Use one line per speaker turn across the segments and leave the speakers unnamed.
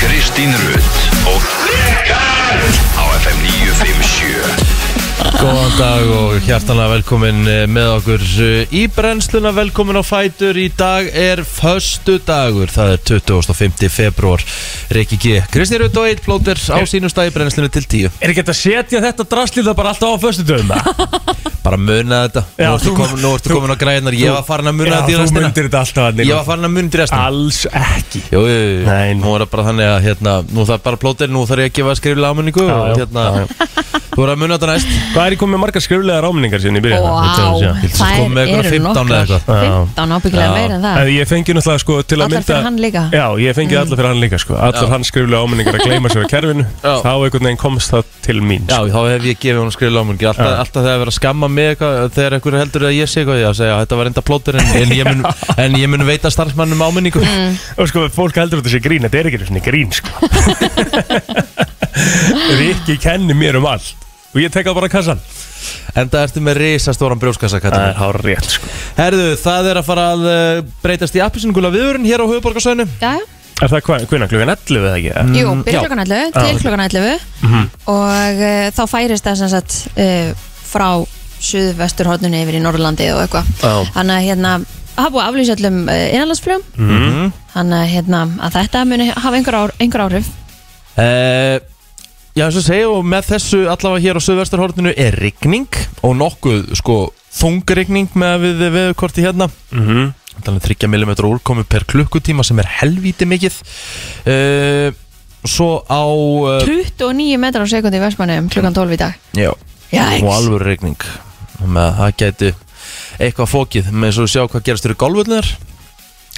Kristín Rutt og Rikard á FM 957
Góðan dag og hjartanlega velkomin eh, með okkur eh, í brennsluna, velkomin á Fætur. Í dag er föstu dagur, það er 25. februar. Rikki G. Kristi Rutt og Eitt Blóter á sínum stað í brennslunni til 10.
Er ekki hægt að setja þetta drastlíða bara alltaf á föstu dögum það?
Bara muna þetta.
Já,
nú ertu
þú-
komin, nú ertu
þú-
komin á grænar, ég var farin að muna þetta í
þú
restina.
myndir þetta alltaf að
Ég var farin að muna þetta í restina.
Alls ekki
Jú, jú, jú,
Nei, nei.
nú er það bara þannig að hérna, nú þarf bara plóter, nú þarf ég að gefa skriflega ámunningu
Já,
og
já,
hérna, þú er að muna þetta næst.
Hvað er ég komið með margar skriflega ráminningar síðan ég byrja
Vá,
Ég held að
þær
sko með einhverja
eru
15
nokkrar.
eða eitthvað.
Já.
15 ábyggilega
Já.
meira en
En
það
ég fengi náttúrulega sko til að
Allar
mynda
fyrir hann líka. Mm.
Já, ég fengið allar fyrir hann líka sko Allar
Já.
hans skriflega áminningar að gleyma sér á kerfinu
Já.
Þá einhvern veginn komst það til mín sko.
Já, þá hef ég gefið hún skriflega ámungi alltaf,
Já.
alltaf þegar það er verið að skamma mig eitthvað, þegar einhver heldur að ég sé eitthvað, ég að segja þetta var enda plótur en, en, ég mun, en ég mun veita starfsmannum áminningu
Og sko, fólk heldur að þetta sé grín, þetta er ekki svona grín sko Rikki kenni mér um allt Og ég tek það bara að kassan
Enda ertu með risastóran brjóskassa
Það
Katrín.
er hár rétt sko
Herðu, það er að fara að eh, breytast í appisingula viðurinn hér á höfuborgarsöðinu
Já,
Er það hvað, hvernig klukkan 11 eða ekki? Mhm,
jú,
Mm, já.
byrja klokkan 11 til klokkan 11 og uh, þá færist það sem sagt uh, frá suðvesturhornunni yfir í Norrlandi og eitthvað
Já.
Þannig að hérna, það hafa búið aflýsjallum uh, innanlandsflugum
Mhm.
Mhm.
Þannig að, hérna, að þetta muni hafa einhver, ár, einhver áhrif
uh, Já, þess að segja og með þessu allavega hér á söðvestarhorninu er rigning og nokkuð sko þungrigning með að við veðukorti hérna
Mhm.
þannig 30 mm úrkomi per klukkutíma sem er helvíti mikið uh, Svo á uh,
29 metrar á sekundi í Vestmannum klukkan 12 í dag
Já,
Jæks.
og alvöru regning Þannig að það gæti eitthvað fókið með svo sjá hvað gerast þér í golfullunar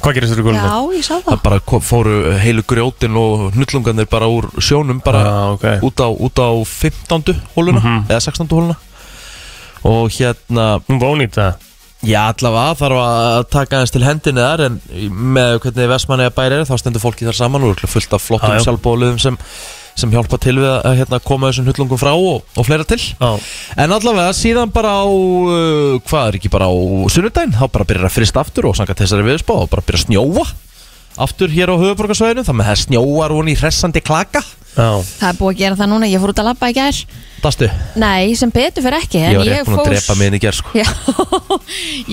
Hvað gerist þér í gólfinu?
Já, ég sá
það
það
bara ko- fóru heilu grjótin og hnullungarnir bara úr sjónum bara
ah, okay.
út, á, út á 15. hóluna
Mhm.
eða 16. hóluna og hérna,
Hún var ónýtt það
já allavega þarf að taka aðeins til hendinni þar en með hvernig Vestmanni að bæri er þá stendur fólki þar saman og örugglega fullt af flottum
Já, já.
sjálfbóliðum sem, sem hjálpa til við að hérna, koma þessum hnullungum frá og, og fleira til En allavega síðan bara á, uh, hvað er ekki bara á sunnudaginn, þá bara byrjar að frista aftur og sanga þessari viðspá og bara byrjar að snjóa aftur hér á höfuborgarsvæðinu, þannig að það snjóar hún í hressandi klaka.
Já
Það er búið að gera það núna, ég fór út að labba í gær
Dastu,
Nei, sem betur fyrir ekki en
ég var rétt búin
fór
að drepa mig inn í gerð sko.
Já,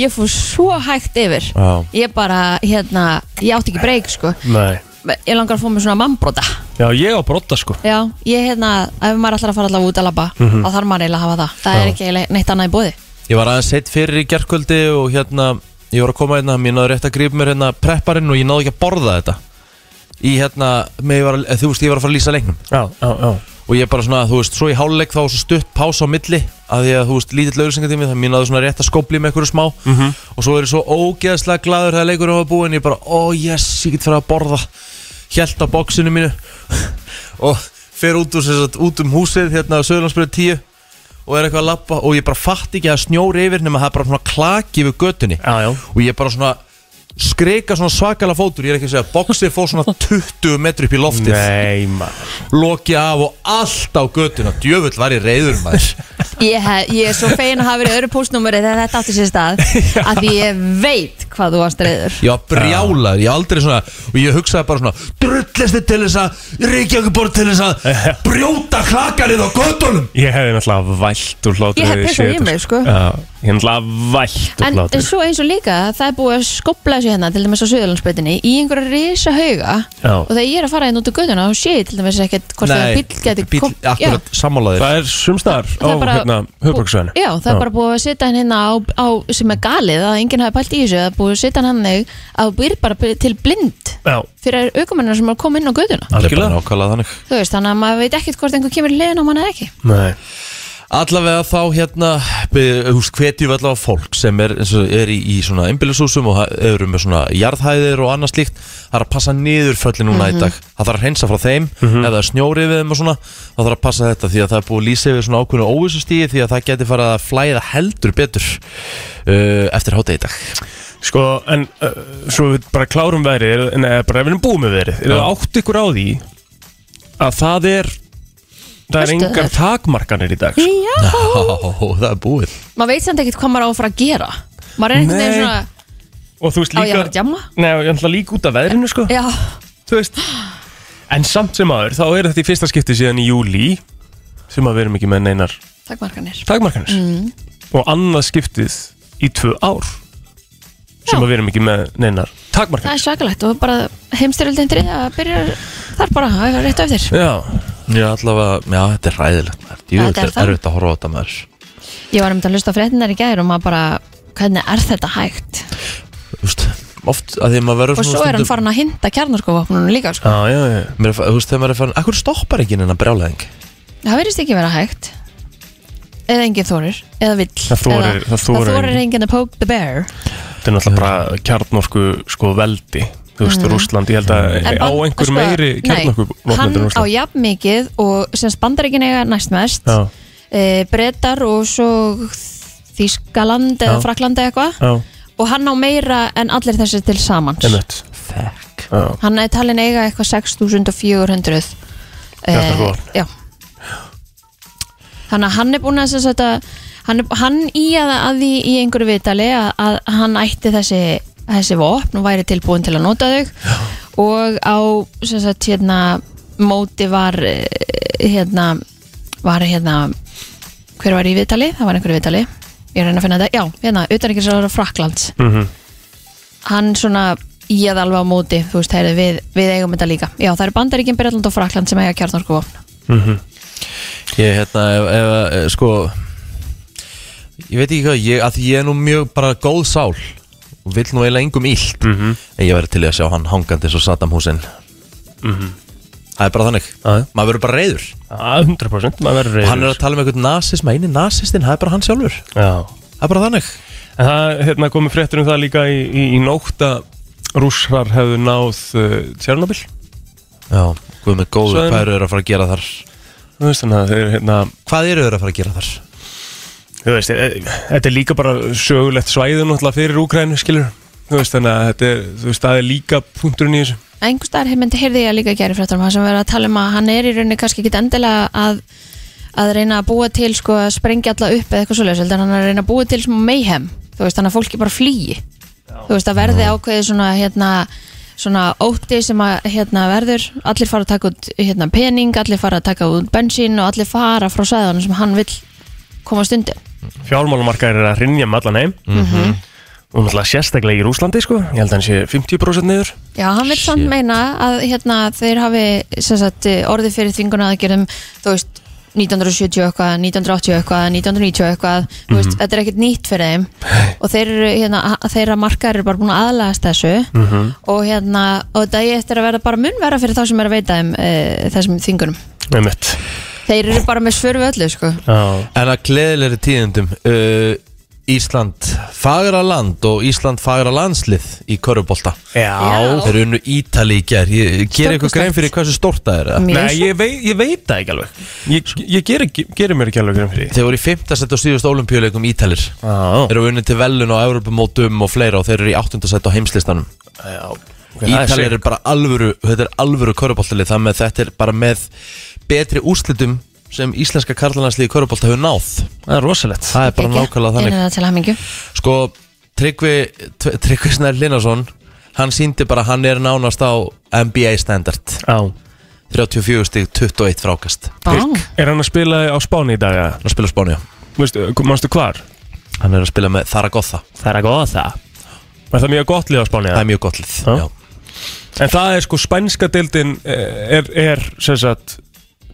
ég fór svo hægt yfir
Já.
Ég bara, hérna, ég átti ekki breyk sko
Nei
Ég langar að fá mér svona mannbrota
Já, ég á brotta sko
Já, ég hérna, ef maður ætlar að fara allavega út að labba þá þarf maður eiginlega að hafa það Það er ekki eiginlega neitt annað í bóði
Ég var aðeins heitt fyrir í gerðkvöldi og hérna, ég var að koma hérna, mér náður rétt að grípa mér hérna prepparinn og ég náði ekki að borða þetta. Í hérna, með ég var, að- þú veist, ég var að fara að lýsa lengnum.
Já, já, já
og ég bara svona, þú veist, svo í háluleik þá var svo stutt pása á milli að því að, þú veist, lítill auðvisingatími það mín að það svona rétt að skópli með einhverju smá Mhm. og svo er ég svo ógeðslega gladur þegar leikurinn var búinn ég bara, ó, oh, yes, ég get fyrir að borða hjælt á bóksinu mínu og fer út, úr, sem sagt, út um húsið hérna á Söðurlandsbyrðu 10 og er eitthvað að lappa og ég bara fatt ekki að snjóri yfir nema það er bara svona klaki yfir götunni
Já, já
og ég bara svona skreika svona svakalega fótur, ég er ekki að segja boxið fór svona 20 metri upp í loftið
Nei, maður
loki af og allt á göttuna djöfull var ég reyður maður
Ég, hef- ég er svo fegin að hafa verið öðru póstnúmeri þegar þetta átti sér stað að því ég veit hvað þú varst reyður
ég var brjálaður, ég var aldrei svona og ég hugsaði bara svona drullisti til þess að Reykjavíkuborg til þess að brjóta klakarið á göttunum
Ég hefði náttúrulega vælt úr hlátur
Ég hefði
við
pissað
séð
í
þetta,
mig, sko.
Já, ég hefði náttúrulega vælt úr
En
hlátur
svo eins og líka, það er búið að skopla þessu hérna til dæmis á Suðurlandsbreytinni í einhverja risa hauga
Já.
og þegar ég er að fara einn út á göduna þá sé ég til dæmis ekkert hvort það bíl gæti
bíll,
kom- Já.
akkurat sammálaðir
Það er sumstar á
Það er bara-
hérna höfbruksvæðinu
Já, það er bara búið að setja hann hérna á, á sem er galið að enginn hafi pælt í þessu það er búið að setja hann hann neg að býr bara b- til blind
Já,
fyrir aukumennir sem er að koma inn á göduna
Það er bara
algjörlega
nákvæmlega þannig
Þú veist, þannig að maður veit ekkert hvort einhver kemur í leðin á mann eða ekki
Nei
Allavega þá hérna bið- þú veist, hvetjum við allavega fólk sem er, eins og er í, í svona einbýlishúsum og ha- eru með svona jarðhæðir og annað slíkt það er að passa niður föllin núna
Mhm.
í dag það þarf að hreinsa frá þeim,
Mhm.
ef það er snjóri við þeim og svona, þá þarf að passa þetta því að það er búið að lýsa yfir svona ákveðinu óvissustíði því að það geti farið að flæða heldur betur uh, eftir hátegi í dag
Sko, en uh, svo við bara klárum verið er- Nei, bara ef við erum búið með verið Er það átt ykkur á því Að það er Það er
Veistu
engar
það?
takmarkanir í dag sko.
Já,
Ó, það er búið
maður veit samt ekkert hvað maður á að fara að gera maður er einhvern veginn
Nei.
svona
Og þú
á
veist
ég að
líka Sko.
fara að jamma
Nei, og ég ætla líka út af veðrinu sko
Já,
Þú veist En samt sem aður, þá er þetta í fyrsta skipti síðan í júli sem að við erum ekki með neinar
Takkmarkanir
takmarkanir
Mm.
og annað skiptið í tvö ár sem
Já.
að við erum ekki með neinar
Það
takmarkanir
er svakalegt og bara heimstyrjöldin þriðja byrjar þar bara, það er rétt á eftir
Já,
Já, allavega, já, þetta er ræðilegt maður. Jú,
Þetta
þetta
er
er
það.
erfitt að horfa á þetta maður
Ég var um að hlusta á fréttinar í gæður og maður bara, hvernig er þetta hægt?
Þú veist, oft að því að maður verður
Og svo er hann farin að hinda kjarnorkuvopnunum líka sko.
já, já, já.
Mér, er fa- þú veist, þegar maður er farin, akkur stoppar ekki hennar brjálæðing
Það verðist ekki vera hægt Eða enginn þorir, eða vill
Það þorir-
eða,
það þorir
það þorir
enginn.
enginn að poke the bear
Þetta er náttúrulega bara kjarnorku sko veldi Þú veist, Rússland, ég held að
Mhm. En
á
ban-
einhver
sko,
meiri sko?
nei,
kjarnorku
Hann á jafn mikið og sem bandaríkin eiga næst mest
Já,
e, Bretar og svo Þískaland eða
Já.
Frakland eða eitthvað
já,
og hann á meira en allir þessir til samans
einmitt
Þekk
Já,
Hann er talin eiga eitthvað 6400 e,
Kjarnorkuvopn.
Já Þannig að hann er búin að sem sagt að hann, er- hann í að, að því í einhverju vitali að, að hann ætti þessi þessi vopn og væri tilbúin til að nota þau já. og á sem sagt hérna móti var eh, hérna var hérna hver var í vitali, það var einhverju vitali ég reyna að finna þetta, já, hérna, utanrikisraður Fraklands mm
Mhm,
hann svona í að alveg á móti þú veist, heyrðu, við, við eigum þetta líka já, það eru bandaríkinn Breitland og Frakland sem eiga kjarnorkuvopn
Mhm. Ég, hérna, ef, ef, eh, sko Ég veit ekki hvað, ég, að því ég er nú mjög bara góð sál og vill nú eiginlega engum illt en ég verður til í að sjá hann hangandi eins og Saddam Hussein Mhm. Það er bara þannig
Mhm. Já, já.
Maður verður bara reyður
að 100% maður verður
Hann er að tala um einhvern nasisma, eini nasistinn, það er bara hann sjálfur
Já
Það er bara þannig
En það hérna, komið fréttur um það líka í, í, í nótt að rússar hefðu náð uh, Tjernobyl
Já, guð með góður,
Sveinn.
hvað eru þeir að fara að gera þar?
Þú veist þannig að þeir hérna
Hvað eru þeir að fara að gera þar?
Þú veist, e, e, þetta er líka bara sögulegt svæði náttúrulega fyrir Úkrænu skilur Þú veist þannig að þetta er, þú veist, það er líka punkturinn í þessu
einhver staðar myndi heyrði ég líka að gera fréttar um það sem verið að tala um að hann er í rauninni kannski ekki endilega að að reyna að búa til sko að sprengja alla upp eða eitthvað svoleiðis, heldur hann er að reyna að búa til smá mayhem, þú veist, þannig að fólki bara flýi þú veist, að verði ákveðið svona hérna, svona ótti sem að hérna verður, allir fara að taka út hérna pening, allir fara að taka út bensín og allir fara frá sæðanum sem hann vill komast undir
Fjármálamarkaðir er að rinja með allan heim Og náttúrulega sérstaklega í Rúslandi sko Ég held að hann sé 50% niður
Já, hann vil samt
Shit.
meina að hérna, þeir hafi sem sagt, orðið fyrir þvinguna aðgerðum þú veist, 1970 eitthvað 1980 eitthvað, 1990 eitthvað mm
Mhm.
veist, þetta er ekkert nýtt fyrir þeim og þeir, eru, hérna, a- þeirra markar eru bara búin að aðlagast þessu
mhm.
og hérna, og þetta er eftir að verða bara mun vera fyrir þá sem er að veita þeim e, þessum þvingunum
Með mitt
þeir eru bara með svör við öllu, sko
Já,
En að gleðilegri tíðendum uh, Ísland fagra land og Ísland fagra landslið í Körubolta
Já.
Þeir unnu Ítali í ger Ég ger eitthvað
Stórkostlegt.
grein fyrir hversu stórt það er eða?
Mjög
Nei,
svo-
ég, vei, ég veit það ekki alveg Ég, ég gerir geri mér ekki alveg grein fyrir því
Þeir voru í 5. sett og síðust olimpíuleikum Ítalir
Já,
Þeir eru unni til velun og Evropamótum og fleira og þeir eru í 8. sett á heimslistanum
já
Ítalir eru bara alvöru, þetta er alvöru Köruboltalið Það með þetta er bara með betri úrslitum sem íslenska karlalanslið í Körubolta hefur náð
Það er rosalegt
Það er bara
Ekki?
nákvæmlega þannig
Innilega til hamingju.
Sko, Tryggvi Tv- Tryggvi Snær Linarsson Hann síndi bara að hann er nánast á NBA standard
Já
34 stig, 21 frákast
Vá.
Er hann að spila á Spáni í dag? eða?
Hann spila Spánia
Veistu, manstu hvar?
Hann er að spila með Zaragoza
Það er að góða það Er það mjög gott lið á Spáni?
Það er mjög gott lið
Já.
Já.
En það er sko spænska deildin eh, er, er sem sagt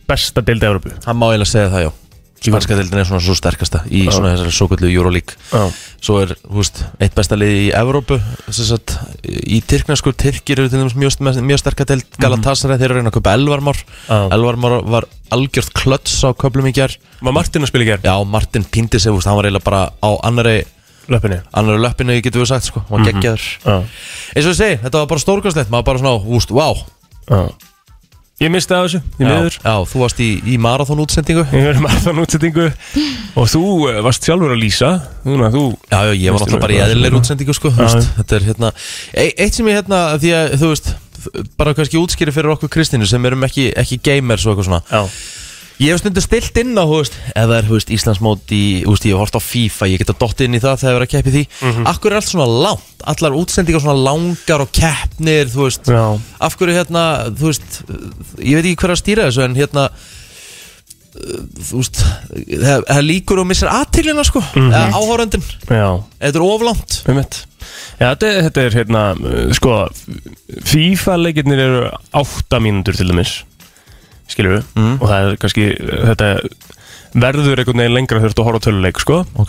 besta deild Európu
Hann má eiginlega segja það, já Spanska deildin er svona svo sterkasta í
Já.
svona þessari svo kvöldu Euroleague
Já.
Svo er, þú veist, eitt besta lið í Evrópu sem sagt, í Tyrkna sko Tyrkir eru til þeim mjög, mjög sterka deild Galatasaray, þeir eru að reyna að köpa Elvarmár
Mhm. Já.
Elvarmár var algjörð klöts á köplum í gær
Var Martin að spila í gerð?
Já, Martin pindi sig, þú veist, hann var eiginlega bara á annari,
Löpunni
annari löppinu, getur við sagt, sko, hann var geggjaður.
Mhm. Já,
Eins og ég segi, þetta var bara stórkastlegt, maður bara svona, úst, vá.
já Ég misti af þessu, ég
Já,
miður
já, þú varst í, í marathon útsendingu.
Ég verið marðan útsettingu Og þú eh, varst sjálfur að lýsa Núna, þú
Já, já, ég var
Veistu
náttúrulega bara í
eitthvað
eðlir
svona?
útsendingu, sko, þú
Já,
veist,
já.
þetta er hérna, e eitt sem ég hérna, því að, þú veist, bara kannski útskýri fyrir okkur Kristínu sem erum ekki, ekki gamers og eitthvað svona.
Já
Ég hef stundu stilt inn á, þú veist, ef það er, þú veist, Íslandsmót í, þú veist, ég hef hort á FIFA, ég get að dotta inn í það þegar það er að keppi því.
Mhm.
Akkur er allt svona langt, allar útsendingar svona langar og keppnir, þú veist.
Já.
Af hverju, hérna, þú veist, ég veit ekki hver er að stýra þessu, en hérna, uh, þú veist, það, það líkur og missir aðtilina, sko, mm
Mhm.
-hmm. áhórandin.
Já,
Þetta er oflangt.
um mitt Já, þetta, er- þetta er hérna, uh, sko FIFA-leikirnir eru 8 mínútur til dæmis skilur við,
Mm.
og það er kannski uh, þetta verður einhvern veginn lengra þurft að horfa á töluleik, sko
Ok.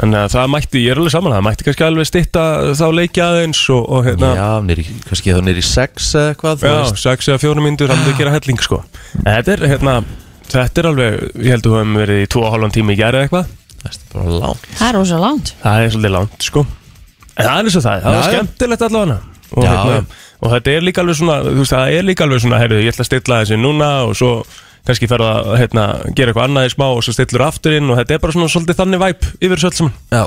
þannig að það mætti, ég er alveg saman það mætti kannski alveg stitta þá leikja aðeins og, og hérna,
Já, nýri, kannski þá nýri sex eða eitthvað, þú
já,
veist.
6 eða 4 mínútur hann er að gera helling, sko en þetta er, hérna, þetta er alveg ég held að við höfum verið í 2,5 tími í gæri eitthvað
Þetta er bara langt.
Það er rosa langt
Það er svolítið langt sko En það er eins og það, það
Já,
er
já.
skemmtilegt allavega og,
Já,
hérna,
já.
og þetta er líka alveg svona þú veist, Það er líka alveg svona, heyrðu, ég ætla að stilla þessi núna Og svo kannski ferða að hérna, gera eitthvað annað í smá Og svo stillur aftur inn Og þetta er bara svona svolítið þannig væp yfir þessu öll saman
Já.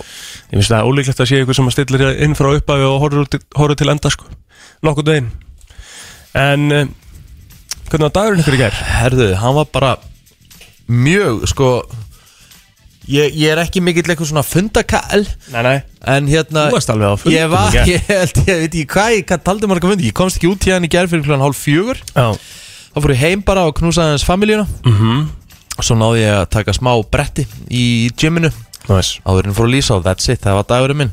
Ég finnst það ólíklegt að sé ykkur sem að stillir inn frá upphafi Og horfur til, horfur til enda sko Nokkuð veginn En eh, hvernig var dagurinn ykkur í gær?
Herðu, hann var bara mjög, sko Ég, ég er ekki mikill eitthvað svona fundakall
Nei, nei
En hérna
Þú varst alveg á fundum
Ég var,
í gær.
ég held, ég veit ekki hvað Ég hvað taldi marga fundi Ég komst ekki út hérna í gerð fyrir klukkan hálf fjögur
Já, Mhm.
Þá fór ég heim bara og knúsaði hans familíuna mm -hmm. Svo náði ég að taka smá bretti í gyminu
næs
Áðurinn fór að lýsa og that's it, það var dagurinn minn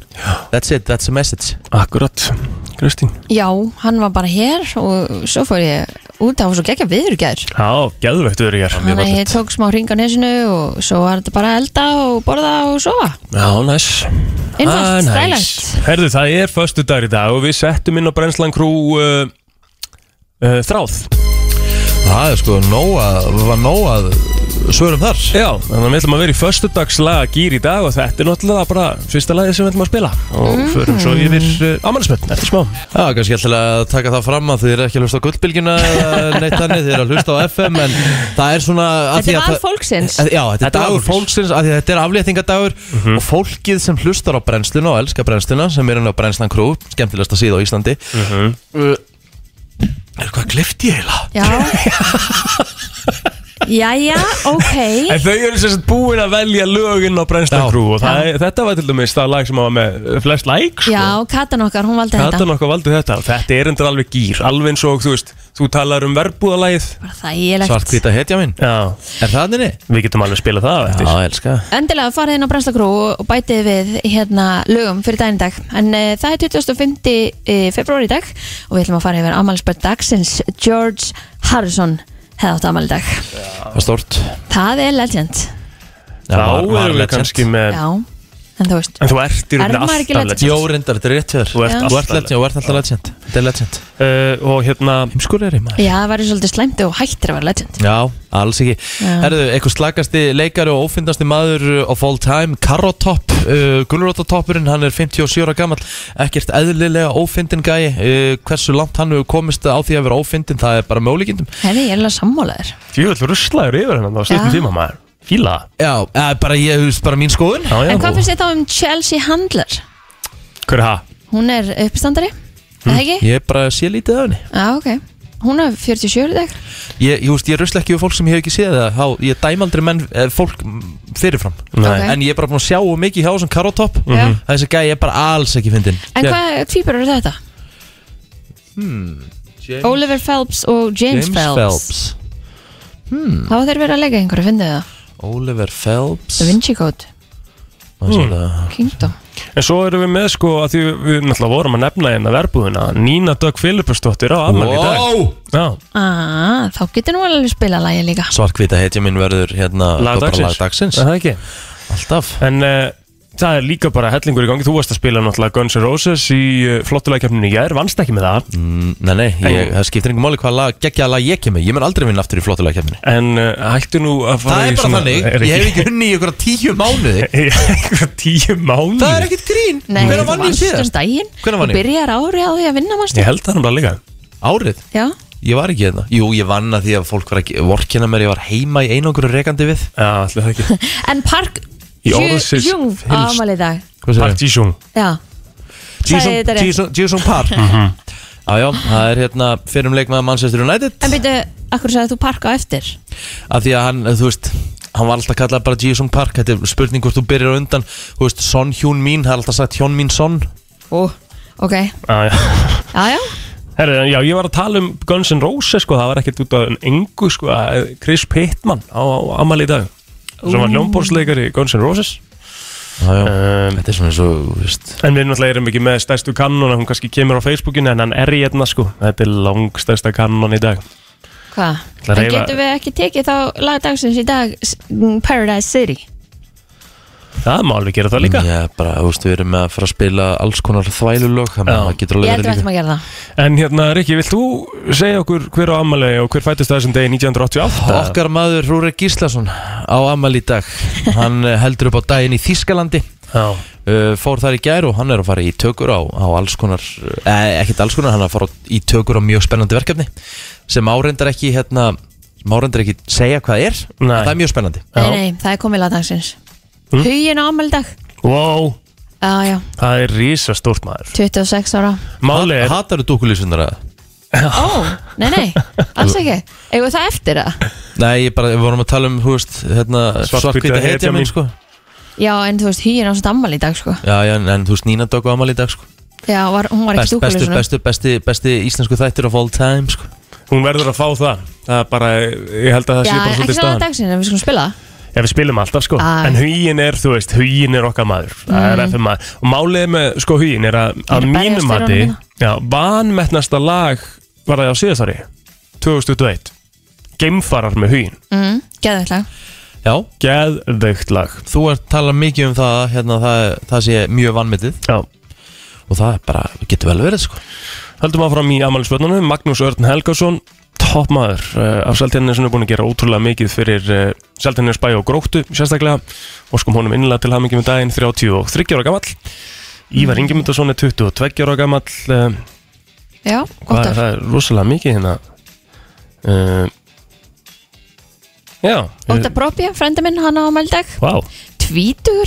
That's it, that's a message
Akkurat, Kristín
Já, hann var bara hér og svo fór ég út það var svo geggja viður gær
Já, geðvegt við erum hér
Þannig að ég tók smá hring á nesinu og svo var þetta bara að elda og borða og sofa
Já, næs
Einfalt,
Ah,
þægilegt
Herðu, það er förstu dagur í dag og við settum inn á Brennslan Crew uh, uh, þráð
Það er sko nóg að, var nóg að svörum þar
Já, þannig að við ætlum að vera í förstu dags lagagýr í dag og þetta er náttúrulega bara fyrsta lagið sem við ætlum að spila og förum svo yfir uh, ámannsmönd eftir smá
Já, kannski ætla að taka það fram að þið eru ekki að hlusta á gullbylgjuna eða neitt þannig, þið eru að hlusta á FM en það er svona að
Þetta
því
er
að
val
það-
fólksins
að- Já, þetta er
Þetta er Mhm.
dagur
dagur
fólksins af því að þetta er afléttingadagur og fólkið sem hlustar á brennsluna og elskar brennsluna sem er henni á brennslan krú, skemmtilegasta síða á Íslandi uh
Mhm.
Er hvað klift ég heila?
Já Jæja, ok
En þau eru sem sagt búin að velja lögin á Brennslan
Já.
Crew og það, er- þetta var til dæmis það lag sem var með flest like sko.
Já, katan okkar, hún valdi
Þetta
þetta
er nokkuð valdið þetta og þetta er endur alveg gýr alveg eins og þú veist, þú talar um verbúðalagið
Bara þægilegt
Svart hvita hetja minn,
Já,
er það henni?
við getum alveg að spila það á eftir
Já, elska
Endilega farið inn á Brennslagrú og bætið við hérna lögum fyrir daginn í dag en uh, það er 25. Uh, februar í dag og við ætlum að fara yfir afmælisbörn dagsins George Harrison hefði átt afmæli í dag
Það var stórt
Það er legend,
Já,
Þá
var- var
erum við
legend.
kannski með
já en þú veist,
En þú ert í
Er
rauninni
maður ekki
alltaf
legend?
legend
Jó, reyndar, þetta er rétt hjá þér
Þú ert
Já.
Þú ert
alltaf
legend, já, þú
legend
ert alltaf legend Þetta er legend
uh, Og hérna
Heimskulegri maður
já það væri svolítið slæmt og hættir að vera legend
Já, alls ekki Herðu, eitthvað slagasti leikari og ófindasti maður uh, of all time, Karotopp uh, Gulrótotoppurinn, hann er 57 ára gammal ekkert eðlilega ófindin gæi uh, hversu langt hann hefur komist á því að vera ófindin, það er bara með ólíkindum
Herri, ég er alveg sammálaður
Fjöld ruslaður yfir hennan Það var stuttum
Já.
tíma maður Fíla það.
Já, eh, bara ég hefst bara mín skoðun
Já, já,
En hvað
og-
finnst þið þá um Chelsea Handler?
Hver er það?
Hún er uppstandari, er það ekki?
Ég bara sé lítið af henni
Já, ok Hún er 47 í dag
Ég, ég, veist, ég rusla ekki við fólk sem ég hef ekki séð það þá, Ég dæm aldrei menn, eh, fólk mm, fyrirfram
Nei. Ok.
En ég er bara búin að sjá of mikið hjá þessum Karotopp
Já.
Þessi gæi er bara alls ekki fyndin
En
Ég- Hmm.
hvað tvípur eru þetta?
James-
Oliver Phelps og James, Phelps. Hafa þeir verið að leika einhverju, finnðu þið það?
Oliver Phelps
Da Vinci Code,
Má sjá það.
Kingdom
Mm. En svo erum við með sko að því við náttúrulega vorum að nefna hérna verbúðina Nína Dögg Filipusdóttir á afmæli í dag
Wow!
Já,
ah, Þá getur nú alveg spila lagi líka
Svarkvita hetja minn verður hérna
lag
bara
dagsins
lag dagsins.
Er það ekki?
Alltaf
En uh, það er líka bara hellingur í gangi Þú varst að spila náttúrulega Guns N' Roses í uh, flottulegkjöfninu í gær Vannst ekki með það
Mm, Nei, nei, ég,
En-
það skiptir engum máli hvað lag, geggjaða lag ég kemur Ég mun aldrei vinna aftur í flottulega kemni
En uh, hættu nú að fara
Það er
í
bara
svona-
þannig,
er
ég hef ekki unni í ykkur tíu mánuði
Einhverja tíu mánu
Það er ekkert grín,
Nei,
hvernig vann ég
vannst um
síðast?
daginn
Hvenær vann
Þú
ég?
byrjar ári á því að vinna mannstu
Ég held það náttúrulega líka
Árið,
Já,
ég var ekki hérna Jú, ég vann að því að fólk var ekki, vorkina mér Ég var heima í einangur rekandi við
Já, allir það ekki
en Park
Í orðsins
Jung
fyllst.
ámali í dag
Hvað
Park
segirðu?
Ji-sung
Já, sagði þetta rétt. Mhm.
Jisung Park Já, já, það er hérna fyrir um leikmaður Manchester United
En byrju, akkur sagði þú parka á eftir
af því að hann, þú veist hann var alltaf kallað bara Jisung Park þetta er spurning hvort þú byrjar á undan þú veist, Son Hjún mín, það er alltaf sagt Hjón mín Son
Ú, ok,
ah, já.
já, já
Herri, já, ég var að tala um Guns N' Roses sko, það var ekkert út af engu sko, að Chris Pittman á, á ammali í dag sem var hljómbórsleikari í Guns N' Roses
já, já.
um,
þetta er svona eins og, þú veist
en við náttúrulega erum ekki með stærstu kannona hún kannski kemur á Facebookinu en hann er í hérna sko þetta er langstærsta kannon í dag
Hvað?
ætla að
En
hreyfa-
getum við ekki tekið þá lagdagsins í dag s- m, Paradise City?
það má alveg gera það líka
Já, bara, þú veist, við erum með að fara að spila alls konar þvælulög þannig
Já.
að það
Ég
getur alveg
heldur við
verið
ættum að
líka
gera það
en hérna Rikki, vilt þú segja okkur hver á ammali og hver fættist það þessum degi 1988
Okkar maður Rúrik Gíslason á Amal í dag hann eh, heldur upp á daginn í Þískalandi
Já.
uh, fór þar í gær og hann er að fara í tökur á, á alls konar, eh, ekkert alls konar hann er að fara í tökur á mjög spennandi verkefni sem áreindar ekki hérna sem áreindar ekki segja hvað er en
Nei.
það er mjög spennandi
Já.
Nei, nei, það er komið lagdagsins
Hm?
Mm.
Hugin á ámeldag
wow,
Já, já,
það er risastórt maður
26 ára
máli er,
Hattar þú dúkulísunar að?
Ó, nei, nei, alls ekki Eigum við það eftir það?
Nei, ég bara, við vorum að tala um, hú veist, hérna
Svarthvíta
svartkvíta
hetja
heitja
mín.
minn, sko
Já, en þú veist, hugin á samt ammali í dag, sko
Já, já, en, en þú veist, Nína dök á Amal í dag, sko
Já, var, hún var ekki
Best, bestu,
stúkulisuna
bestu, besti, besti íslensku þættir of all time, sko
hún verður að fá það það er bara, ég held að það
Já,
sé bara
en ekki
svolítið
það
staðan
lagdagsins, en við skulum spila það
Já, við spilum alltaf sko
Æ. Mm.
En hugin er, þú veist, hugin er okkar maður Það er FM maður Og málið með sko hugin er að
er
Að
að berjast
mínum
fyrir
mati
honum
Já, vanmetnasta lag Var það á síðastari 2021 Geimfarar með hugin
mm, Geðvægt lag
Já,
Geðveikt lag
þú ert tala mikið um það, hérna, það, það sé mjög vannmetið
Já
og það er bara, getur vel verið, sko
Höldum áfram í amælisbötnunum Magnús Örn Helgason Topp maður uh, Af Seltjarnesinu búin að gera ótrúlega mikið fyrir uh, Seltjarnes bæ og gróttu sérstaklega Og skum honum innlega til hamingi með daginn 33 ára gamall Ívar
Mm.
Ingemundarsson er 22 ára gamall uh,
Já,
Hvað er
gott ár
það? er Rosalega mikið hérna uh, Já
Óttar Propja, frendi minn, hann á ámeldag
Eh, Vá
Tvítur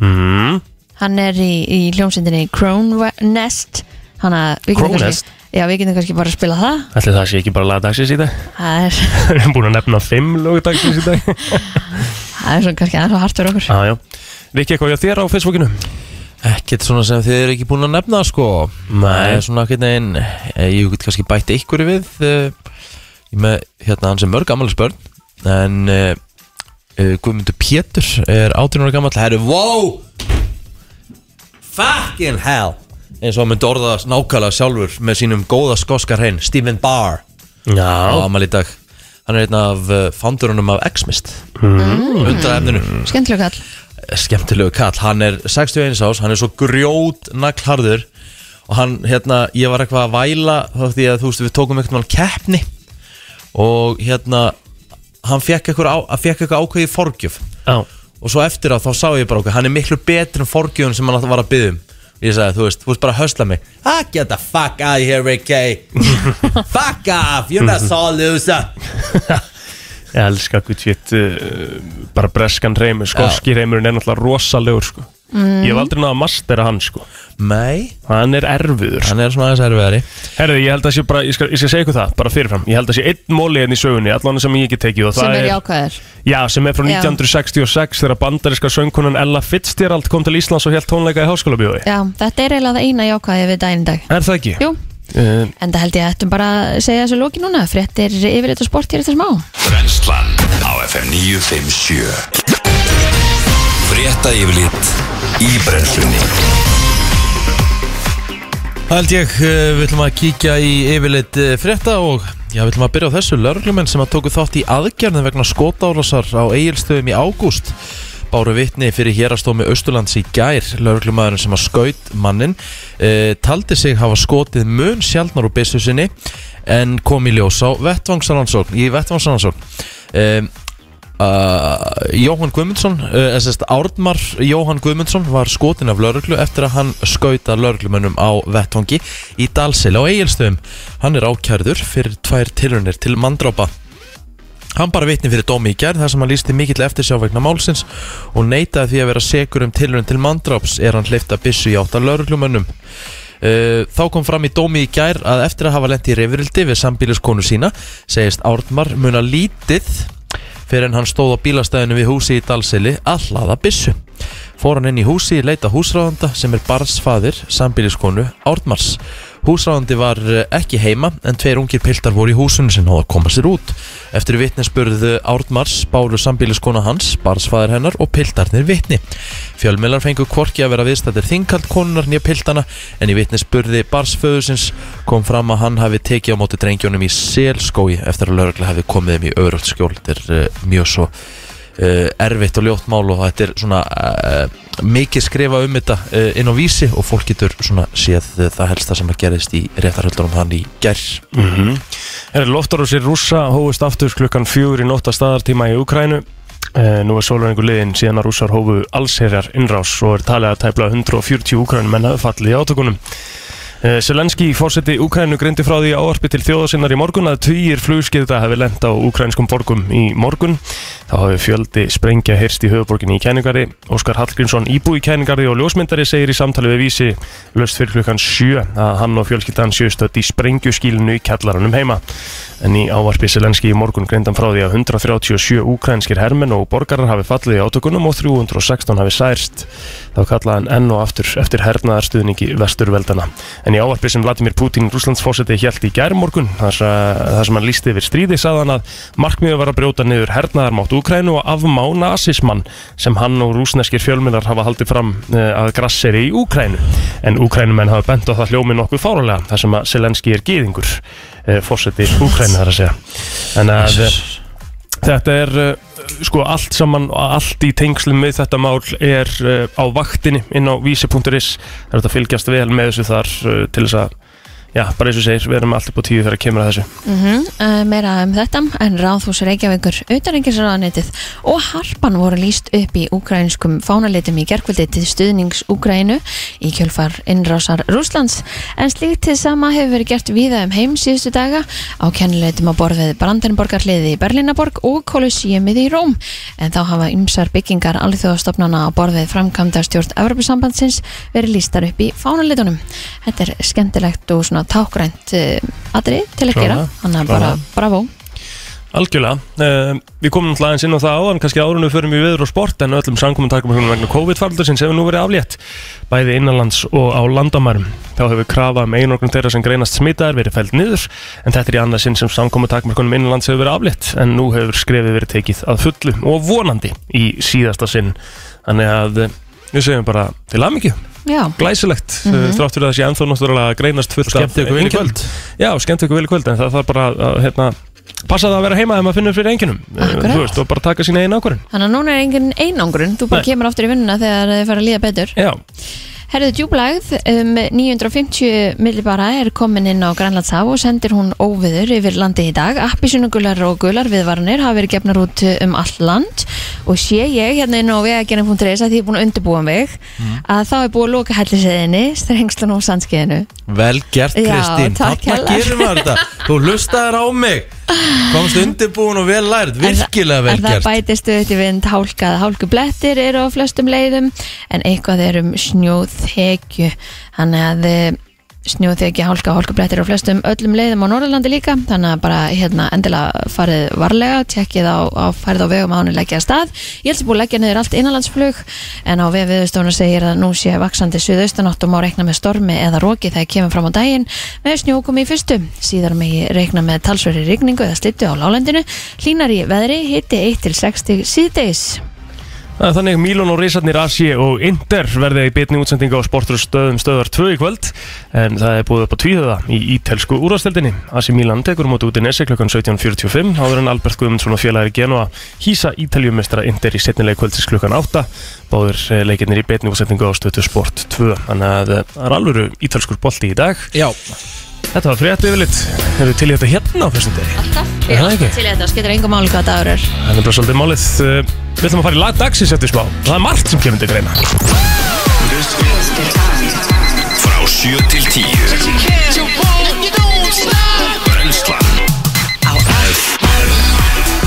mm,
Hann er í, í hljómsendinni Kronest Hann að við getum
Krónest?
kannski- Já, við getum kannski bara að spila það
Ætli það sé ekki bara laga dagsins í dag
Það er,
Við erum búin að nefna fimm lög dagsins í dag Ah,
það er svona kannski aðeins og hart fyrir okkur
Já, já Rikki, eitthvað hjá þér á Facebookinu?
Ekkert svona sem þið eru ekki búin að nefna sko
Nei.
Það er Svona ekkert neginn eh, Ég get kannski bætt ykkur við eh, Ég með hérna hans er mörg gammalega spörn En eh, eh, Guðmundur Pétur er 18 ára gammal Það eru wow Fucking hell eins og hann myndi orða það nákvæmlega sjálfur með sínum góða skoskar hrein, Stephen Barr á
Já
amal í dag hann er einn af eh, foundurunum af X-Mist mm. undra efninu
Skemmtileg kall
skemmtilegu kall, hann er 61 ás, hann er svo grjót naglharður og hann, hérna, ég var eitthvað að væla þá því að þú veist, við tókum einhvern veginn keppni og hérna hann fekk eitthvað, á, hann fekk eitthvað ákveðið forgjöf
Já
og svo eftir á þá sá ég bara okkur, hann er miklu betur en forgjöfun sem hann alltaf var að byggja um ég sagði, þú veist, þú veist bara að hösla mig ah, get the fuck out of here, Ricky fuck off, you're not so loser
Ég elska hvað shit uh, bara breskan reymur, skoski reymurinn er náttúrulega rosalegur sko. Ég hef aldrei náða að mastera hann sko.
Mhm. nei,
Hann er erfiður
hann er svona aðeins erfiðari
Herði, ég held að sé bara, ég skal, ég skal segja ykkur það, bara fyrirfram Ég held að sé einn móli enn í sögunni, allan sem ég ekki tekið og það
sem er jákvæður
Já, sem er frá
Já.
1966 þegar bandariska söngkonan Ella Fitzgerald kom til Íslands og held tónleika í háskólabjóði
Já, þetta er eiginlega það eina jákvæði við daginn í dag
Er það ekki?
Jú,
Uh,
en það held ég að ættum bara að segja þessu lóki núna Fréttir yfir þetta sport hér eftir smá
Brennslan á FM 957 Frétta yfirlit í brennslunni
Það held ég, eh, við ætlum að kíkja í yfirleitt eh, frétta og já, við ætlum að byrja á þessu Lörglumenn sem að tóku þátt í aðgerðin vegna skotárásar á eigilstöðum í ágúst Báru vitni fyrir hérastómi Östurlands í gær Lörglumæðurinn sem að skaut mannin e, Taldi sig hafa skotið mun sjaldnar úr byssu sinni En kom í ljós á vettvangsarannsókn Í vettvangsarannsókn e, Uh, Jóhann Guðmundsson uh, sest, Árnmar Jóhann Guðmundsson var skotin af lauruglu eftir að hann skauta lauruglumönnum á vettvangi í Dalsil á Egilstöðum hann er ákjærður fyrir tvær tilrunir til mandrópa hann bara vitni fyrir dómi í gerð þar sem hann lísti mikill eftir sjá vegna málsins og neitaði því að vera segur um tilrun til mandróps er hann hleyft að byssu í átta lauruglumönnum Uh, Þá kom fram í dómi í gær að eftir að hafa lent í reyfrildi við sambíliskonu sína segist Ártmar muna lítið fyrir en hann stóð á bílastæðinu við húsi í Dalsili að hlaða byssu. Fór hann inn í húsi í leita húsráðanda sem er barnsfaðir sambíliskonu Ártmars. Húsráðandi var eh, ekki heima en tveir ungir piltar voru í húsinu sem hóða að koma sér út. Eftir vitnisspurðu Ártmars báru sambíliskona hans, barnsfaðir hennar og piltarnir vitni. Fjölmiðlar fengu hvorki að vera viðstættir þingkald konunar nýja piltana en í vitnisspurði barnsföðusins kom fram að hann hafi tekið á móti drengjónum í selskói eftir að lögregla hafi komið þeim í öðröld skjól. Þetta er eh, mjög svo uh, erfitt og ljótt mál og þetta er svona uh, mikið skrifa um þetta uh, inn á vísi og fólk getur svona séð uh, það helsta sem að gerðist í réttarhöldunum hann í gerð
Mhm. Herra, loftarósir rússa hófust aftur klukkan fjögur í nótt að staðartíma í Ukrænu. Eh, Nú er sólurningu liðin síðan að rússar hófu allsherjar innrás og er talið að tæpla 140 Ukrænum en hafi fallið í átökunum. Eh, Zelenski, fórseti Ukrænu, greindi frá því í áarpi til þjóðasinnar í morgun að tvýir flugskilda hafi lent á ukrænskum borgum í morgun. Þá hafi fjöldi sprengja heyrst í höfuborginni í kæningari. Óskar Hallgrímsson, íbú í kæningari og ljósmyndari, segir í samtali við vísi löst fyrir klukkan 7 að hann og fjölskyldan sjöstöð í sprengjuskilinu í kjallaranum heima. En í ávarpi Selenski í morgun greindan frá því að 137 ukrainskir hermenn og borgarar hafi fallið í átökunum og 316 hafi særst. Þá kallaði hann enn og aftur eftir hernaðarstuðningi vesturveldana. En í ávarpi sem Vladimir Putin, Rúslandsfósetti, hjælt í gærmorgun, þar, sa- þar sem hann lísti yfir stríði, sagði hann að markmiðu var að brjóta niður hernaðarmátt Ukrænu og afmá nazismann sem hann og rúsneskir fjölmiðlar hafa haldið fram eh, að grasseri í Ukrænu. En Ukrænumenn hafa bent á það hljómi nokkuð fárulega þar sem að Selenski er gýðingur, fósetti Ukrænu þar að segja. En að, eh, þetta er eh, sko allt saman allt í tengslum með þetta mál er uh, á vaktinni inn á vísi.is það er hægt að fylgjast vel með þessu þar uh, til þess að, já, bara eins og segir við erum alltaf på tíu þegar kemur að þessu
Mm meira um þetta en Ráðhús Reykjavíkur, Utanrengisraðanetið og Harpan voru líst upp í ukrainskum fánalitum í gerkvöldi til stuðnings Ukraínu í kjölfar innrásar Rúslands en slíkt til sama hefur verið gert víða um heim síðustu daga á kennileitum að borðið Brandenborgarliði í Berlínaborg og Kolosseumið í Róm en þá hafa ymsar byggingar alþjóðastofnana á borðið framkvæmda stjórn Evropasambandsins verið lístar upp í fánalitunum. Þetta er skemmtilegt og svona tákrænt atrið til að gera
Klálega.
þannig að bara bravo
algjörlega, uh, við komum náttúrulega aðeins inn á það áðan kannski áður en við förum í viður og sport en öllum samkominn takum hérna vegna COVID-faraldur sem hefur nú verið aflétt bæði innanlands og á landamærum þá hefur krafa um einoknum þeirra sem greinast smitaðar verið fælt niður en þetta er í annað sinn sem samkominn takum innanlands hefur verið aflétt en nú hefur skrefið verið tekið að fullu og vonandi í síðasta sinn þannig að eh, við segjum bara til aðmyggju
Já,
glæsilegt
Mhm.
mm
Eh,
þrátt fyrir að það sé ennþá náttúrulega að greinast fullt
Skemmtu
af
ykkur vel í
einkennum.
kvöld.
Já, skemmtu ykkur vel í kvöld en það þarf bara að, að hérna, passa það að vera heima þegar maður finnur fyrir enginum
Akkurat.
veist, og bara taka sína eina ákvörðin
þannig að núna er engin einangrun, þú bara
Nei.
kemur aftur í vinnuna þegar þið fara að líða betur.
Já,
Herðu djúblægð um 950 millibara er komin inn á Grænlandshaf og sendir hún óviður yfir landi í dag. Appisunugullar og gular viðvarnir hafa verið gefnar út um allt land og sé ég hérna inn á vegagerðin.is að því ég er búin að undirbúa mig
Mm.
að þá er búið að loka helliseiðinni, strengslun og sandskeiðinu.
Vel gert
Já,
Kristín,
takk
þarna
hérlega.
gerum við þetta Þú lustaðir á mig Komst undirbúin og vel lært, virkilega vel
en það
gert
bætist auðvitað við vind hálkað hálkublettir eru á flestum leiðum en eitthvað er um snjóþekju þannig að eh, snjóþekja hálka hálkublettir á flestum öllum leiðum á Norðurlandi líka þannig að bara hérna endilega farið varlega tjekkið á, á færið á vegum að hún er leggja að stað ég helst að búið að leggja niður allt innanlandsflug en á við viðstofna segir að nú sé vaksandi suðaustanátt og má reikna með stormi eða roki þegar kemur fram á daginn með snjókomi í fyrstu síðar megi reikna með talsverri rigningu eða slittu á lálendinu hlínar í veðri hitti 1 til 60 síðdeis
Það er Þannig Mílón og Rísarnir Asi og Inder verði í bitni útsendinga á sportur stöðum stöðar 2 í kvöld en það er búið upp á tvíðaða í ítelsku úrvasteldinni. Asi Mílan tekur um út út í Nesi klukkan 17.45 áður en Albert Guðmundsson og félagir Genoa hýsa ítaljumestra Inder í setnileg kvöldsins klukkan 8 báður eh, leikirnir í bitni útsendinga á stöðu sport 2 þannig að eh, það er alvöru ítelskur bolti í dag.
Já,
Þetta var frétt yfirleitt. Erum við til í þetta hérna á fyrstum degi?
Alltaf
Er það ekki?
til þetta skiptir engum máli hvað dagur er
Það er bara svolítið málið. eh, Við ætlum að fara í lag dagsins eftir smá. Það er margt sem kemur til greina.
Frá 7 til 10 Brennslan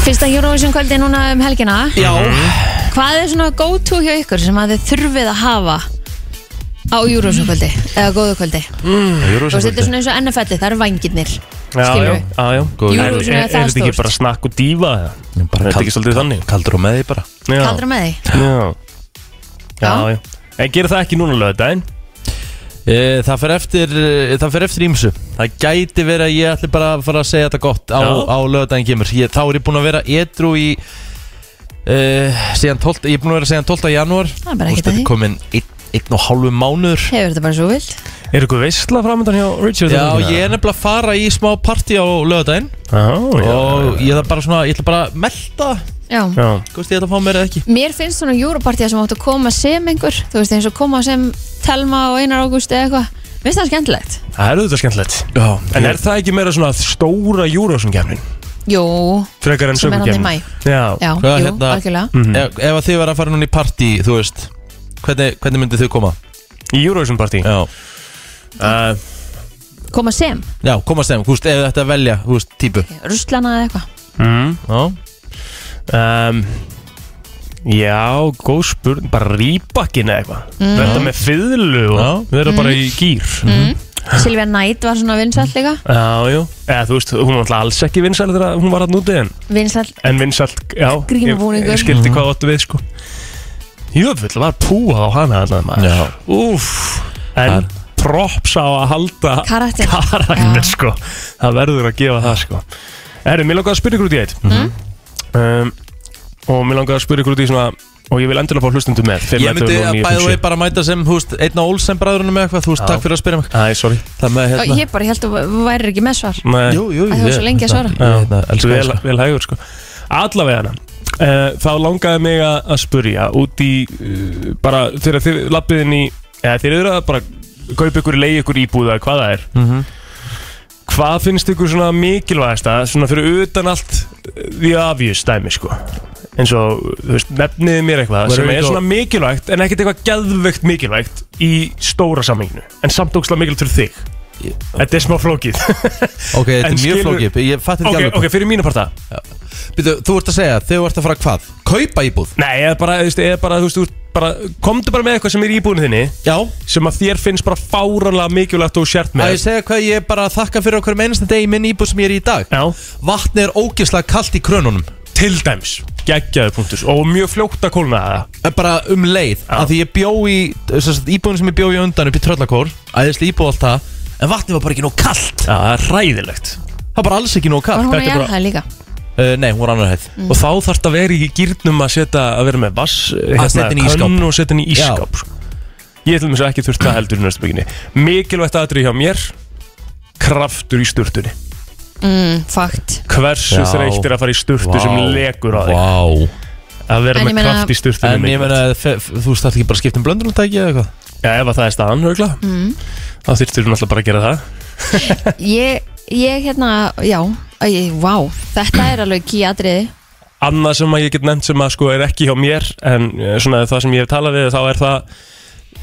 Fyrsta Eurovision kvöldi núna um helgina
já
Mhm.
Hvað er svona go to hjá ykkur sem að þið þurfið að hafa á júrósumkvöldi eða góðu kvöldi þú
Mm.
veist, þetta er svona eins og NFL-ið, það eru vangirnir
já,
skilur
já, já.
Góður.
En
Jú,
Er,
svona
er,
það
þetta ekki
stórt.
bara snakk og dífa eða? Er þetta ekki svolítið þannig?
Kaldur og með því bara
Já.
kaldra með því
Já, já,
Já.
já. En gera það ekki núna lögðaðin
E, Það fer eftir, e, það fer eftir ímsu Það gæti verið að ég ætli bara að fara að segja þetta gott á,
Já.
á lögudaginn kemur ég, Þá er ég búin að vera edru í e, síðan 12, Ég er búin að vera síðan 12. janúar
Það er bara ekkert að
Þetta
því.
er komin einn, einn og hálfu mánuður
hefur þetta bara svo vilt
Er ykkur veistla framöndan hjá Richard?
Já, ég er nefnilega að fara í smá partí á lögudaginn Og ég ætla bara svona, ég ætla bara að melta það.
já.
Já,
Þú veist, ég ætla að fá mér eða ekki
mér finnst svona júrópartía sem áttu að koma sem einhver þú veist, eins og koma sem Telma og Einar Ágúst eða eitthvað Mér finnst það skemmtilegt
það er auðvitað skemmtilegt
Já,
En er það ekki meira svona stóra júrósumkefnin?
jú,
Frekar en
Sem er hann í
sögurkefnin?
maí.
Já, Mhm.
já,
Hvað,
jú,
hérna-
algjörlega
ef, ef að þið verða að fara núna í partí, þú veist Hvernig, hvernig myndið þau koma?
í júrósumpartí
Já,
uh,
koma sem,
Já komast þeim, þú veist, ef þetta velja, þú veist, típu
ruslana eða eitthvað
mm,
Já,
um, Já, góð spurning Bara rýbakkin eða eitthvað
Mm.
Verða með fiðlu og
Já.
verða bara í gýr
Silvia Knight var svona vinsall líka
Já, jú Eða þú veist, hún var alltaf alls ekki vinsæl þegar hún var hann úti en
vinsall,
En vinsalt, já
Grínabúningur.
ég- Ég skildi hvað áttu við sko Jöfull var púa á hana þarna maður
Já.
Úff En props á að halda
Karakter. Já.
Karakter sko Það verður að gefa það sko Erðu, mér langaði að spyrja ykkur út í eitt
Mm.
um, Og mér langaði að spyrja ykkur út í svona Og ég vil endilega fá hlustundu með
Ég myndi að bæða vei bara mæta sem, þú veist, einn á Olsen bræðurinn með eitthvað, þú veist,
Já.
takk fyrir að spyrja mig
Æ, sorry
Það með,
hérna.
hérna
ég bara held að þú værir ekki með svar
Nei.
Jú, jú,
Æ, það var svo lengi að svara.
Ég,
Já,
hérna, elsku
vel,
það, sko.
vel hægur sko Allavega hana Þá langaði mig að að spurja út í uh, bara þegar þið lappið inn í eða þeir eru að bara kaupa ykkur leið ykkur íbúð eða hvað það er
Mhm.
Hvað finnst ykkur svona mikilvægasta svona fyrir utan allt því afjus dæmi sko eins og, þú veist, nefniði mér eitthvað
Verður
sem
við
er
ekki
svona mikilvægt en ekkert eitthvað geðveikt mikilvægt í stóra samlinginu en samt ógslag mikilvægt fyrir þig
Ég-
Þetta er smá flókið
Ok, þetta
En
er mjög
skilur-
flókið, ég fattir
Ok,
ekki alveg
ok, fyrir mínu parta
Býtu, Þú ert að segja, þegar þú ert að fara hvað? Kaupa íbúð?
Nei, eða bara, þú veist, eða bara, þú veist, þú veist, bara, komdu bara með eitthvað sem er í íbúinu þinni
Já
sem að þér finnst bara fáranlega mikilvægt og sért
Að
með
ég segja hvað ég er bara að þakka fyrir okkur mennsta deg í minn íbúð sem ég er í í dag
Já,
Vatni er ógeðslega kalt í krönunum
til dæms, geggjaðu punktus og mjög fljótt að kólna það
En bara um leið
Já.
Af því ég bjó í, þessast íbúðin sem ég bjó í á undan upp í tröllakór Æðislega íbúð allt það En vatni var bara ekki nóg kalt
Já, það er ræðilegt
Það var bara alls ekki nóg
var
kalt
hún að
þetta er
jæða líka
uh, Nei, hún var annar hæð
Og þá þarf þetta að vera í gýrnum að setja, að vera með vass,
setja henni í ísskáp.
könn og setja henni í
Já.
ískáp Ég ætlum þess að ekki þurft það heldur í næstu bygginni Mikilvægt aðrið hjá mér, kraftur í sturtunni
mm, fakt,
Hversu
Já.
þreytt er að fara í sturtu sem
Vá.
lekur á þig
Vá
Að vera
En ég
með
meina-
kraft í sturtunni
En ég
mikilvægt.
meina, fe- f- þú starti ekki bara að skipta um blöndunartæki eða eitthvað?
Já, ef að það er staðan, örgla mm. þá þyrftur þú náttúrulega bara að gera það
ég, ég hérna já, Æ, ég, vá, þetta er alveg ký atriði
Annað sem að ég get nefnt sem að sko er ekki hjá mér en eh, svona það sem ég hef talað við þá er það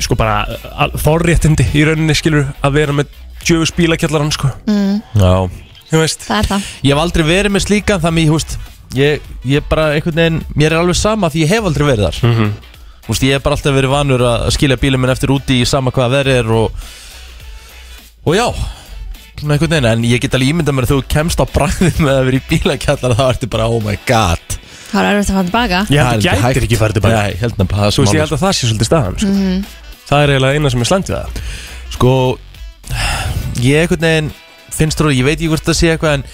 sko bara al- forréttindi í rauninni skilur að vera með djöfus bílakjallarann sko
Já
Þú veist
Mm. það er það,
Ég hef aldrei verið með slíkan þannig, ég veist Ég, ég bara einhvern veginn, mér er alveg sama því ég hef aldrei verið þar mm
Mhm.
veist, Ég hef bara alltaf verið vanur að skilja bílum minn eftir úti í sama hvað verið er og Og já Svona einhvern veginn, en ég get alveg ímyndað mér að þú kemst á bræðið með að vera í bílakjallar þá ertu bara, oh my god
það er erfitt að fara tilbaka
Ég
Það er
held að gætir
hægt.
ekki farið tilbaka
Nei, held nefnilega, það er
Þú
svo
veist, ég
málið,
held að það sé svolítið staðan sko.
Mhm,
Það er eiginlega eina sem er slæmt við það
Sko Ég einhvern veginn finnst þú Ég veit ekki hvort það sé eitthvað en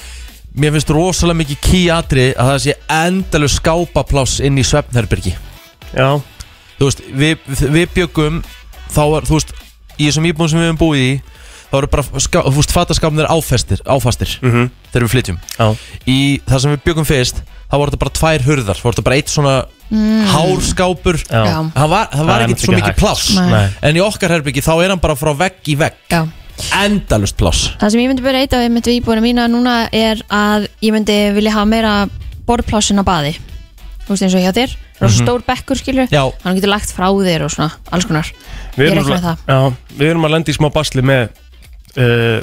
Mér finnst rosalega mikið ký atri að það sé endalur skápapláss inn í svefnherbergi
Já,
Þú veist, við, við byggum þá var, þú veist, í þessum íbúðum sem við höfum búið í þá eru bara, ská, þú veist, fataskápnir áfestir, áfastir
Mhm.
þegar við flytjum
já,
Í það sem við byggum fyrst þá voru þetta bara tvær hurðar, þá voru þetta bara eitt svona
Mhm.
hárskápur
já,
Mm. já,
Það var, það
er
var
einmitt
ekkert svo
ekki
mikið
hægt.
pláss
Nei.
Nei.
En í okkar herbyggi þá er hann bara frá vegg í vegg
já
Endalust pláss
það sem ég myndi byrja eitthvað með íbúinu mína núna er að ég myndi vilja hafa meira borðplásin á baði þú veist eins og hjá þér, það er stór bekkur skilur
Mhm. Já.
hann getur lagt frá þér og svona, alls konar
Við
Ég
erum
reikna
nefnilega- Já, við erum að lenda í smá basli með uh,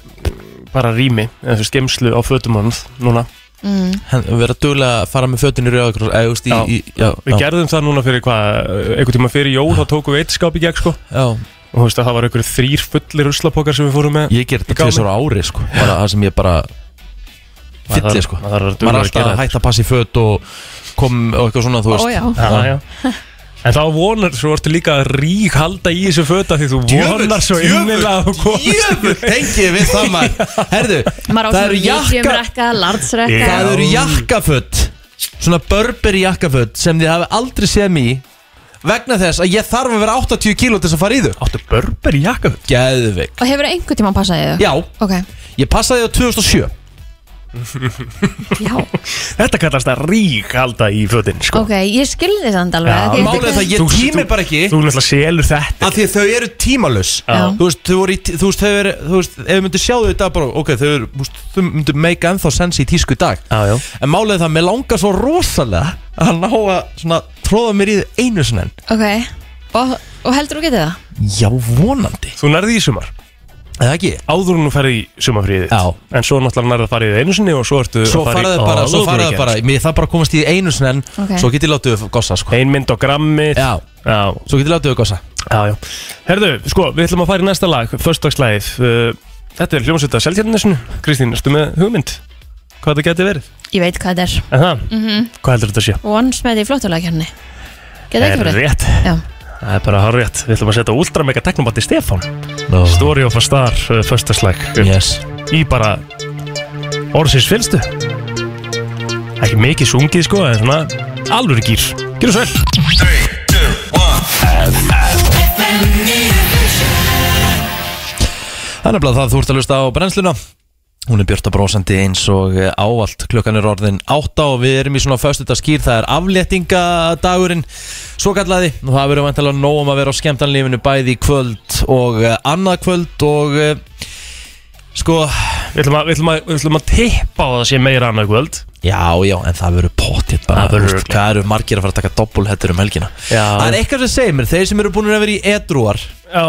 bara rými, eða þú veist, gemslu á fötum honum núna.
Mm.
Hen- vera duglega að fara með fötin í rauðakrós eða, þú veist, í, í, já, já,
Við eh, gerðum það núna fyrir hvað, einhvern tíma fyrir jól, þá tókum við eitt skáp í gegn, sko,
já,
og þú veist að það var einhverju þrýr fullir ruslapokar sem við fórum með
Ég ger
Í
þetta
gámi.
til þessar ári sko bara það sem ég bara
Maður
fyllir
þarf-
sko
maður þarf að
maður er
duglegur að
alltaf
gera
að
þetta.
hætta að passa í fött og kom og eitthvað svona þú veist
Ó, já.
Já, já. En þá vonar, svo ertu líka að rík halda í þessu föta því þú vonar svo innilega að þú komast
Jöfull, tengi við það maður Herðu,
Maður á
það eru
svona medium
jakka
rekka, large rekka
Það eru jakkaföt Svona Burberry jakkaföt sem þið hafi aldrei séð mig í vegna þess að ég þarf að vera 80 kíló til þess að fara í þau
Áttu börber í jakka
Geðvig
Og hefur einhvern tímann passað í þau?
Já,
Ok,
ég passaði á 2007
já,
Þetta kallast að rík halda í fötin sko.
ok, ég skilði samt alveg
Já,
því
Ég-
Málið er það að ég
Þú-
tími
þú-
bara ekki
Þú náttúrulega selur þetta
af því að þau eru tímalus
Já.
þú veist, þau voru í, þú veist, þau eru þú veist, ef þau myndu sjá þau í dag bara ok, þau eru, þú veist, þau myndu make ennþá sensi í tísku í dag
Já, já.
en málið er það, mér langar svo rosalega að ná að svona tróða mér í þau einu sinni en
Ok, og, og heldur þú getið það?
já, vonandi
Þú nærði í sumar
eða ekki
Áður en þú ferði í sumarfríðið
Já.
En svo náttúrulega nærði að fara í þið einu sinni Og svo ertu
svo
að fara
faraðu
í
bara,
Á,
svo
þú
faraðu
ekki.
bara mér það bara að komast í þau einu sinni en
Ok.
svo get ég látið þau gossa sko
Ein mynd á grammið
já,
Já,
svo get ég látið þau gossa
já, já Herðu, sko, við ætlum að fara í næsta lag Föstagslæðið uh, Þetta er hljómsveita Seltjarnisnu Kristín, erstu með hugmynd? Hvað þetta geti verið?
Ég veit hvað þetta er
En það? Mm -hmm. Hvað heldur þetta sé?
Once með því flottulegkjarni Getið ekki
er
fyrir?
rétt
Já.
Það er bara hár rétt Við ætlum að setja Ultramega Teknobati Stefán
no.
Story of a Star, uh, föstaslag
yes.
Í bara orðsins fylgstu Ekki mikið sungið sko En svona alvöru gýr Gjörðu svo vel
Það er nefnilega það þú ert að lusta á brennsluna Hún er björta brósandi eins og eh, ávallt Klukkan er orðin átta og við erum í svona Föstudaskýr, það er afléttingadagurinn Svo kallaði og það verður vantilega nóg um að vera á skemmtanlífinu Bæði í kvöld og eh, annað kvöld Og eh, sko
Við ætlum að, við ætlum að, við ætlum að tippa á það sé meira annað kvöld
Já, já, en það verður pottitt bara
Það verður
þú veist,
örugglega.
Hvað eru margir að fara að taka doppulhettur um helgina
Já.
Það er eitthvað sem segir mér, þeir sem eru búin að vera í edruar
Já,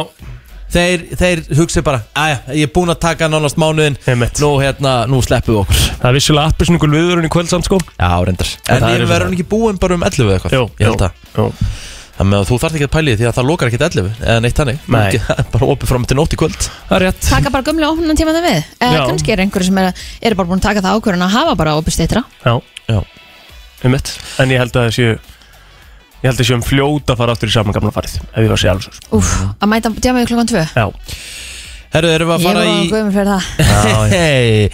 Þeir, þeir hugsi bara, aðja, ég er búin að taka nánast mánuðin
Einmitt.
Nú hérna, nú sleppum við okkur
það er vissulega appið svona ykkur viðurinn í kvöld samt sko
Já, reyndar En
það
ég
er
verður
svona.
ekki búinn bara um 11 eða eitthvað Ég held að
jú.
Þannig að þú þarft ekki að pæli því að það lokar ekki 11 Eða neitt þannig
Nei.
Þú get- Bara opið fram til nótt í kvöld
Það er rétt
Taka bara gömlega opnum tíma það við Eða
Já.
kannski er einhverju sem eru er bara búin að taka það ákvörðun að hafa bara opið stýttra
Já,
Já.
um mitt En ég held að það sé Ég held að sé um fljóta að fara aftur í samangamla farið Ef ég var að segja alveg svo
Úf, að mæta djáma í klokkan 2
Já,
Herru, erum við að
Ég var
fara
að
í
guðum fyrir það
já, já.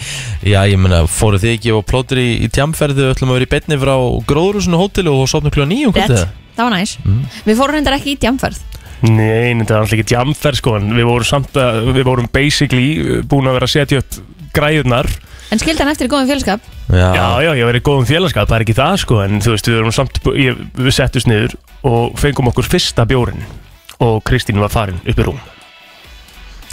Hei Já, ég meina, fóruð þið ekki og plótir í, í tjamferði Við ætlum að vera í betni frá gróðrúsinu hóteli Og sopnum kljóða nýjum
Rétt, það var næs Við fórum reyndar ekki í djámferð
Nei, þetta var alltaf ekki jamfer sko en við vorum samt að, við vorum basically eh, búin að vera að setja upp græðunar
En skildi hann eftir í góðum fjölskap
Já, já, ég hef verið í góðum félagskap, það er ekki það sko en þú veist, við vorum samt, ég, við settust niður og fengum okkur fyrsta bjórin og Kristín var farin upp í rúm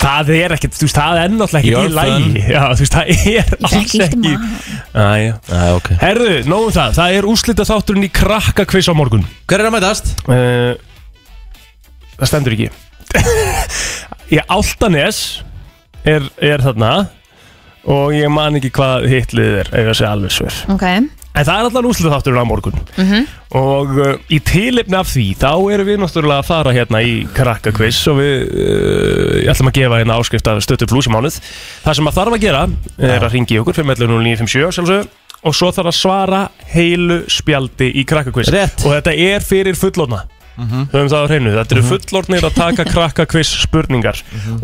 Það er ekkert, þú veist, það er náttúrulega
Your
ekki
fun.
í lægi Já, þú veist, það er
Ég fekk
alls
illt í
ekki
magann.
Æja
Já, ok
Herðu, nógum það, það er úslita þátturinn í krakkakviss á morgun
Hver er að mætast?
uh, Það stendur ekki Ég áltanes er, er þarna og ég man ekki hvað hitlið er ef ég sé alveg sver
Ok,
en það er allan úslega þátturinn á morgun
Mhm.
og uh, í tilefni af því þá erum við náttúrulega að fara hérna í krakkakviss og við uh, ætlum að gefa hérna áskrift af stöttu blúsimánuð það sem að þarf að gera er að ringi okkur 511-0957 sjálfsögðu, og svo þarf að svara heilu spjaldi í krakkakviss
Rétt.
og þetta er fyrir fullorna höfum það á hreinu, þetta eru fullornir að taka krakkakviss spurningar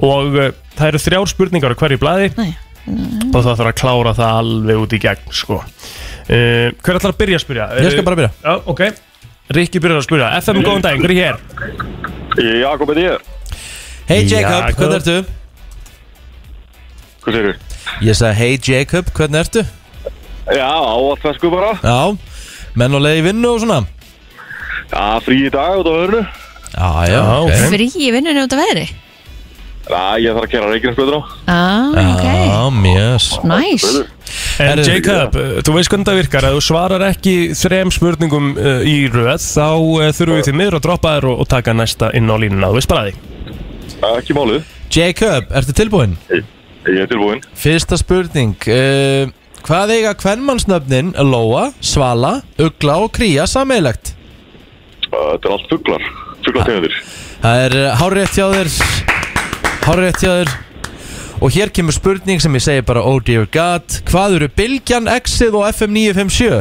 og uh, það eru þrjár spurningar á hverju blaði
Nei.
og það þarf að klára það alveg út í gegn sko. uh, hver ætlar að byrja að spyrja?
Ég skal bara byrja
Já, ok Rikki byrjar að spyrja, FM góðan dag, hver er hér?
Jakob er ég.
Hey Jacob,
Jakob.
hvernig ertu?
Hvað segir þú?
Ég sagði hey Jacob, hvernig ertu?
Já, áallfesku bara.
Já, menn og leið í vinnu og svona
Já, frí í dag út á hörnu.
Já, já,
Já,
ok
frí í vinnunni út af veðri
Já, ég þarf að kera reikinsblöður á.
Ah, ok,
Já, mjöss
næs
En
Herðu,
Jacob, uh, þú veist hvernig það virkar ef þú svarar ekki þrem spurningum uh, í röð þá uh, þurfum við því miður að droppa þér og, og taka næsta inn á línuna þú veist bara því
Ekki málið.
Jacob, ertu tilbúinn?
Ég er tilbúinn.
Fyrsta spurning uh, Hvað eiga kvennmannsnöfnin Lóa, Svala, Ugla og Kría sameilagt?
Uh, Þetta er allt fugglar. Fugglategundir.
Það er hárið eh, hjá þér Hárið rétt hjá þér Og hér kemur spurning sem ég segi bara Oh dear god Hvað eru Bilgjan, Exið og FM 957?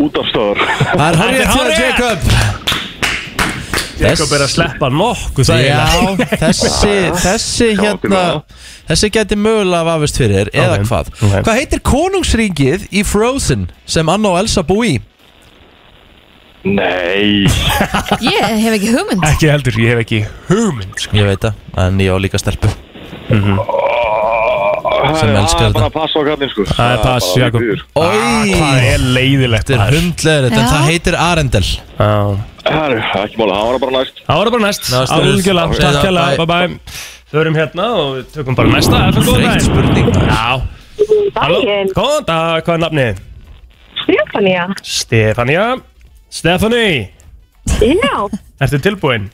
Útafstöðar
Það er hárið rétt hjá þér
Hárrétt!
Jacob
Jakob er að sleppa nokkuð það
Já, þessi, þessi hérna Þessi gæti mögulega að vafist fyrir þér Eða
Ok,
hvað
ok.
Hvað heitir konungsríkið í Frozen sem Anna og Elsa bú í?
Nei
Ég hef ekki hugmynd
Ekki heldur, ég hef ekki hugmynd sko. Mhm.
Ég veit það, en ég á líka stelpu Sem
Það er
elskar þetta.
bara að passa á kallinn sko
Það er pass,
bara
Jakob
því miður.
Ah,
Ói,
Það er leiðilegt
þetta er
maður.
hundlegur En
Já.
það heitir Arendel
Já.
Herru, ekki máli, það var bara næst
Það var það bara næst,
Næst,
algjörlega,
næst.
takk
Bye.
hérlega, bye bye Þau erum hérna og við tökum bara næsta FM, góðan
Þreytt
daginn
spurning maður.
Já Halló, góðan dag, hvað er nafnið?
Ah. Stefania.
Stefania Stefani,
Já,
ertu tilbúin?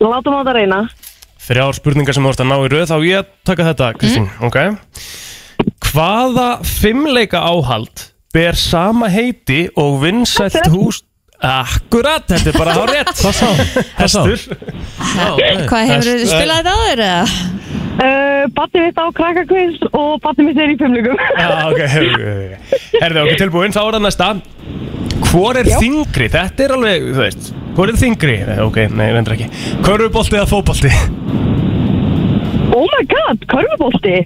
látum á það reyna.
Þrjár spurningar sem þú vorst að ná í röð þá á ég að taka þetta, Kristín, ok Hvaða fimmleika áhald ber sama heiti og vinsælt hús Akkurat, þetta er bara á rétt Hvað sá?
Hvað sá?
Hvað hefur
Hest-
spilað þetta áður eða?
Uh, Batni mitt á krakkakvins og batni mitt er í fimmlugum.
Já, ok, ok, ok. Herðu, ok, tilbúin, þá er það næsta Hvor er þingri? Þetta er alveg, þú veist Hvor er þingri? Eh, Ok, nei, vendur ekki Körfubolti eða fótbolti?
oh my god, körfubolti.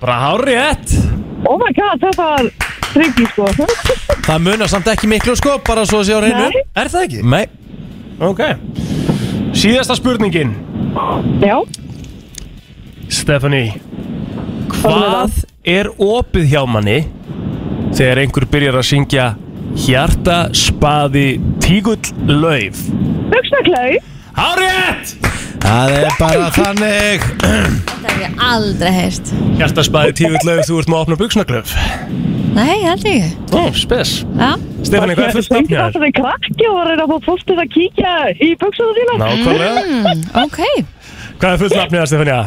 Bara hár rétt
Oh my god, þetta var tryggi sko.
Það munar samt ekki miklu sko, bara svo að sé á reynu
Nei.
Er það ekki?
Nei,
Ok Síðasta spurningin
Já,
Stephanie Hvað er opið hjá manni þegar einhver byrjar að syngja Hjarta, spaði, tígull, lauf
buksnaklaug.
Hár rétt!
það er bara þannig
Þetta hef ég aldrei heyrt
Hjarta, spaði, tígull, lauf, þú ert maður að opna buksnaklöf
Nei, held ég ekki.
Ó, spes
Já,
Stefani, hvað er fullt nafn hjá
Þetta
þér?
er krakki og var að reyna að fá fólk til að kíkja í buksuna þína.
Nákvæmlega
Mm, ok
Hvað er fullt nafn hjá þér, Stefania?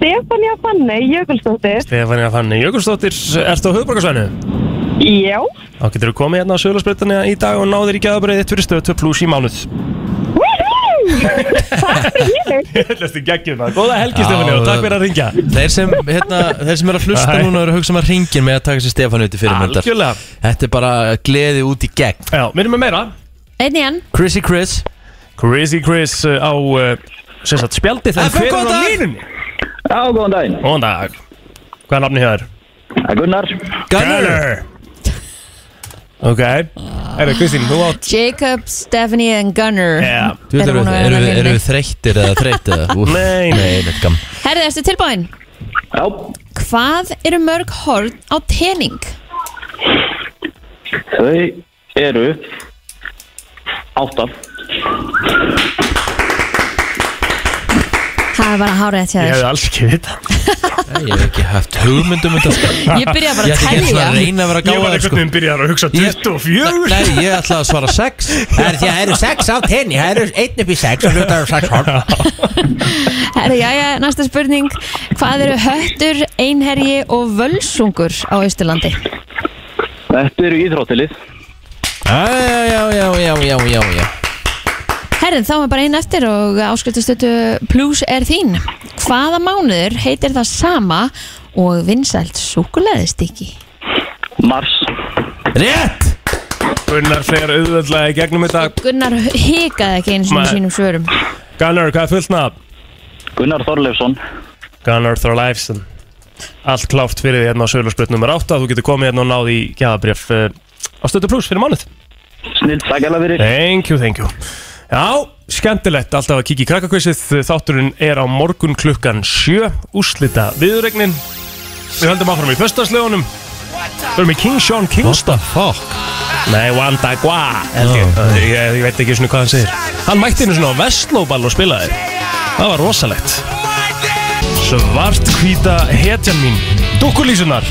Stefania Fanny Jökulsdóttir.
Stefania Fanni Jökulsdóttir, ertu á höfbrukarsvæðinu?
Já.
Þá getur þú komið hérna á Söðlarsbreytana í dag og náðir í gæðabreyðið fyrir stöð 2 pluss í mánuð
Woohoo! Takk fyrir hér.
Þetta er geggjum það Góða helgi,
Já,
Stefania, og takk fyrir að ringja
Þeir sem, hérna, þeir sem er að hlusta
Æ.
núna eru að hugsa um að ringin með að taka sér Stefán út í fyrirmyndar
Algjörlega
Þetta er bara gleði út í gegn
Já, minnum við meira
Einn í enn
Chrissy Chris
Crazy Chris uh, á uh, sem sagt spjaldið en
FM,
hver er
góðan
á
dag.
línunni?
Já, góðan daginn.
Góðan dag Hvað er nafni hjá þér?
Það er Gunnar.
Gunnar
Ok Erðu Kristín, þú átt
Jacob, Stephanie and Gunnar
Já.
Þú veit,
Eru
Eru
búin að vera
eru
hérna
við, eru
inni.
við þreyttir eða þreytið eða? Úff,
Nei.
Nei, þetta gamm
Herði, erstu tilbúin?
Já,
Hvað eru mörg horn á tening?
þau eru átta.
Það er bara hárið hjá
Ég
þér
hefði alls ekki vita
Nei, Ég hef ekki haft hugmyndum þetta sko
Ég byrja bara að
Ég ætti ekki einu sinni
telja
að reyna að vera
Ég var
gáðar
einhvern
sko
veginn byrjar að hugsa
Ég-
24
Nei, ég ætla að svara 6 Það er því að það eru 6 á tenni Það eru 1 upp í 6 og hlutar eru 6 horn
Herði, jæja, næsta spurning Hvað eru höttur, einherji og völsungur á Austurlandi?
Þetta eru íþróttilið.
Já, já, já, já, já, já, já
Herði, þá er bara einn eftir og áskriftastötu Plus er þín Hvaða mánuður heitir það sama og vinsælt súkuleðistiki?
Mars.
Rétt!
Gunnar fer auðvöldlega í gegnum þetta
Gunnar hikaði ekki eins og
Nei.
sínum svörum
Gunnar, hvað er fullt nafn?
Gunnar Þorleifsson.
Gunnar Thorleifsson Allt klárt fyrir því hérna á Söðlarsbreyt nummer 8 Þú getur komið hérna og náði í gæðabref uh, á stötu pluss fyrir mánuð
Snild sækjala fyrir.
Thank you, thank you Já, skemmtilegt alltaf að kíkja í krakkakvissið Þátturinn er á morgun klukkan 7 Úslita viðuregnin Við höldum áfram í föstaslegunum Við erum í King Sean Kingston
fuck?
Nei, Wanda Gua held ég. ég, ég veit ekki svona hvað hann segir Hann mætti henni svona á Vestlóball og spilaði Það var rosalegt Svart hvíta hetjan mín Dukkulísunar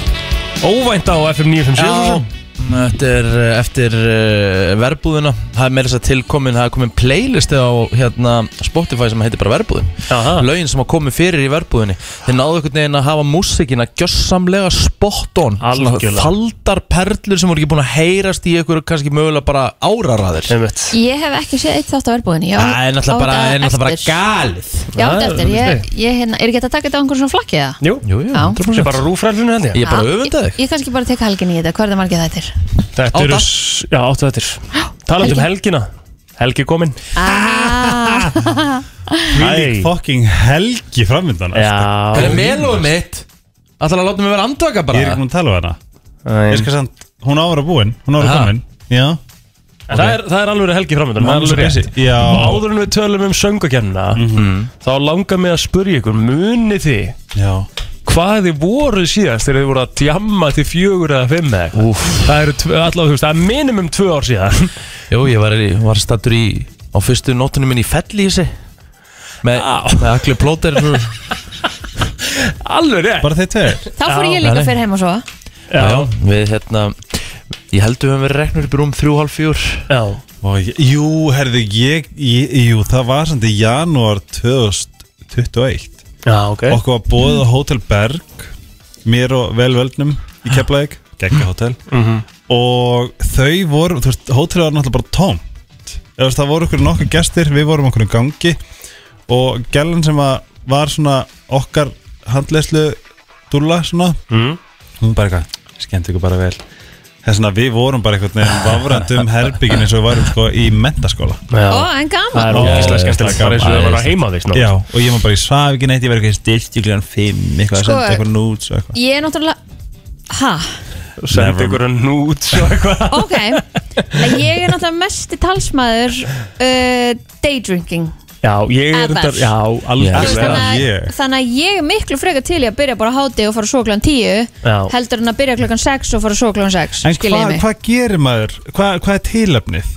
Óvænt á FM 957
Já, Þetta er eh, eftir uh, verbúðina Það er meira þess að tilkomin, það er komin playlisti á hérna, Spotify sem heitir bara verbúðin
Aha.
Lögin sem að komi fyrir í verbúðinni Þeir náðu einhvern veginn að hafa músikina gjössamlega spot on Svona
Algjörlega.
Faldar perlur sem voru ekki búin að heyrast í ykkur kannski mögulega bara áraraðir
Einmitt.
Ég hef ekki séð eitt þátt á verbúðinni Ég á-
Það er náttúrulega
á
bara,
þetta
er náttúrulega bara
eftir.
galið
Já,
Það
þetta
er
eftir,
alveg
ég, ég hérna, er ekki hægt að taka þetta á einhverjum svona flakki eða?
Jú,
Jú, jú,
Já.
100%.
sem bara rúfrælfinu held ég
Ég bara
Já,
öfunda
Ég,
þig
ég kannski bara tek helgin í þetta, hvað er það margir þættir?
Þetta eru,
Átta.
s- já, áttu þettir Talandi um helgina Helgi komin
Ah,
Hvílík fucking helgi framvindan alltaf.
Já
Það er melóið mitt Ætlar að láta mig vera andvaka
Ég er
bara
ekki búin að tala um hana
Æ.
Ég skal samt, hún ára búin, hún ára
Aha.
komin Já,
En Það er, það er alveg helgi framöndan
Mamma svo busy. Já. Mhm.
Áður en við tölum um söngakennina Þá langar mig að spurja ykkur Munið þið
já
hvað þið voru síðast þegar þið voru að djamma til fjögur eða fimm eða eitthvað? það eru tvö- allavega, þú veist, það er minimum tvö ár síðan
Jú, ég var, var stattur í á fyrstu nótunum minn í fellísi með, með allir plóter Já,
alveg rétt
Bara þeir tveir
þá fór ég líka fyrir heim og svo
já, við hérna Ég held við höfum verið reknur upp í rúm 3,5-4
já,
Ó, ég- Jú, herði, ég, ég, jú, það var samt í janúar 2021
já ok
Okkur var bóðið á Hotel Berg Mér og velvöldnum í Keflavík Gekka hótel Og þau voru, þú veist, hótelið var náttúrulega bara tóm Eða það voru okkur nokkuð gestir Við vorum okkur í gangi Og gælan sem að var svona Okkar handleyslu Dúlla svona
Mhm.
Hún bara eitthvað, skemmt ykkur bara vel Þess vegna við vorum bara einhvern veginn Vavrandi um herbyggin eins og við varum sko Í mentaskóla
já.
Ó, en
það
gaman
er
Ó,
ógeðslega
þetta
skemmtilegt
er
bara eins og það
gaman.
var að heima því
Já, og ég maður bara, ég svaf ekki neitt, ég var eitthvað stilt í klíðan 5, eitthvað að
Sko-
senda eitthvað núts og eitthvað
Ég er náttúrulega, ha,
sendi ykkur að nút svo eitthvað
ok Nei, Ég er náttúrulega mesti talsmaður uh, daydrinking
já, ég er
Ever.
þetta, já,
Já.
Þú veist,
algjörlega
þannig,
ég.
að, þannig að ég er miklu frekar til í að byrja bara á háti og fara svo klokkan 10
Já.
heldur en að byrja klokkan 6 og fara svo klokkan 6
En
skiljiði
hvað
mig.
hva gerir maður? Hva, hvað er tilöfnið?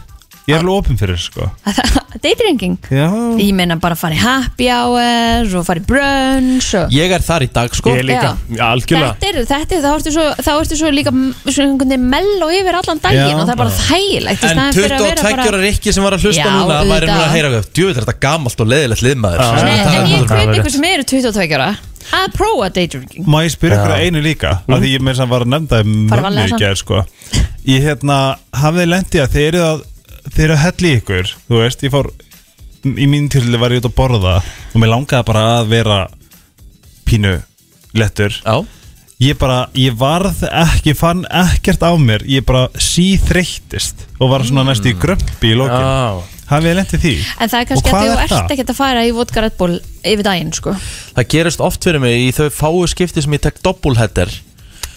Ég er alveg opinn fyrir þessu, sko
Daydrinking
Já
Ég meina bara að fara í happy hour og fara í brunch og...
Ég er þar í dag, sko
ég er líka, já, algjörlega
Þetta er, þetta er, þá ertu svo, þá ertu svo líka m- svona einhvern veginn mello yfir allan daginn
Já.
og það er bara þægilegt í
En
staðinn fyrir að vera
22 ára
bara-
Rikki sem var að hlusta
Já,
núna væri
auðvitað.
núna að heyra við Djúið þetta er gamalt og leiðilegt liðmaður
Já.
Nei, en ég
Það
hveit
var
ykkur sem eru 22 ára að prófa daydrinking
Má ég spyrja ykkur að einu líka? Af því ég meir sem var að nefnda um
Fara
mömmu
varlega
í
samt.
gerð, sko Ég hérna, hafði lendið að þeir eru að Þeir eru að helli ykkur, þú veist, ég fór Í mín tilfelli var ég út að borða Og mér langaði bara að vera Pínu lettur
Já,
ég bara, ég varð ekki, fann ekkert á mér, ég bara síþreyttist og var svona næstu í grömpi í lókin.
Já.
Hafið ég lendið því?
En það er
Og
kannski að
hvað
þú
er
ert
það?
ekkert að fara í vodka Red Bull yfir daginn sko.
það gerist oft fyrir mig í þau fáu skipti sem ég tek doppulheader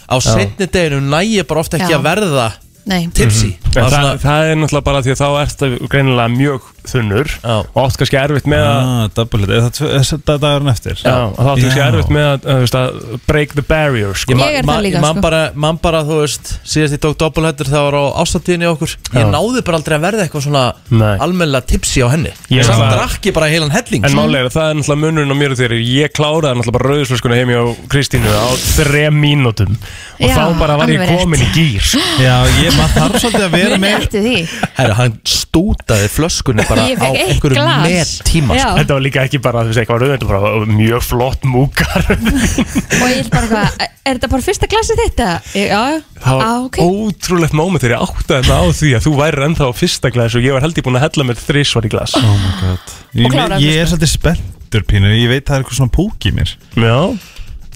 á setni deginu næ ég bara oft ekki
Já.
að verða
Nei,
tipsy
Mhm. En
Mhm. Það er
það,
svona-
það er náttúrulega bara því að þá ert að greinilega mjög þunnur
Já.
og átt kannski erfitt með að
Ah, doublehead, er það tvö- þess- það dagurinn eftir?
Já, og þá áttu ekki
Já.
erfitt með að, að, veist, að break the barrier sko.
Ég er það líka,
man
sko.
bara, man bara, þú veist, síðast ég tók doppelhættur það var á ástættíðinni okkur ég
Já.
náði bara aldrei að verða eitthvað svona
Nei.
almennilega tipsi á henni
Ég
ég samt
var-
drakk ég bara heilan helling
En
sko.
málega, það er náttúrulega munurinn á mér og þér Ég kláraði náttúrulega bara rauðslöskuna heim hjá Kristínu á þrem mínútum Og
Já,
þá bara var ég
alveg rétt.
komin í gýr sko.
Já, ég maður þarf svolítið að vera
muni
með
eftir því
Herra, hann stútaði flöskunni bara
Ég
á
fekk eitt
einhverjum
glas
mettíma
Já,
sko.
Þetta var líka ekki bara, þú veist, eitthvað rauðvendur bara Mjög flott múkar
Og ég er bara hvað, er þetta bara fyrsta klassi þetta? Já,
Það var
á, Ah, ok
ótrúlegt móment þegar ég áttaði mig á því að þú væri ennþá á fyrsta glas Og ég var held ég búin að hella mér þrísvar í glas
Ah.
Oh my god
Og sko.
Ég,
kláraði
ég er svolítið spenntur pínu, ég veit það er eitthvað svona púk í mér
Já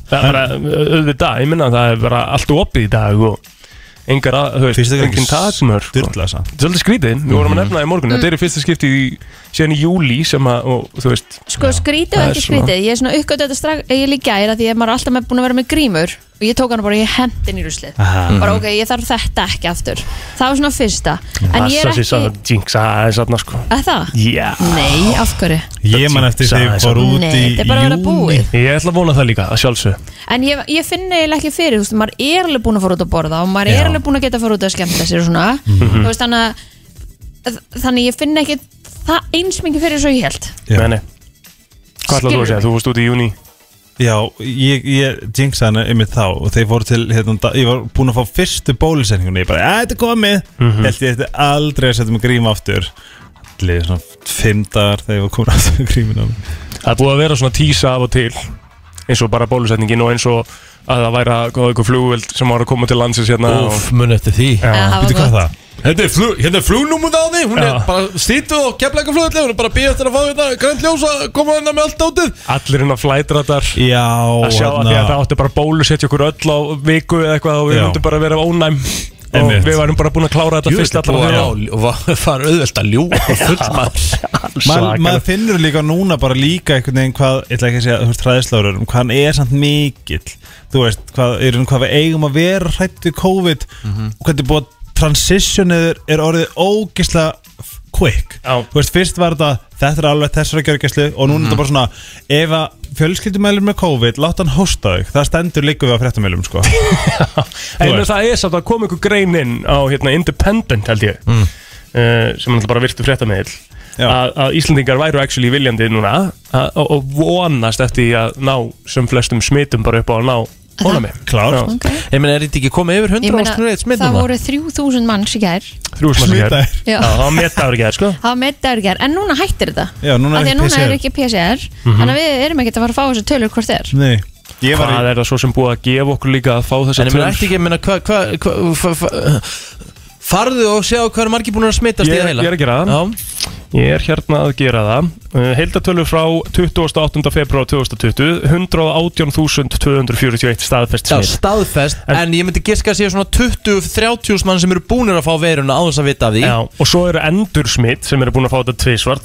Það er bara, auðvitað, ég minna að það er bara allt opið í dag Og engar, að- þú veist, engin takmörk sko.
Dyrla samt
Þetta er svolítið skrítið, við
Mhm.
vorum að nefna það í morgun Þetta er í fyrsta skipti í, síðan í júli sem að, og, þú veist
Sko skrítið og
það er
ekki
svona.
skrítið Ég er svona uppgötu þetta strax Ég líka er að því að maður er alltaf með búin að vera með grímur Og ég tók hann bara, ég hendin í ruslið
Ah.
Bara ok, ég þarf þetta ekki aftur Það var svona fyrsta En ég er
Passa
ekki,
sér samt að jinxa aðeins aðna sko
að það?
Já
Nei, af hverju?
Ég man eftir þegar ég fór út
Nei,
í
þetta er bara að vera
júni
búið.
Ég ætla að vona það líka, að sjálfsög
En ég, ég finn eiginlega ekki fyrir, þú veist, maður er alveg búin að fara út að borða og maður
Já. Mhm.
er alveg búin að geta að fara út að skemmta sér og svona, þú veist, þannig að þannig ég finn ekki það eins mikið fyrir svo ég held
Já.
Nei, nei Hvað ætlaðu þú að
Skilurðu
segja, þú fórst út í júni
Já, ég, ég jinx hana yfir þá og þeir voru til, hérna, da- ég var búin að fá fyrstu bólusendingunni, ég bara, að þetta er komið
Mhm.
held ég þetta aldrei að setja mig grím aftur allir svona fimm dagar þegar ég var komin aftur með grímin á mig
Það er búið að vera svona tísa af og til eins og bara bólusetningin og eins og að það væri að góða ykkur flugvöld sem var að koma til landsins hérna og,
Úf, mun eftir því
Já.
það var
Veitu hvað
gott.
það?
Þetta er, flug, hérna er flugnúmur á því, hún er
Já.
bara stýtu og keflæka flugulli, hún er bara að býja eftir að fá þetta grænt ljós að koma hérna með allt átið.
allir hérna flætratar
Já, hérna.
að sjá að því að það átti bara að bólusetja okkur öll á viku eða eitthvað og við
Já.
myndum bara að vera ónæm og
Einmitt.
við værum bara búin að klára þetta fyrst allra
að
þeirra
ljúa, það er auðvelt að ljúa og full maður.
maður maður finnur líka núna bara líka einhvern veginn hvað, ég ætla ekki að segja, þú veist, hræðisláður um hvað hann er samt mikill þú veist, hvað, er hann hvað við eigum að vera hrætt við COVID
Mhm.
og hvernig búið að transitionið er orðið ógisla quick
Já. Mhm.
þú veist, fyrst var þetta þetta er alveg þessara gjörgæslu og núna er þetta bara svona ef að fjölskyldumælum með COVID láta hann hósta þau, það stendur líka við á fréttamælum sko.
En
Þú
menn,
veist.
það er samt að koma ykkur grein inn á hérna, Independent held ég mm. uh, sem hann bara virtu fréttameðil
Já.
að, að Íslandingar væru actually viljandi núna að- og og vonast eftir því að ná sem flestum smitum bara upp á að ná ónæmi
Klárt.
Já,
Ok.
Ég meina, er þetta ekki komið yfir
Ég
100
meina,
ásknur eitt smitt
það
núna?
voru 3000 manns í gær
Þrjú sem að
Smitaðir.
það
Já.
er Það var mettaður ekki það sko
það var meðdagur í gær, en núna hættir þetta
Já,
Af
núna er
því að
ekki
núna
PCR.
er ekki PCR
Mhm.
þannig að við erum ekkert að fara að fá þessu tölur hvort þér
Nei, ég var
Hvað
í,
er það svo sem búið að gefa okkur líka að fá þess
En
að
ég meina, ætti ekki, ég meina, hvað, hvað, hvað, hva, hva, farðu og sjá hvað er margir búin að smittast
Ég
í
er-
heila.
ég er að gera það.
Já,
Ég er hérna að gera það Heildatölu frá 28. februar 2020 118.241 staðfest
já
smitt
staðfest, en,
En-
ég myndi giska að séu svona 20-30 mann sem eru búinir að fá veiruna á þess að vita af því.
Já, og svo eru endur smitt sem eru búin að fá þetta tvísvar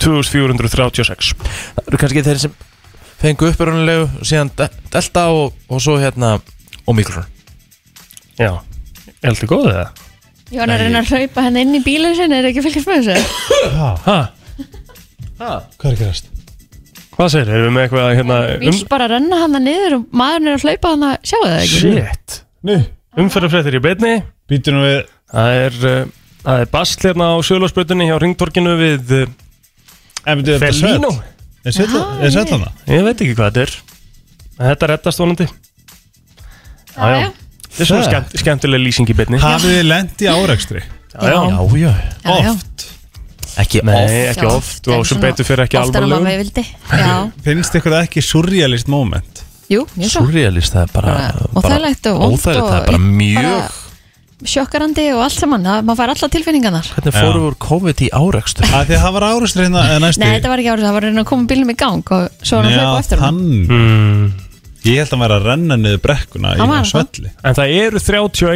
2436
Það eru kannski þeir sem fengu upprunalegu, síðan de- delta og, og svo hérna, og mikrofon.
Já, er alltaf góðið það?
Jón er að reyna að hlaupa henni inn í bílinn sinni er ekki að fylgjast með þessu
Ha,
hvað er gerast?
hvað segir, erum við með eitthvað hérna
bíl bara að renna hann niður og maðurinn er að hlaupa hann að sjá það ekki
Shit,
Nei,
umferðarfréttir í beinni
býtum við
Það er, uh, það er basl hérna á Sjölausbrutinni hjá Ringtorkinu við uh,
En býtum við
Felino
Er sveit
Já,
er sveit
nei.
hana?
Ég veit ekki hvað þetta er En Þetta reddast vonandi
Já, já.
Þetta er svona
Það.
skemmt, skemmtileg lýsing í beinni
Hafið þið lent í árekstri?
já, já.
Já, já.
Já, já.
Ekki
Nei,
Já,
ekki oft
en
og sem
svona
betur fyrir ekki
oftar en maður
alvarlegum
vildi. Já,
Finnst ykkur það ekki surrealist moment?
jú, mjög svo
Surrealist, það er bara,
Bara
bara
óþægilegt og vont
óþægilegt,
og
það er bara
illt,
mjög
sjokkarandi og allt saman, það, maður fær alltaf tilfinningarnar
Hvernig fórum við úr COVID í árekstu?
Að því að það var árekstri hérna eða næstu
Nei, þetta var ekki árið, það var að reyna að koma bílnum í gang og svo var hann að hlaupa eftir hann
Hmm.
mm.
Ég held að hann væri að renna niður brekkuna
Hann
í hérna
var það.
svelli
En það eru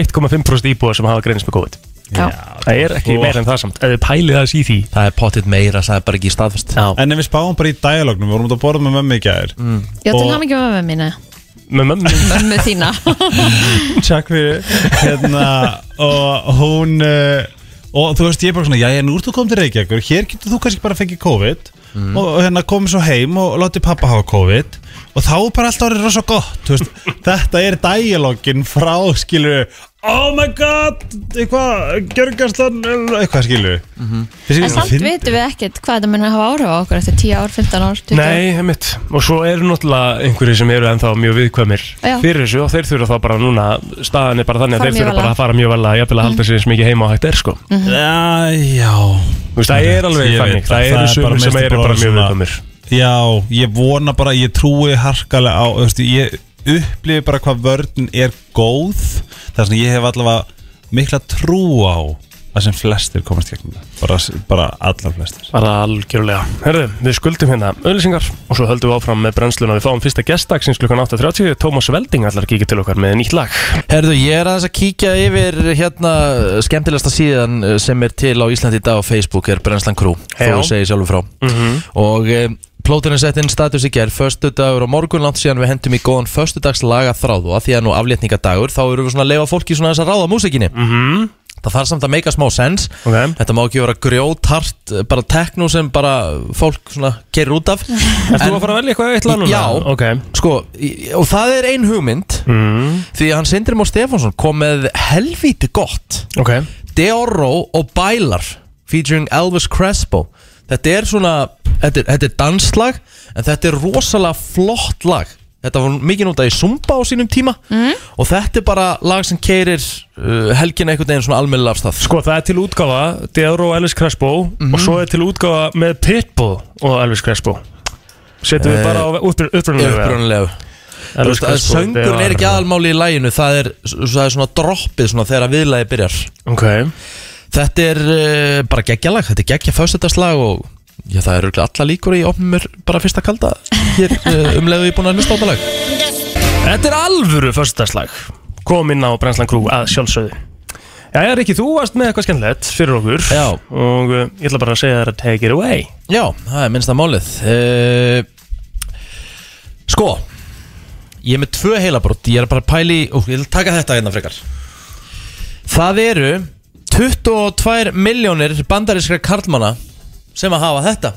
31,5% íbúa sem hafa greinist með COVID
Já,
Það er ekki
flott.
meira en það samt Ef þið pælið þess í því
Það er pottitt meira, það er bara ekki staðfest
Já.
En ef við spáum bara í dialognum, við vorum út að borða með mömmu í gær
Hmm.
já til
Og-
hann ekki með mömmu mína
Með mömmu
Mömmu þína
Takk fyrir Hérna, og hún uh, Og þú veist, ég er bara svona, já, nú ert þú kom til Reykjavíkur Hér getur þú kannski bara fengið COVID Og og hérna komið svo heim og látið pappa hafa COVID Og þá er bara alltaf orðið rosa gott þú veist, Þetta er dialogin frá, skilur Oh my god, eitthvað, gjörgarslan Eitthvað, skilur
En samt vitum við ekkert hvað þetta muni að hafa áhrif á okkur eftir 10 ár, 15 ár, 20 ár
Nei, einmitt Og svo eru náttúrulega einhverju sem eru ennþá mjög viðkvæmir
Já.
Fyrir þessu og þeir þurfa þá bara núna Staðan er bara þannig
Fara mjög Mm.
að þeir þurfa bara
varlega.
að fara mjög vel að Jafnvel að halda sér eins mikið heima á hægt er sko
Mhm.
Já, já
Þú veist, Það er alveg
Ég veit
þannig
það.
Það
Það
eru
er bara
sumir sem
mest
eru
bara
bara mjög
svona-
viðkvæmir
Já, ég vona bara, ég trúi harkalega á, þú veist, ég upplifi bara hvað vörðin er góð þess að ég hef allavega mikla trú á það sem flestir komast gegnum það, bara, bara allar flestir
Bara algjörlega. Herðu, við skuldum hérna auðlýsingar og svo höldum við áfram með brennsluna. Við fáum fyrsta gestdagsins klukkan 8.30. Tómas Velding ætlar að kíkja til okkar með nýtt lag.
Herðu, ég er aðeins að kíkja yfir hérna skemmtilegasta síðan eh, sem er til á Íslandi í dag á Facebook er Brennslan Crew,
Já.
þú segir sjálfur frá og e, plóturinn sett inn status í gerð, föstudagur og morgun langt síðan við hendum í góðan föstudags laga þráð og að því að nú aflétningadagur þá erum við svona að leifa fólki svona þess að ráða músikinni
Mhm.
það þarf samt að meika smá sens
Ok.
þetta má ekki vera grjótart, eh, bara tekno sem bara fólk svona kerir út af
Erst þú að fara að velja eitthvað eitt lag núna?
Já.
Ok.
Sko, í- og það er ein hugmynd
Mm.
því að hann Sindri Már Stefánsson kom með helvíti gott
Ok.
Deoro og Bælar featuring Elvis Crespo Þetta er svona, þetta er, þetta er danslag En þetta er rosalega flott lag Þetta var mikið notað í Zumba á sínum tíma mm. Og þetta er bara lag sem keirir uh, Helgina einhvern veginn svona almennilega af stað
Sko það er til útgáfa Deoro og Elvis Crespo
Mhm.
og svo er til útgáfa með Pitbull og Elvis Crespo Settum við
Eh,
bara á upprunnulega
Upprunalegu Söngurinn er ekki aðalmáli í læginu Það er, það er svona droppið svona þegar að viðlagi byrjar
Ok,
Þetta er uh, bara geggjalag Þetta er geggja föstudagslag og Já, það eru allar líkur í opnum mér bara fyrsta kalda hér uh, umlega ég búin að hlusta á þetta lag
þetta er alvöru föstudaslag Kom inn á Brenslan Crew að sjálfsögðu Jæja Rikki, þú varst með eitthvað skemmtilegt fyrir okkur
Já.
Og uh, ég ætla bara að segja þér að take it away
Já, það er minnsta málið uh, Sko Ég er með tvö heilabrótt Ég er bara að pæli og Ég vil taka þetta hérna frekar Það eru 22 miljónir bandarískra karlmanna sem að hafa þetta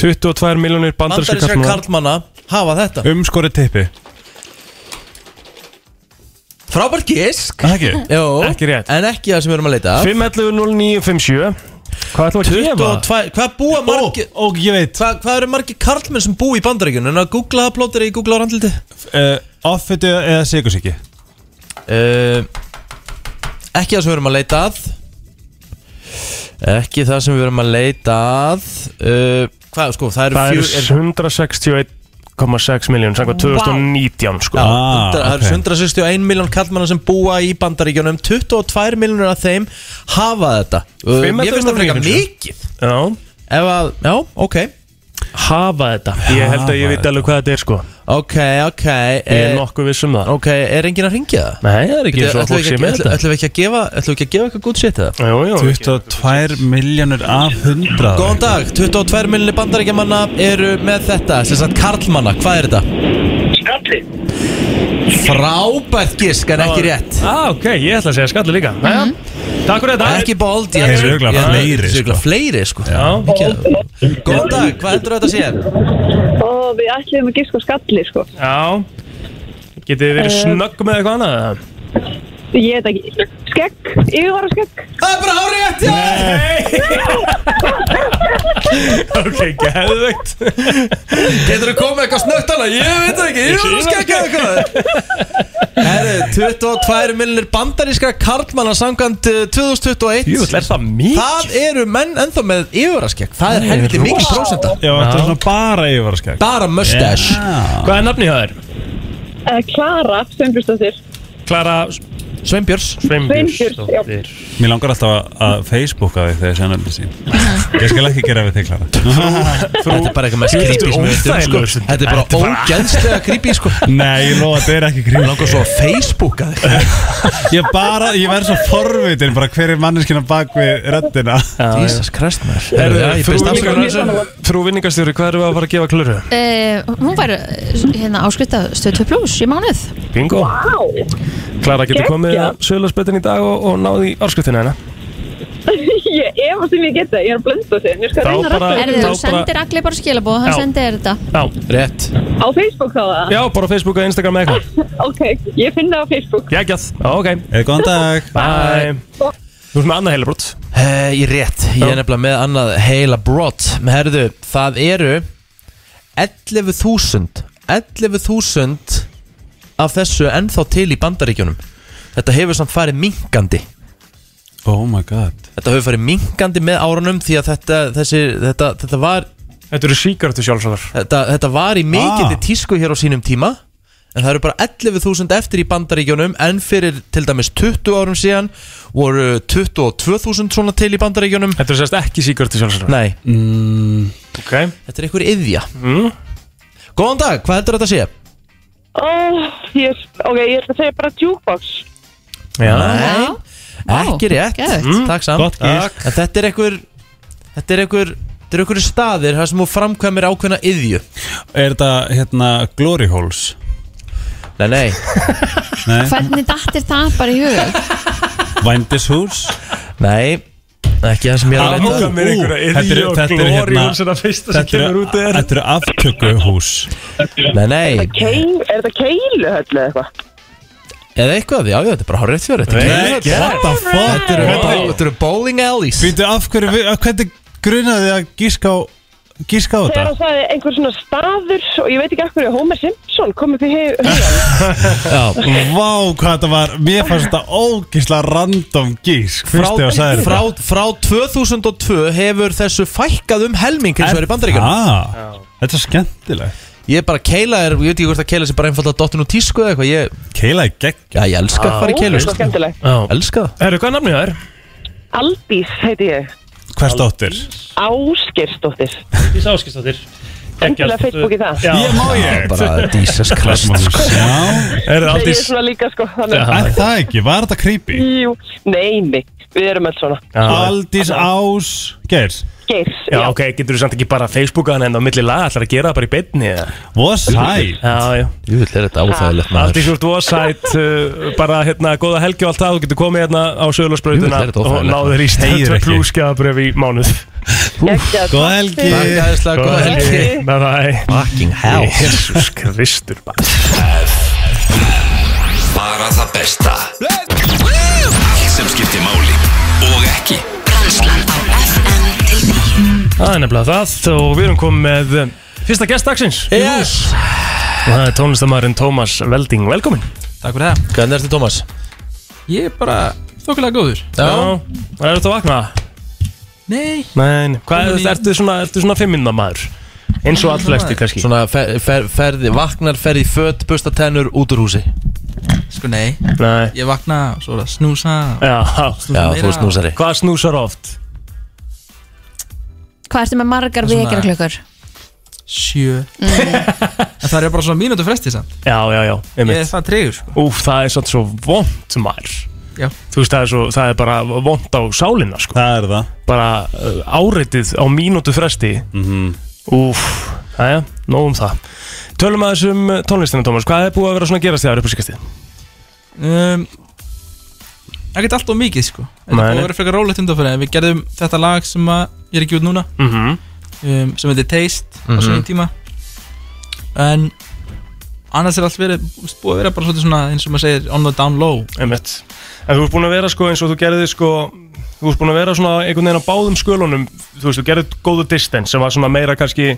22 miljónir bandarinska
Bandarískra
kallmann
karlmanna hafa þetta
Umskori tippi
Frábært gísk
Það ekki?
Jó,
Ekki rétt.
En ekki það sem við erum að leita að.
511 0957 Hvað ætlum við að gefa?
22, hvað búa
Ó,
margir
ó, ég veit
Hvað, hvað eru margir karlmenn sem búa í bandaríkjunum? En að googla það plótir í googla á randliti
uh, Offetu eða sigursiki
uh, Ekki það sem við erum að leita að Ekki það sem við erum að leita að uh, Hvað, sko, það eru
Það
fjö-
eru
er-
161,6 miljón Sannkvæmt
Vá.
2019 sko
Já,
Ah,
hundra- Það
ok.
eru 161 miljón kallmanna sem búa í bandaríkjunum 22 miljónur af þeim hafa þetta uh,
Fimm
Mér finnst það frekar
hundruð og níu,
mikið
Já
Ef að, já, ok
Hafa þetta Ég held að ég veit alveg hvað þetta er sko
Ok, ok
Ég er
eh,
nokkuð viss um það
Ok, er enginn að ringja það?
Nei, það er ekki eins og að
Ætlum
fólk sé
við
með
ekki-
þetta
ætlum við ekki að gefa Ætlum við ekki að gefa eitthvað gútt sétt eða?
Jú, jú
22 miljónir af 100
Góðan dag, 22 miljonir bandaríkjamanna eru með þetta, sem sagt karlmanna, hvað er þetta? Skalli Frábært gisk, en ekki rétt Mhm.
Á, ok, ég ætla að segja skallu líka Jæja Takk fyrir þetta
Ekki bold, ég
Þeir eru örugglega
ég-
fleiri,
Þeir eru örugglega
sko.
fleiri, sko
Já.
Mikið- Góðan dag, hvað heldur þetta að sé?
Og við ætlum að gíska á skalli, sko.
Já Getið þið
Eh.
verið snögg með eitthvað annað eða?
Ég veit ekki. Skegg, yfirvara skegg.
Það er bara hárið, já!
Ok, geðveikt
Getur þú komið eitthvað snögt alveg? Ég veit það ekki, ég er að skekka eitthvað Herru, 22 miljonir bandarískra karlmanna samkvæmt eh, 2021
Jú, er það mikið?
Það eru menn ennþá með yfirraskegg Það er helviti mikið prósenda
Já, þetta er svona bara yfirvaraskegg
Bara mustache
Hvað er nafnið það er?
Uh, Klara, Sveinbjörnsdóttir.
Klara
Sveinbjörns
Sveinbjörnsdóttir
Mér langar alltaf að- að Facebooka þig þegar ég sé nefnir sín Ég skal ekki gera við þig, Klara
Þetta er bara eitthvað mest creepy sem við veitum sko.
Óþægilegur stundum.
Þetta er
Þetta er
bara
bara-
ógeðslega creepy sko.
Nei, ég lofa, þetta er ekki grín
Langar svo að Facebooka þig
Ég bara, ég verð svo forvitin bara hver er manneskina bak við röddina
Jesus Christ maður Herru, já, ég beist afsökunar á þessu.
Frú vinningastjóri, hvað erum við að fara að gefa klöru?
Eh, hún var eh, hérna áskriftað stöð 2 plus í mánuð
Bingo Klara getur komið
Geggjað.
að sögularsbyttin í dag og, og náði í hérna. orskutinu hennar
ég efast um ég get það, ég er að blenda þessu. Ég skal
Þá
reyna að
bara-
rætta
er
þessu.
þið
Þá
þú sendir allir bara skilabóð hann
Já.
sendir þér þetta
Já,
Rétt
Á Facebook þá það?
já, bara á Facebook og Instagram eða eitthvað
Ok, ég finn það á Facebook.
Jægjað, ok,
Eh, Góðan dag
bye Þú ert með annað heilabrótt
Eh, Ég rétt, ég er
Já.
nefnilega með annað heila brott Herðu, það eru 11.000 11.000 af þessu ennþá til í bandaríkjunum Þetta hefur samt farið minkandi
Oh my god
Þetta hefur farið minkandi með árunum því að þetta, þessi, þetta, þetta, var,
Þetta eru síkartu sjálfsögðar
þetta, þetta var í mikilli
Ah.
tísku hér á sínum tíma En það eru bara 11.000 eftir í bandaríkjunum En fyrir til dæmis 20 árum síðan voru 22.000 svona til í bandaríkjunum
Þetta eru sérst ekki síkartu sjálfsögðar
Nei,
Ok, Mm.
Þetta er einhver yðja Góðan dag, hvað heldur þetta að sé?
Ó, ég, ok, ég ætla að segja bara jukebox.
já
Já. Vá,
ekki rétt Mm,
geðveikt. Mm,
Takk samt
Gott gísk.
En þetta er einhver Þetta er einhver Þetta er einhver staðir þar sem þú framkvæmir ákveðna yðju
Er þetta hérna glory holes?
Nei, nei
hvernig dattir það bara í hug
Vændishús?
Nei, ekki það sem ég er að
Áka
leita
mér einhverja
Ú, þetta
yðví
er-
og
þetta er
glóri
hérna-
og svona fyrsta sem
Þetta
kemur
eru-
út er
þetta eru aftökuhús
Nei, nei
Keil, er þetta keilu höll eða eitthvað?
Eða eitthvað, já, já, þetta er bara horrið fjör Þetta
Nei,
er
What the fuck?
Þetta eru- þetta eru bowling alleys
Býtu af hverju, við- af hvernig grunaði að gíska á, gíska á
Þegar
þetta
hann sagði einhver svona staður og ég veit ekki akkur, Homer Simpson komið því hugan.
Vá hvað þetta var Mér fannst þetta ógisla random gísk
Frá,
Fyrst ég að sagði
frá, frá 2002 hefur þessu fækkað um helming eins og er í bandaríkjunum
ah, Þetta er skemmtilegt
Ég bara keila er, ég veit ekki hvort að keila sem bara einfalda dottinu tísku eða eitthvað Ég,
Keila er gegn
já, ég elska að fara í keilur
Svo skemmtileg.
Já.
Elska það
Herru, hvað er namnið það er?
Aldís heiti ég.
Hvers dóttir?
Áskirsdóttir.
Ís Áskistóttir
Endilega Facebook í það.
Ég má ég
Bara Jesus Christ sko.
Já,
Er það
Ég er
Aldís?
svona líka sko. Þannig,
Já.
er það ekki? Var þetta creepy?
jú, nei, nei, við erum alls svona.
Aldís Ás Geirs
Geirs,
Já, ok, getur þú samt ekki bara Facebooka hann en á milli lag ætlar að gera það bara í beinni eða?
What sæl
Já, já
Jú, þetta er þetta áþægilegt maður
Aldís úr dvosæt uh, bara hérna góða helgi og allt það þú getur komið hérna á
Jú,
sögulegsbrautina
þetta er þetta
og
óþægilegt.
náður í
Heyr
stöðu
ekki.
plúskjafabröf í mánuð
Geggjað,
Góð
takk
helgi.
fyrir.
Takk aðeinslega, góða helgi
Bye bye
Fucking hell
Jesus Kristur bara.
Bara það besta Allt sem skiptir máli Og ekki
Brennslan á FM til 9
Það er nefnilega það og við erum komið með um, fyrsta gest dagsins
Yes
og það er tónlistamæðurinn Tómas Velding Velkomin
Takk fyrir það
Hvernig ertu Tómas?
Ég er bara þokkulega góður
Já
Það er þetta að vakna
Nei
Nei, nei.
Komin
hvað er
í-
ertu svona, ertu svona fimminna maður? Eins og all flesti kannski
Svona fer, fer, ferði, vaknar, ferði í fött, busta tennur, út úr húsi
Sko nei
Nei
Ég vakna og svo er það snúsa og
Já,
snúsa
Já,
meira.
þú veist núsari
hvað snúsar oft?
Hvað ertu með margar
Svona-
vekjara klukkur?
Sjö En það er bara svona mínútu fresti samt
Mm. Já, já, já,
Ég
einmitt
er það tregur sko
Úf, það er svolítið svo vond maður
Já.
Þú veist, það er, svo, það er bara vond á sálina sko.
Það er það
Bara uh, áreitið á mínútu fresti mm
Mhm.
Úf, aðja, nóg um það Tölum aðeins um uh, tónlistina, Tómas Hvað er búið að vera svona að gerast þér upp á síkastið?
um, Ekkert allt of mikið sko Þetta
Nei,
er búið
nei.
að vera frekar rólegt undanfyrir Við gerðum þetta lag sem að ég er ekki út núna
Mm -hmm.
um, sem heitir Taste
Mhm.
á sínum tíma en annars er allt verið búið að vera bara svolítið svona eins og maður segir on the down low
Einmitt En þú ert búin að vera sko eins og þú gerði sko Þú ert búin að vera svona einhvern veginn á báðum skölunum Þú veist, þú gerði góðu distance sem var svona meira kannski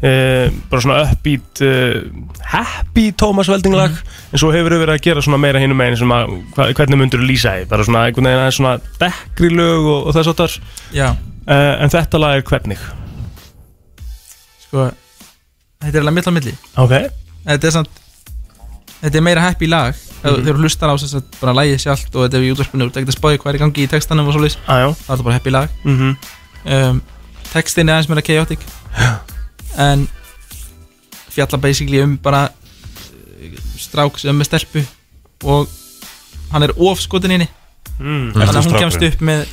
Uh, bara svona uppbeat uh, happy Thomas Velding lag en svo hefur við verið að gera svona meira hinum megin sem að hva, hvernig myndur þú lýsa því bara svona einhvern veginn aðeins svona dekkri lög og, og þess áttar
já,
uh, en þetta lag er hvernig
sko þetta er alveg mitt á milli
ok
þetta er samt þetta er meira happy lag mm
Mhm.
-hmm. þegar þú hlustar á þess að bara lagið sjálft og þetta er í útvarpinu þú ert ekkert að spáði hvað er í gangi í textanum og svolítið
aðjá
það er þetta bara happy lag
mm -hmm.
um, textin er aðeins meira chaotic en fjalla basically um bara uh, strák sem er með stelpu og hann er of skotin inni
mm.
þannig að hún
strákurinn?
kemst upp með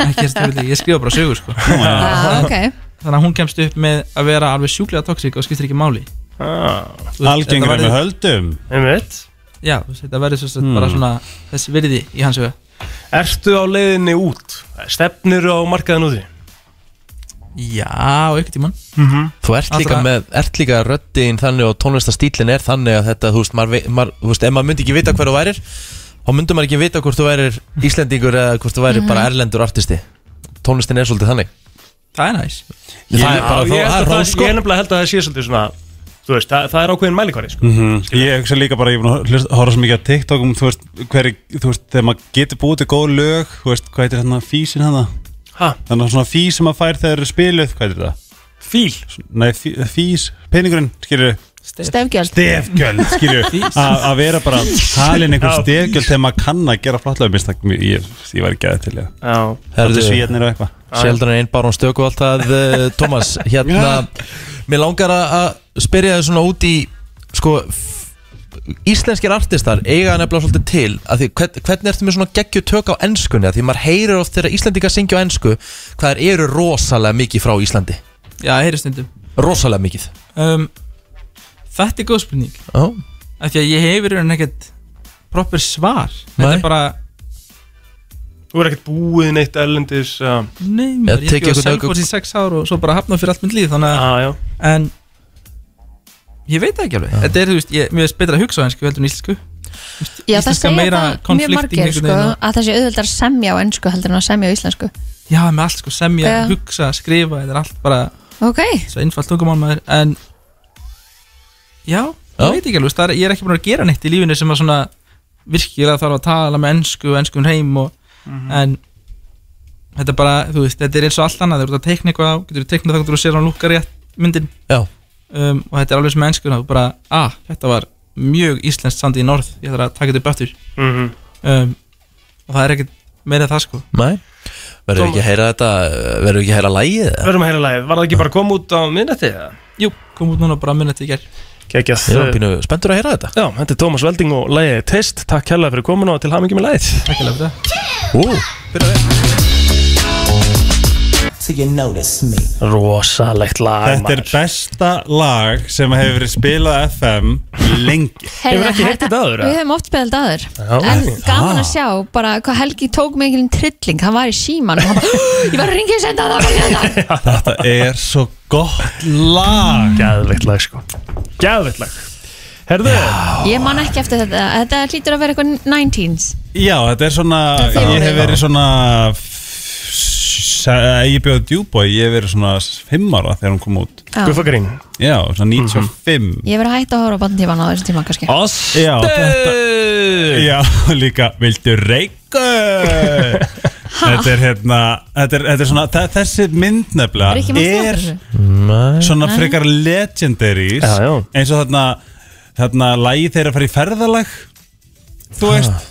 ekki, strákurinn, ég skrifa bara sögur sko.
Ah, ok
þannig að hún kemst upp með að vera alveg sjúklega toxic og skiptir ekki máli
ah,
Þú veist, þetta
Algengur
verður-
með höldum Hmm.
einmitt
já, þú veist, þetta verður svo sett bara svona þessi virði í hans huga
ertu á leiðinni út stefnir á markaðin úti
já, og ykkur tíman
Þú ert líka
Allra-
með, ert líka röddin þannig og tónlistastílin er þannig að þetta, þú veist, maður, vei- maður, þú veist, ef maður myndi ekki vita hver þú værir þá myndi maður ekki vita hvort þú værir Íslendingur eða hvort þú værir
Mhm.
bara erlendur artisti Tónlistin er svolítið þannig
það er næs
Ég, það er
Já,
bara,
ég,
þá,
held
það
að
er
það,
rós sko
ég nefnilega held að það sé svolítið svona Þú veist, það, það er ákveðin mælikværi sko.
Mhm.
Mhm. Ég hugsa líka bara, ég er búin að hlusta- horfa svo mikið á TikTok um, þú veist, hver, þú veist, þegar maður getur búið til góð lög, þú veist, hvað heitir hérna físin hana?
Ha,
Þannig að svona fís sem maður fær þegar eru spiluð, hvað heitir það?
fíl
Nei, fí, fís, peningurinn, skilju,
Stefgjöld
stefgjöld, skilju, að vera bara halin einhver stefgjöld þegar maður kann að gera flottlöfum, minnst það, ég, ég var ekki að til, já.
Já,
Það er svíðnir og eitthvað.
Sjaldan er einn barón stöku og allt það eh, Tómas, hérna Mér langar að- að spyrja þið svona út í sko f- Íslenskir artistar eiga nefnilega svolítið til að því, hvern, hvernig ertu með svona geggju tök á enskunni að því maður heyrir oft þegar Íslendingar syngja á ensku hvað þær eru rosalega mikið frá Íslandi
já, það heyri stundum
rosalega mikið
um, þetta er góð spurning
oh.
af því að ég hefur einhvern ekkert proper svar þetta
Nei.
er bara
þú er ekkert búið neitt ellendis Já,
Nei,
Eða
maður, ég hef
tekið
ekki á
einhvern
Selfoss í sex ár og svo bara hafnað fyrir allt minn líð þannig að,
já, Ah, já,
en ég veit það ekki alveg, þetta er, þú veist, ég, mér er betra að hugsa á ennsku heldur en íslensku
Já, það
Íslenska
segja
meira
það mjög
konflikting
margir
einhvern
sko,
veginn og-
að það sé auðvöldar að semja á ennsku heldur en að semja á íslensku
Já, með allt sko, semja,
Já.
hugsa, skrifa Þetta er allt bara
Ok,
svo einfalt tungumál maður En Já,
Já.
ég veit ekki alveg veist, það er, Ég er ekki búin að gera neitt í lífinu sem að svona virkilega þarf að tala með ensku og enskun heim og, En Þetta er bara, þú veist, þetta er eins og allt annað Þú ert að teikna eitthvað á, getur þú teiknað það Þú sér hann lúkar rétt myndin
Já.
um, Og þetta er alveg sem ensku Þú bara, ah, þetta var mjög íslenskt sandi í norð Ég þarf að taka þetta upp aftur
Mhm.
um, Og það er ekkert meira en það sko
Nei, verður ekki að heyra þetta Verður ekki að heyra lægið eða?
Verðum að heyra lagið, var það ekki bara að koma út á minnati?
Jú, kom út núna bara að minna til í gær
Kekjað
Ég er pínu spenntur að heyra þetta
Já, þetta er Tómas Velding og lagið er Tist Takk hérlega fyrir komin og til hamingi með lagið
Takk alveg fyrir það
Ú,
Rosalegt lag
Þetta er besta lag sem hefur verið spilað á FM lengi
Heyrðu,
ekki heyrt þetta áður,
Við
eða?
hefum oft beðald aður
Já. Ah.
En gaman að sjá bara hvað Helgi tók mikilinn trilling Hann var í síman og hann bara Ég var að ringja og senda það bara
Þetta er svo gott lag
Gæðveitt lag sko Gæðveitt lag Herðu,
Ég man ekki eftir þetta Þetta hlýtur að vera eitthvað 19s
Já, þetta er svona Ég hef verið svona se- Ég bjóði djúbói, ég hef verið svona fimm ára þegar hún kom út
Já.
Guffagrín
Já, svona
Mhm.
95
Ég verið að hætta að horfa á bandtíman á þessum tíma kannski
Osti
Já,
þetta
Já, líka, viltu reyka? þetta er hérna Þetta er, þetta er svona, þe- þessi mynd
Rikki,
nefnilega
manstu eftir
Er
þessu?
svona frekar legendaries
Já, já.
eins og þarna þarna lægi þeirra að fara í ferðalag þú veist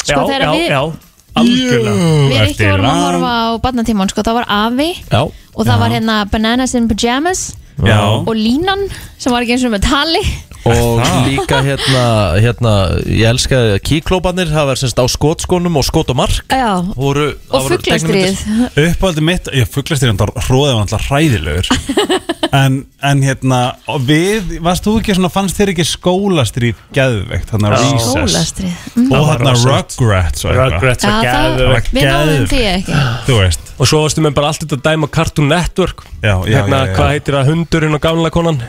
Sko,
Já,
þegar
já,
við-
já Algjörlega
Við ekki
Eftir
vorum að
lang-
horfa á bandtíman sko, Það var Avi
já,
og það var hérna Bananas in Pyjamas
já,
og Línan sem var ekki eins og með tali
og líka hérna, hérna Ég elska kíklópanir Það var semst á skotskónum og skot og mark
Já,
voru, það
og
voru
fugglastrið
teiknimyndir.
uppáldi mitt ég fugglast þér andar hróðið var alltaf hræðilegur en, en hérna og við, varst þú ekki svona fannst þér ekki skólastrýf geðveikt þarna
Já.
Recess
Skólastrið
og
var
þarna
rosalegt.
Rugrats og eitthvað
Rugrats var
Já, það-
gæðveitt
Við náðum því ekki
þú veist
Og svo varstu með bara allt þetta dæma Cartoon Network
já, já, já,
Hérna,
já.
hvað heitir það, hundurinn og gamla konan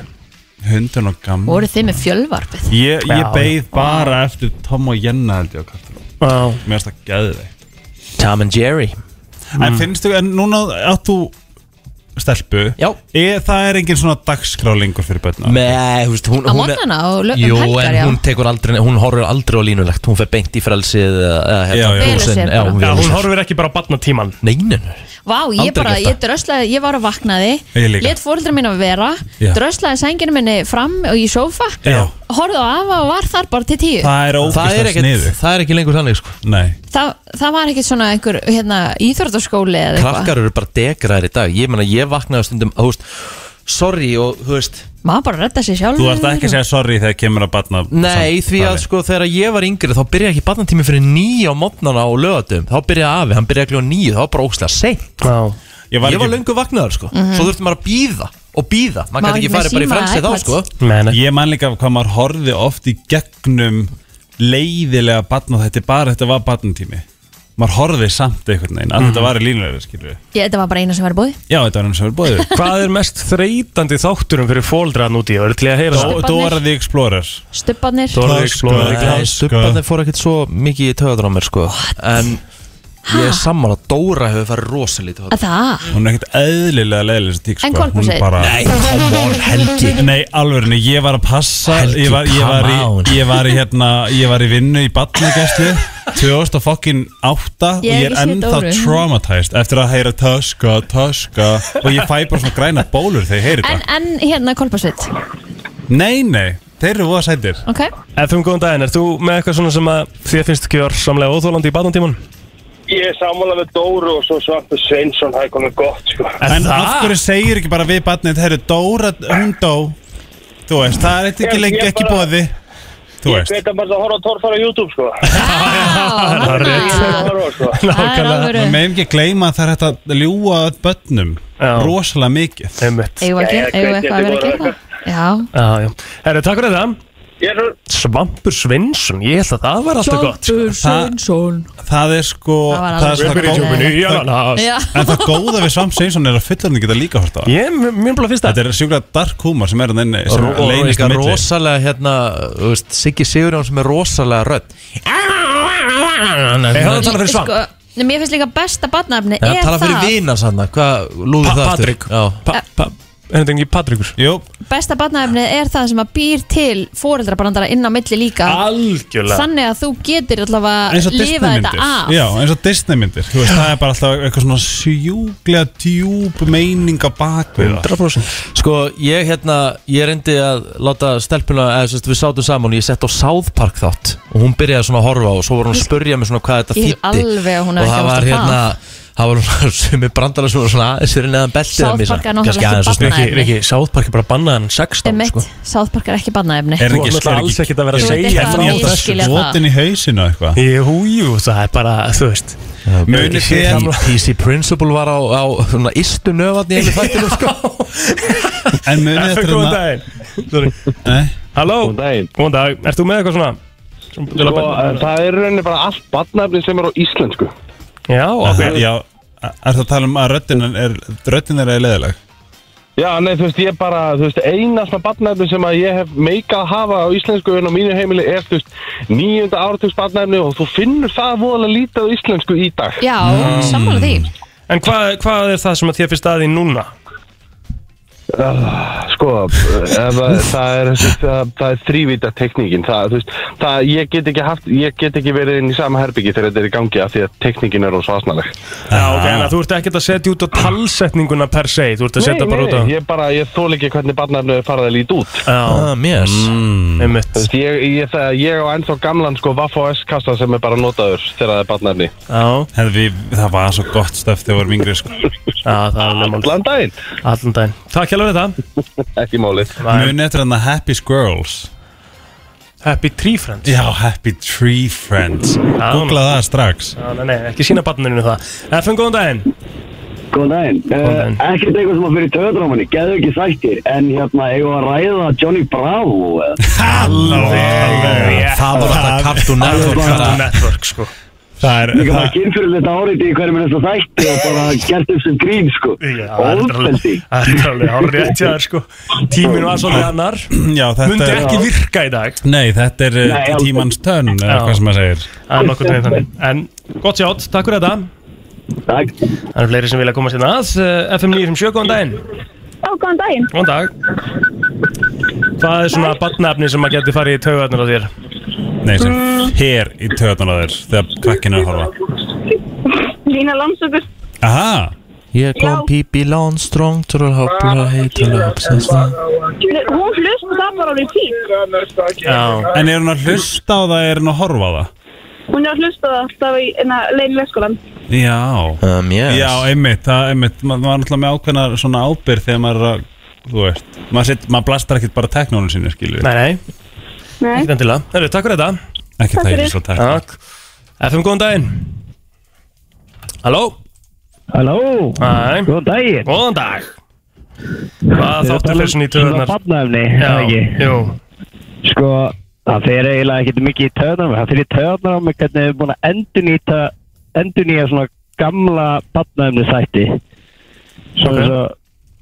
hundun og gamm
Voru þið með fjölvarpið
ég,
Já,
ég
já.
beið bara eftir Tom og Jenna held ég á kartunum
Já
mér finnst það geðveikt Mm.
Tom and Jerry
En finnst þú, en núna átt þú stelpu
Já.
er, Það er engin svona dagskrá lengur fyrir börna
Með, þú veist, hún,
Á
hún er-
morgnana og lö-
Jú,
um helgar,
en
já
hún tekur aldrei, hún horfir aldrei á línulegt Hún fer beint í frelsið eða- eða
Já,
hérna
já.
Velur
Frozen,
sér
já,
bara.
hún
Já,
velur
hún
sér.
horfir ekki bara á batnatíman
Nei, nei, nei.
Vá, ég
Aldrei
bara,
gert
ég
það.
dröslaði, ég var að vaknaði
Ég líka.
Let fóreldra mín að vera
Já.
Dröslaði sænginu minni fram og í sófa
Já.
Horfði á afa og var þar bara til tíu Þa,
Það er
Það er
ógæslega
ekkert,
sniðu
það er ekki lengur þannig sko.
Nei,
Það var ekkert svona einhver, hérna, íþróttaskóli eða eitthvað
Krakkar eru bara degraðir í dag Ég meina, ég vaknaði á stundum, þú veist Sorry og, þú veist
Maður bara redda sér sjálfur
þú ert ekki að segja sorry þegar kemur að barna
Nei, því að sko þegar ég var yngri þá byrjaði ekki barnatími fyrir nýja á mótnana og lögatum Þá byrjaði afi, hann byrjaði ekki á nýju, þá var bara ókslega seint
Já
Ég var,
sko. Ég
ekki,
var löngu vaknaður sko,
Mhm.
svo þurfti maður að býða og býða
Má
Maður gæti
ekki
ekki
með
farið bara í
síma,
frelsið þá
iPads?
sko
Nei, nei
ég man líka hvað maður horfði oft í gegnum leiðilega barna þetta bara þetta var barnatími maður horfði samt einhvern veginn að þetta var í línulega skilur við
Ég, þetta var bara eina sem var búið
Já, þetta var hann sem verið bóðið
Hvað er mest þreytandi þátturum fyrir fóldraðan úti? Ég verður til í að heyra það
Stopparnir.
Dora the Explorer
Stubbarnir
Dora
Klaska.
the Explorer
Nei.
Nei,
sko.
stubbarnir fór ekkert svo mikið í töðan á mér sko En ég er sammála, Dóra hefur farið rosalítið
Að Það,
Hún er ekkert eðlilega leiðilega þessi tík sko.
En Kolbrún
Hún
segir-
bara...
Nei, come on, Helgi
Nei, alvörinu, ég var að passa
Helgi,
ég, var, ég, var
come on.
í, ég var í hérna Ég var í vinnu í batnagæslu 2008
Ég hef
og ég er
ekki séð
ennþá
Dóru.
traumatized eftir að heyra töska, töska og ég fæ bara svona græna bólur þegar ég heyri
en,
þetta
en hérna kolpasveit
Nei, nei, þeir eru voða sætir
Ok,
FM, góðan daginn, er þú með eitthvað svona sem að þér finnst ekki var samlega óþólandi í badantíman?
Ég er sammála með Dóru og svo Svartur Sveinsson, það er komið gott sko.
En af hverju segir ekki bara við batnið Þeir eru Dóra, hún dó Þú veist, það er
Ég-
eitthvað
ég
lengi ekki
bara-
bóði Þú
Ég
veist
veit að maður að horfa á torfara á YouTube sko.
það
er rétt.
Ég horfa á, sko.
Það er
Nákvæmlega.
alvöru
Við meðum ekki að gleyma að það er hægt að ljúga að börnum
Já.
rosalega mikið
Einmitt.
Eigum við að gera-
Jæja,
eigum við
hvernig
eitthvað að vera að
voru
gera það? Já,
Já, já. Herri, takk fyrir það. Svampur Svinsson, ég held að það var alltaf gott
sko.
sko.
Svampur Sveinsson
Það er sko
Það var
það er
alveg Við
svona
fyrir
góð-
djúpinu
í ananas.
Já.
En það góða við Svamp Sveinsson er að fullorðin geta líka hort á það.
Ég, mér bara finnst
Þetta er sjúklega dark humor sem er hann inni sem
Og
leynist á
eitthvað
milli.
rosalega hérna þú veist, Siggi Sigurjón sem er rosalega rödd Ég
að tala fyrir Svamp.
Sko, Nei, mér finnst líka besta badnafni
Já, tala fyrir vina sann Hvað lúður
Pa-
það aftur?
Patrik.
Já.
pa, pa, Er þetta ekki Patrikur?
Jú,
Besta badnafni er það sem að býr til fóreldrabrandara inn á milli líka
Algjörlega
Þannig að þú getur allavega
eins og
lifað þetta af
Disneymyndir Já, eins og Disneymyndir Þú veist, það er bara alltaf eitthvað svona sjúklega djúb meining á bakvið það.
100%
Sko, ég hérna Ég reyndi að láta stelpuna eða, sérst, Við sátum saman og ég sett á South Park þátt Og hún byrjaði svona að horfa og svo var hún að spurja mig svona hvað þetta
Ég er
þýtti
alveg að hún hafi ekki
Og það
átt
var
að
hérna Það var svona sumi brandara sem var svona aðeins fyrir neðan beltið
South
að missa.
Park er náttúrulega
Kannski
ekki
aðeins og
barna-
svona-
Riki, Riki, Southpark er bara bannaðan 16
Emmett,
sko.
sáðparkar ekki badnafni
Er
Þú ætlar alls ekkert að vera að
Þú ert
segja
eitthvað
frá
að
þessu.
misskilja það.
Votin í hausinu eitthvað
Jú, jú, það er bara, þú veist
Munið þið-
PC Principle var á, á svona istu nöfarni einu þættinu sko
En munið þetta er
Góðan
hérna-
daginn Sorry.
Nei.
Halló,
Góðan daginn.
góðan dag, ert þú með eitthvað svona?
Sko, eh, það er rauninni bara allt badnafni sem er á íslensku.
Já,
Það-
ok
Já, er það að tala um að röddin er, röddin er leðileg
Já, nei, þú veist, ég bara, þú veist, eina svona badnafni sem að ég hef meikað að hafa á íslensku en á mínu heimili er, þú veist, nýjunda áratugs badnafni og þú finnur það voðalega lítið á íslensku í dag.
Já, sammála því
En hvað, hvað er það sem að þér finnst aðið núna?
Sko, ef, að- það er, þessi- það, það er þrývita tekníkin, það, þú veist, það, ég get ekki haft, ég get ekki verið inn í sama herbyggi þegar þetta er í gangi af því að tekníkin er rosa asnaleg.
Já,
Ah.
ok, en að þú ert ekkert að setja út á talsetninguna per se Þú ert að setja bara út á
ég bara, ég þól ekki hvernig badnafni farið að líti út.
Já, Mm.
Mér
Þú
einmitt
veist, Ég, ég, það, ég á ennþá gamlan sko Vaff og S-kassa sem er bara notaður þegar það er barnafni.
Já,
Hefði við, það var svo gott stöf þegar við vorum yngri sko.
já, það er nefnum
Allan daginn,
Allan daginn Takk hjálpa fyrir það
ekki málið.
Bye.
Munið þetta er hérna Happy Squirrels
Happy Tree Friends Ah,
Já, Happy Tree Friends Googla það strax
Já, Ah, nei, nei, ekki sína barninu það FN, góðan daginn
Góðan daginn.
Góðan daginn.
Uh, ekkert eitthvað sem að fyrir töðdrámanni, geðu ekki þættir, en hérna, eigum við að ræða Johnny Bravo, eða?
Alveg
Það var þetta Cartoon Network
Cartoon
þetta-
Network, sko
Það er,
Líka bara
það,
kynfyrirlegt árið í hverjum minnast að þætti og bara gert upp sem grín, sko.
Já, það er
Ófendi.
alveg- það er alveg hár rétt hjá þér, sko Tíminn var svolítið annar
já,
Myndi
þetta er
ekki virka í dag
Nei, þetta er
Nei,
uh,
alveg.
tímans tönn eða
Já.
hvað sem maður segir
En nokkuð veginn þannig En, gott sjátt, takk fyrir þetta
Takk.
Það eru fleiri sem vilja koma sérna að Eh, FM 957, góðan daginn
Já, góðan daginn.
Góðan dag Hvað er svona barnafni sem að geti farið í taugarnar á þér?
Nei, sem hér í töðan á þér þegar krakkin er að horfa
Lína Landsökur.
Aha,
Ég kom Pippi Lónströng til að hoppa að heita löpsesta
Hún hlusta það bara á því tík.
Já,
en er hún að hlusta á það, er hún að horfa á það?
Hún er að hlusta það alltaf í leinu leikskólan.
Já
um, yes.
Já, einmitt, það, einmitt, ma maður er náttúrulega með ákveðna svona ábyrð þegar maður er að, þú veist, maður, set, maður blastar ekkert bara teknónu sínu, skilju,
nei, nei,
Nei.
ekki endilega Hörru, takk fyrir þetta
ekki það er
fyrir.
svo teknónu.
Takk FM, góðan daginn Halló
Halló,
Hæ,
góðan daginn.
góðan dag Hvað þáttu fyrir svona í taugarnar?
Barnaefni,
jú
Sko, það fer eiginlega ekkert mikið í töðanum, það fer í töðanum með hvernig við erum búin að endurnýta, endurnýja svona gamla batnaðumni þætti. Svo
Ok.
eins og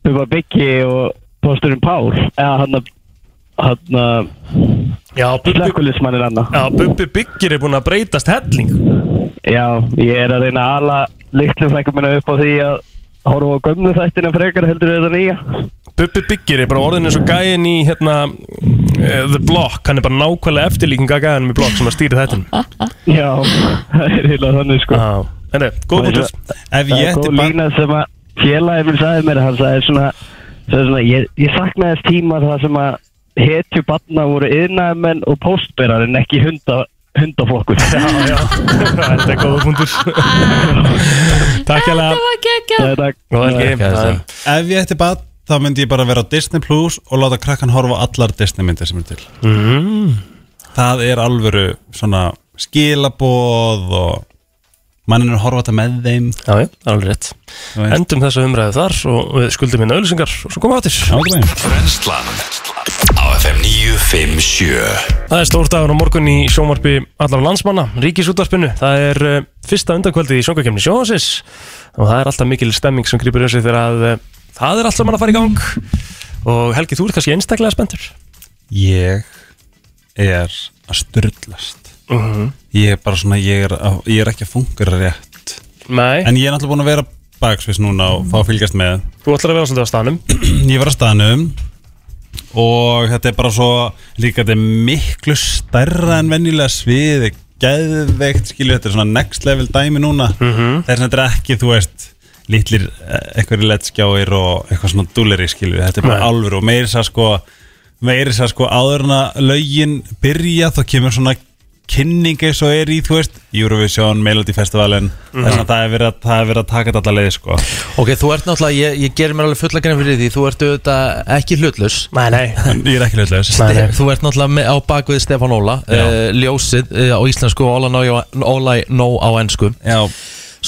Bubba Biggi og Pósturinn Pál, eða hann að, hann að,
Já, Bubbi,
slökkulismannir hann
já, Bubbi Byggir er búinn að breytast helling
Já, ég er að reyna að ala litlu frækum minna upp á því að horfa á gömlu þættina frekar heldur við þetta nýja.
Bubbi Byggir er bara orðin eins og gæin í hérna eh, The Block, hann er bara nákvæmlega eftirlíking að gæðanum í Block sem að stýri þetta
Já, það er eiginlega þannig sko.
Já, henni, góð bútið
Ef
Það
ég
er
ætti
góð
bara,
lína sem að félagið minn sagði mér, hann sagði svona, sagði svona ég, ég saknaði þess tíma þar sem að hetju batna voru yðnaðmenn og póstberar en ekki hunda, hundaflokkur.
Já, já, þetta er góða punktur Takk hjá
Þetta var geggjað
Það er það.
Góða helgi
ef ég ætti bara, þá myndi ég bara vera á Disney Plus og láta krakkan horfa á allar Disney myndir sem er til.
Mm.
Það er alvöru svona skilaboð og mannin er að horfa þetta með þeim
Já, já, það er alveg rétt Endum þessa umræðu þar og við skuldum hérna auðlýsingar og svo komum við áttir
Brennslan á FM 957
Það er stór dagur á morgun í sjónvarpi allar landsmanna, ríkisútvarpinu Það er uh, fyrsta undankvöldið í sjónkakefni sjóhansins og það er alltaf mikil stemming sem grýpur össi þegar að uh, það er alltaf mann að fara í gang og Helgi, þú ert kannski einstaklega spenntur
Ég er að styrlast
Mhm.
Ég er bara svona, ég er, að, ég er ekki að fungera rétt
Nei.
En ég er náttúrulega búin að vera baksvis núna og fá að fylgjast með
Þú ætlar að vera svolítið á stanum
Ég var á stanum og þetta er bara svo líka þetta er miklu stærra en venjulega svið geðveikt skilju, þetta er svona next level dæmi núna
Mhm.
það er svona þetta er ekki, þú veist litlir, eitthvað lettskjáir og eitthvað svona dúleri skilju, þetta er bara
Nei.
alvöru og meiri sér sko meiri sér sko áður en að lögin byrja þá kemur svona kynning eins og er í, þú veist, Eurovision Melody Festivalin,
Mhm.
þess að það er verið að það er verið að taka þetta alla leið sko
Ok, þú ert náttúrulega, ég, ég gerir mér alveg fulla grein fyrir því Þú ert auðvitað ekki hlutlaus
Nei, nei
Ég er ekki hlutlaus
Þú ert náttúrulega með, á bakvið Stefán Óla
Já.
uh, Ljósið uh, á íslensku og Óla Nó- Óla Nó á ennsku
Já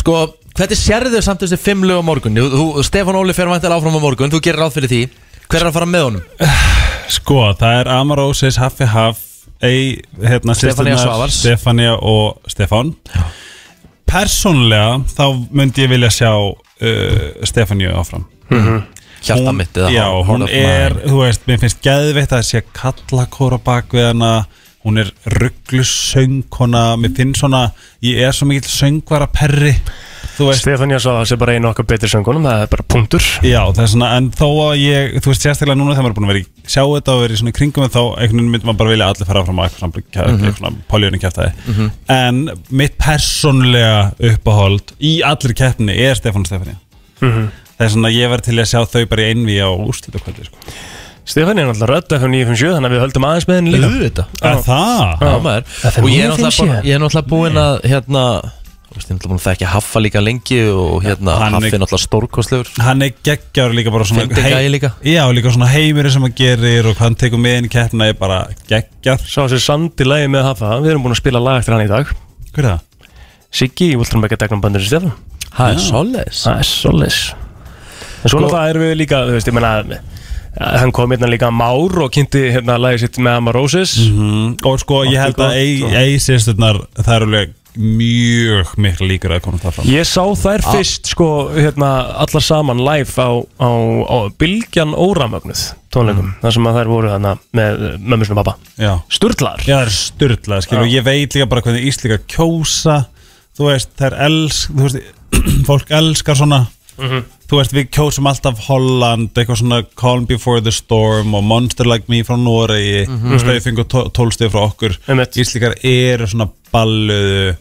Sko, hvernig sérðu þau samt þessi fimm lög á morgun? Þú, þú, Stefán Óli fer vantilega áfram á morgun, þú gerir ráð fyrir því Hver er að fara með honum?
Sko, það er Amarósis, Haffi Haff Ei, hérna,
Stefanía
systurnar,
Svavars.
Stefanía og Stefán Persónlega þá myndi ég vilja sjá uh, Stefaníu áfram
Mhm. Hjarta
Hún-
mitt eða
Já,
heart
hún
of
er,
mine.
þú veist, mér finnst geðveitt að sé kallakóra bak við hana Hún er rugglussöngkona, mér finnst svona, ég er svo mikill söngvara perri
Stefania sá það sé bara einu okkar betri söngunum, það er bara punktur
Já, það er svona, en þó að ég, þú veist, sérstaklega núna þegar maður er búin að vera í sjá þetta og vera í svona kringum en þá einhvern veginn myndi maður bara vilja að allir fara fram á eitthvað svona, mm
Mhm.
-hmm. svona poljónu kjæftæði.
Mhm.
En mitt persónlega uppáhold í allir keppni er Stefán Stefania.
Mhm.
Það er svona, ég verð til að sjá þau bara í einvi á úrslit og sko.
Stefania er náttúrulega rödd FM 957 þannig að við höldum aðeins með henni líka
Er það?
Já, maður
FM
Og ég er
957.
náttúrulega bara- ég er náttúrulega búinn að, hérna Þú veist, ég er náttúrulega búinn að þekka Haffa líka lengi og hérna,
hann er-
Haffi er náttúrulega stórkostlegur
Hann er geggjáður líka bara svona
Fyndi gæi líka.
Já, líka svona heimurinn sem hann gerir og hvað hann tekur með inn í keppna er bara geggjáð
Sá sér sandi lægi með Hafa Við erum búin að spila lag eftir hann í dag
Hver er
það? Siggi í Ultramækja Degnum Bandur Stefán
Það er svoleiðis.
Það er svoleiðis En
Sko-
svona það erum við líka, þú veist, ég menna Hann kom hérna líka Már og kynnti hérna lagi sitt með Amarósis
-hmm. Og sko, ég held að eigi sérstundar, það er alveg mjög miklu líkur að koma það fram
Ég sá þær
Ah.
Ah.
fyrst sko hérna allar saman live á, á, á Bilgjan Óramögnuð
Mm.
tónleikum þar sem að þær voru þarna með eh, mömmu sinni og pappa
Já.
Sturlar
Já, það er sturlað, skilur,
Já.
og ég veit líka bara hvernig Íslika kjósa Þú veist, það er elsk, þú veist, fólk elskar svona
Mhm.
Þú veist, við kjósum alltaf Holland, eitthvað svona Calm Before the Storm og Monster Like Me frá Noregi mm
Mhm.
-hmm. Staufingu tólstið frá okkur
Einmitt.
Íslikar eru svona balluðu,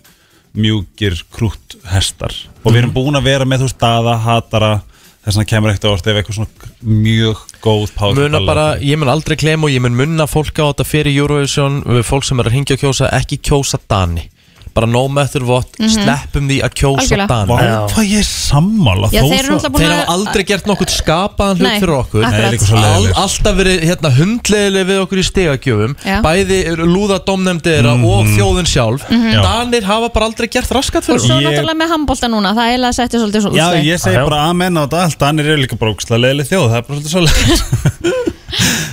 mjúkir, krútt hestar Og við
Mhm.
erum búin að vera með þú staða, hatara Þess vegna kemur ekkert á orðið ef eitthvað svona mjög góð pál
Muna bara, ég mun aldrei klem og ég mun munna fólk á þetta fyrir Eurovision við fólk sem er að hingja og kjósa, ekki kjósa Dani bara no matter what,
Mhm.
sleppum því að kjósa
Algjörlega.
Dani
Vá, hvað ég er sammála
Já, þeir eru náttúrulega búin
Þeir
að-
hafa aldrei gert nokkuð skapaðan hlut
Nei,
fyrir okkur
Nei, akkurat. líka svo
All,
leiðilegir.
Alltaf verið hérna, hundleiðileg við okkur í stegagjöfum
Já.
Bæði eru lúða domnefndi þeirra og þjóðin sjálf
Mhm. Já.
Danir hafa bara aldrei gert raskat
Og
fyrir
svo
okkur.
náttúrulega með handbólta núna, það er eiginlega settir svolítið svona
Já,
útstæð.
ég segi bara amen á þetta allt Danir eru líka bara ógæslega leiðileg þjóð Það er bara svolítið svolítið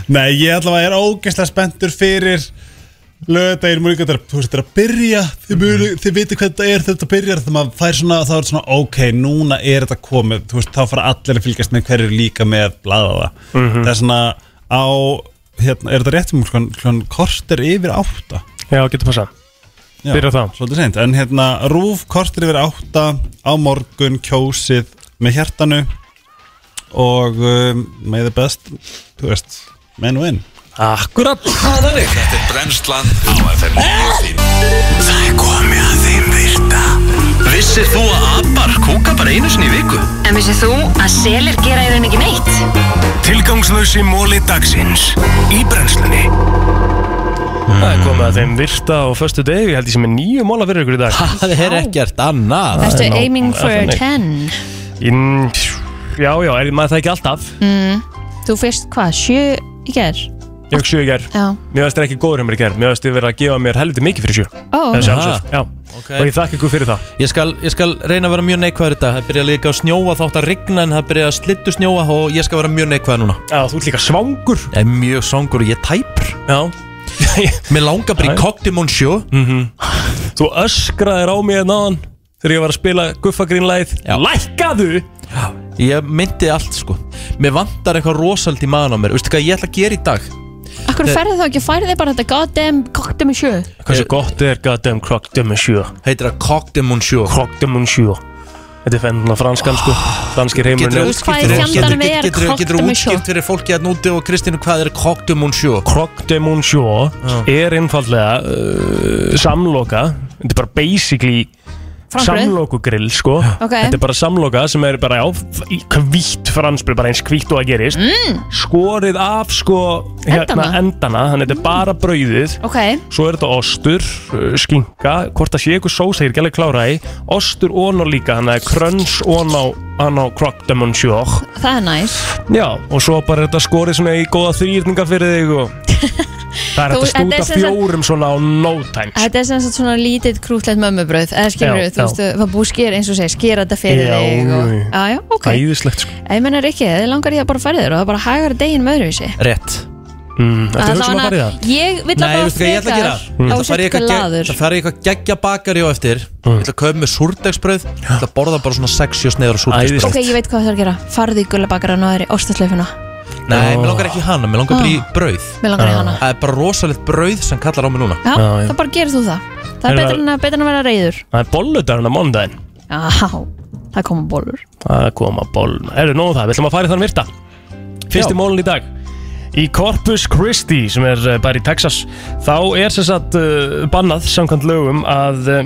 Nei, ég allavega er ógæslega spenntur fyrir Lögðardaginn múlíka Þetta er- þú veist, þetta er að byrja
Mhm.
Þið, munu, þið viti hvað þetta er þegar þetta byrjar Þannig að það er svona, það er svona ok, núna er þetta komið Þú veist, þá fara allir að fylgjast með hverju líka með blaðaða
Mhm.
Það er svona á hérna, Er þetta réttum klón, klón kortir yfir átta
Já, getur passað
Já,
Byrja þá.
Svolítið seint, en hérna Rúf kortir yfir átta á morgun kjósið með hjartanu og um, með the best, þú veist, menn og inn
Akkurat
Þetta er Brennslan á FM 957 Það er komið að þeim virta Vissir þú að abar kúka bara einu sinni í viku?
En vissið þú að selir gera í raun ekki neitt?
Tilgangslösi móli dagsins í brennslunni
Það
Hmm.
er komið að þeim virta á föstu degi, ég held ég sem er nýju mála fyrir ykkur í dag
Það er ekkert annað
Ertu aiming for a 10?
Mm, Já, já, er maður það ekki alltaf
Mm. Þú fyrst hvað, sjö í gerð?
Ég hef sjö í gær
Já.
Mér veist það ekki góður hjá mér í gær Mér veist þið verið að gefa mér helviti mikið fyrir sjö
Ó.
Það er sjálfsagt, já Og ég þakka ykkur fyrir það
Ég skal, ég skal reyna að vera mjög neikvæður í dag Það byrja líka að snjóa þátt að rigna En það byrja að slittu snjóa og ég skal vera mjög neikvæður núna
Já, þú ert líka svangur
Ég er mjög svangur og ég er tæpur
Já
Mér langar bara í Cocktail sjó
Mhm. Þú öskraðir á mig náðan Þegar ég var að spila guffagrínlæð Lækkaðu
Já, ég myndi allt sko Mér vantar eitthvað rosald í maðan á mér Veistu hvað ég ætla að gera í dag?
Akkur ferði þá ekki að færi þig bara þetta goddamn kokta með sjö
Hversu gott er goddamn Croc de Monsieur
Heitir það Croc de Monsieur Ah,
Croc de Monsieur Þetta er fennan franskan sko Franskir heimurinn
Geturðu
er-
útskýrt Hvað í fyrir- fjandanum er
Getur
Cocktail
þú
Monsieur?
útskipt fyrir fólki að núti og Kristínu hvað er Cocktail Monsieur?
Croc de Monsieur er einfallega uh, samloka Þetta er bara basically
Franskbrauð.
samlokugrill sko
Ok.
Þetta er bara samloka sem er bara á hvítt fransbrið, bara eins hvítt og að gerist mm. Skorið af sko hérna,
Endana?
endana Þannig þetta er bara brauðið
Ok,
Svo er þetta ostur, uh, skinka, hvort það sé eitthvað sós, ég er ekki alveg klára í Ostur ón á líka, þannig að kröns ón á, hann á croque de monsieur
það er næs
Já, og svo bara er þetta skorið svona í góða þrýrningar fyrir þig og Það er
Þú- þetta
hægt að
er
stúta
sem sagt-
fjórum svona á no time sko.
Þetta er sem sagt svona lítið krútlegt mömmubröð eða skilur
Já,
þú veist, það búið sker eins og segir skera þetta fyrir
Já,
þig og,
jú, jú.
já, já, ok,
Æðislegt sko
ég menna Rikki þið langar ég að bara færi þér og það bara hagar deginn með öðru í sig
Rétt
mm, Þetta er hugsa um að fara í það
ég vil
Nei,
að bara
veistu hvað ég ætla að gera?
á
Það
sér
fari
eitthvað laður
ég eitthvað geggja bakari á eftir
Mm.
Ég ætla að kaupa með súrdegsbröð Ég ætla að borða bara svona 60 sneiðar á súrdegsbröð
ok, ég veit hvað það er að gera, farðu í gullabakara og öðru óstaslefina,
Nei, mér langar ekki í hana, mér langar bara í brauð
mér langar í hana
Það er bara rosalegt brauð sem kallar á mig núna
já,
Ah. Já, já.
það bara gerir þú það það
En
er betra
það-
en að, betra en að vera reyður
Það er bolludarinn á mondaginn
já, það koma bólur
Það koma ból Erðu nóg það, við ætlum að fara í þann virta Fyrsti
Já.
mólun í dag Í Corpus Christi sem er eh, bara í Texas þá er sem sagt uh, bannað samkvæmt lögum að uh,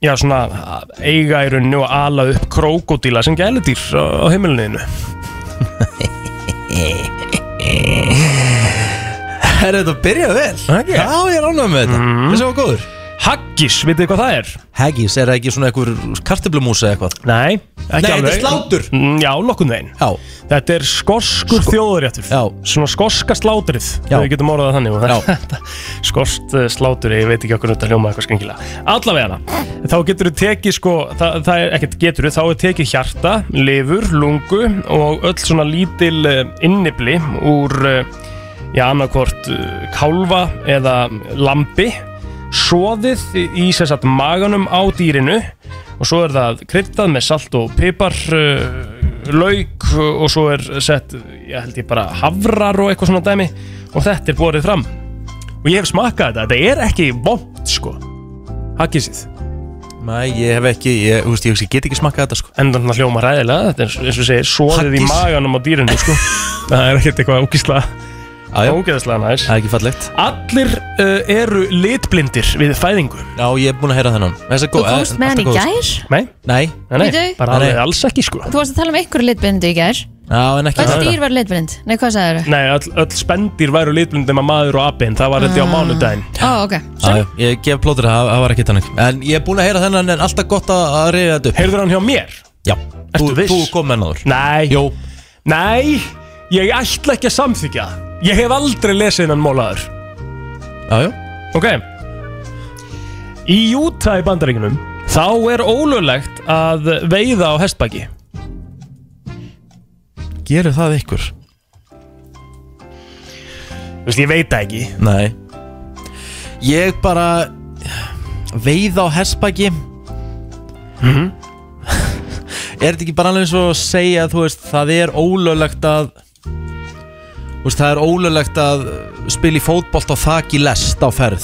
já svona að eiga í rauninu og ala upp krókódíla sem gæludýr á, á heimilinu þínu.
Eh,
Herru, þetta byrjaði vel
Ekki?
Já, ég er ánægð með þetta Þessi var góður
Mhm. Haggis, vitið þið hvað það er?
Haggis, er það ekki svona einhver kartöflumús eða eitthvað?
Nei, ekki
Nei,
alveg
þetta er slátur.
Mm, Já, nokkun veginn
Já, Sko-
Þetta er skoskur Sk þjóðuréttur
Já.
Svona skoska slátrið
Já.
Við getum orðað það þannig og
Já.
þetta- Skorskt eh, slátrið, ég veit ekki okkur þetta hljóma eitthvað skringilega Allavega Þá getur þú tekið sko það, það er ekkert getur þú Þá er tekið hjarta, lifur, lungu Og öll svona lítil eh, innibli Úr eh, Já, annarkvort eh, kálfa Eða lambi Soðið í sem sagt maganum á dýrinu og svo er það kryddað með salt og pipar uh, lauk uh, og svo er sett, ég held ég bara havrar og eitthvað svona dæmi og þetta er borið fram og ég hef smakkað þetta, þetta er ekki vond sko Hakkisíð,
nei, ég hef ekki, ég, þú veist, ég, ég get ekki smakkað þetta sko
endan þannig hljóma ræðilega þetta er eins- eins og segir, soðið í
Haggis.
maganum á dýrinu sko. það er ekkert eitthvað ógisla
Já, já,
ógeðslega næs
það er ekki fallegt
Allir uh, eru litblindir við fæðingu
Já, ég er búin að heyra þennan Þessi er
þú
góð, eh,
komst með hann
alltaf
í
góð, sko.
gær
Nei,
Nei,
nei, nei
Bíddu.
bara
Nei.
alveg alls ekki sko
þú varst að tala um einhverju litblindu í gær
já, en ekki
öll
þetta.
dýr var litblind, nei hvað sagður
Nei, öll, öll spendir væru litblindir með maður og abin það var þetta á mánudaginn
Ah. ó, ok,
Já, já, ég gef plótur það, það var ekki þannig En ég er búin að heyra þennan en alltaf gott að, að reyða þetta upp
Heyrður hann hjá mér?
Já, þú,
viss?
þú kom með náður
Nei
Jó,
Nei, ég ætla ekki að samþykja það. Ég hef aldrei lesið hennan mólaður
já, já
Ok Í Utah í bandaríkunum Þá er ólöglegt að veiða á hestbaki
Gerið það ykkur?
Þú veist, ég veit það ekki
Nei Ég bara veið á hessbaki
Mhm.
Er þetta ekki bara alveg eins og að segja þú veist, það er ólöglegt að þú veist, það er ólöglegt að spila í fótbolt og þaki lest á ferð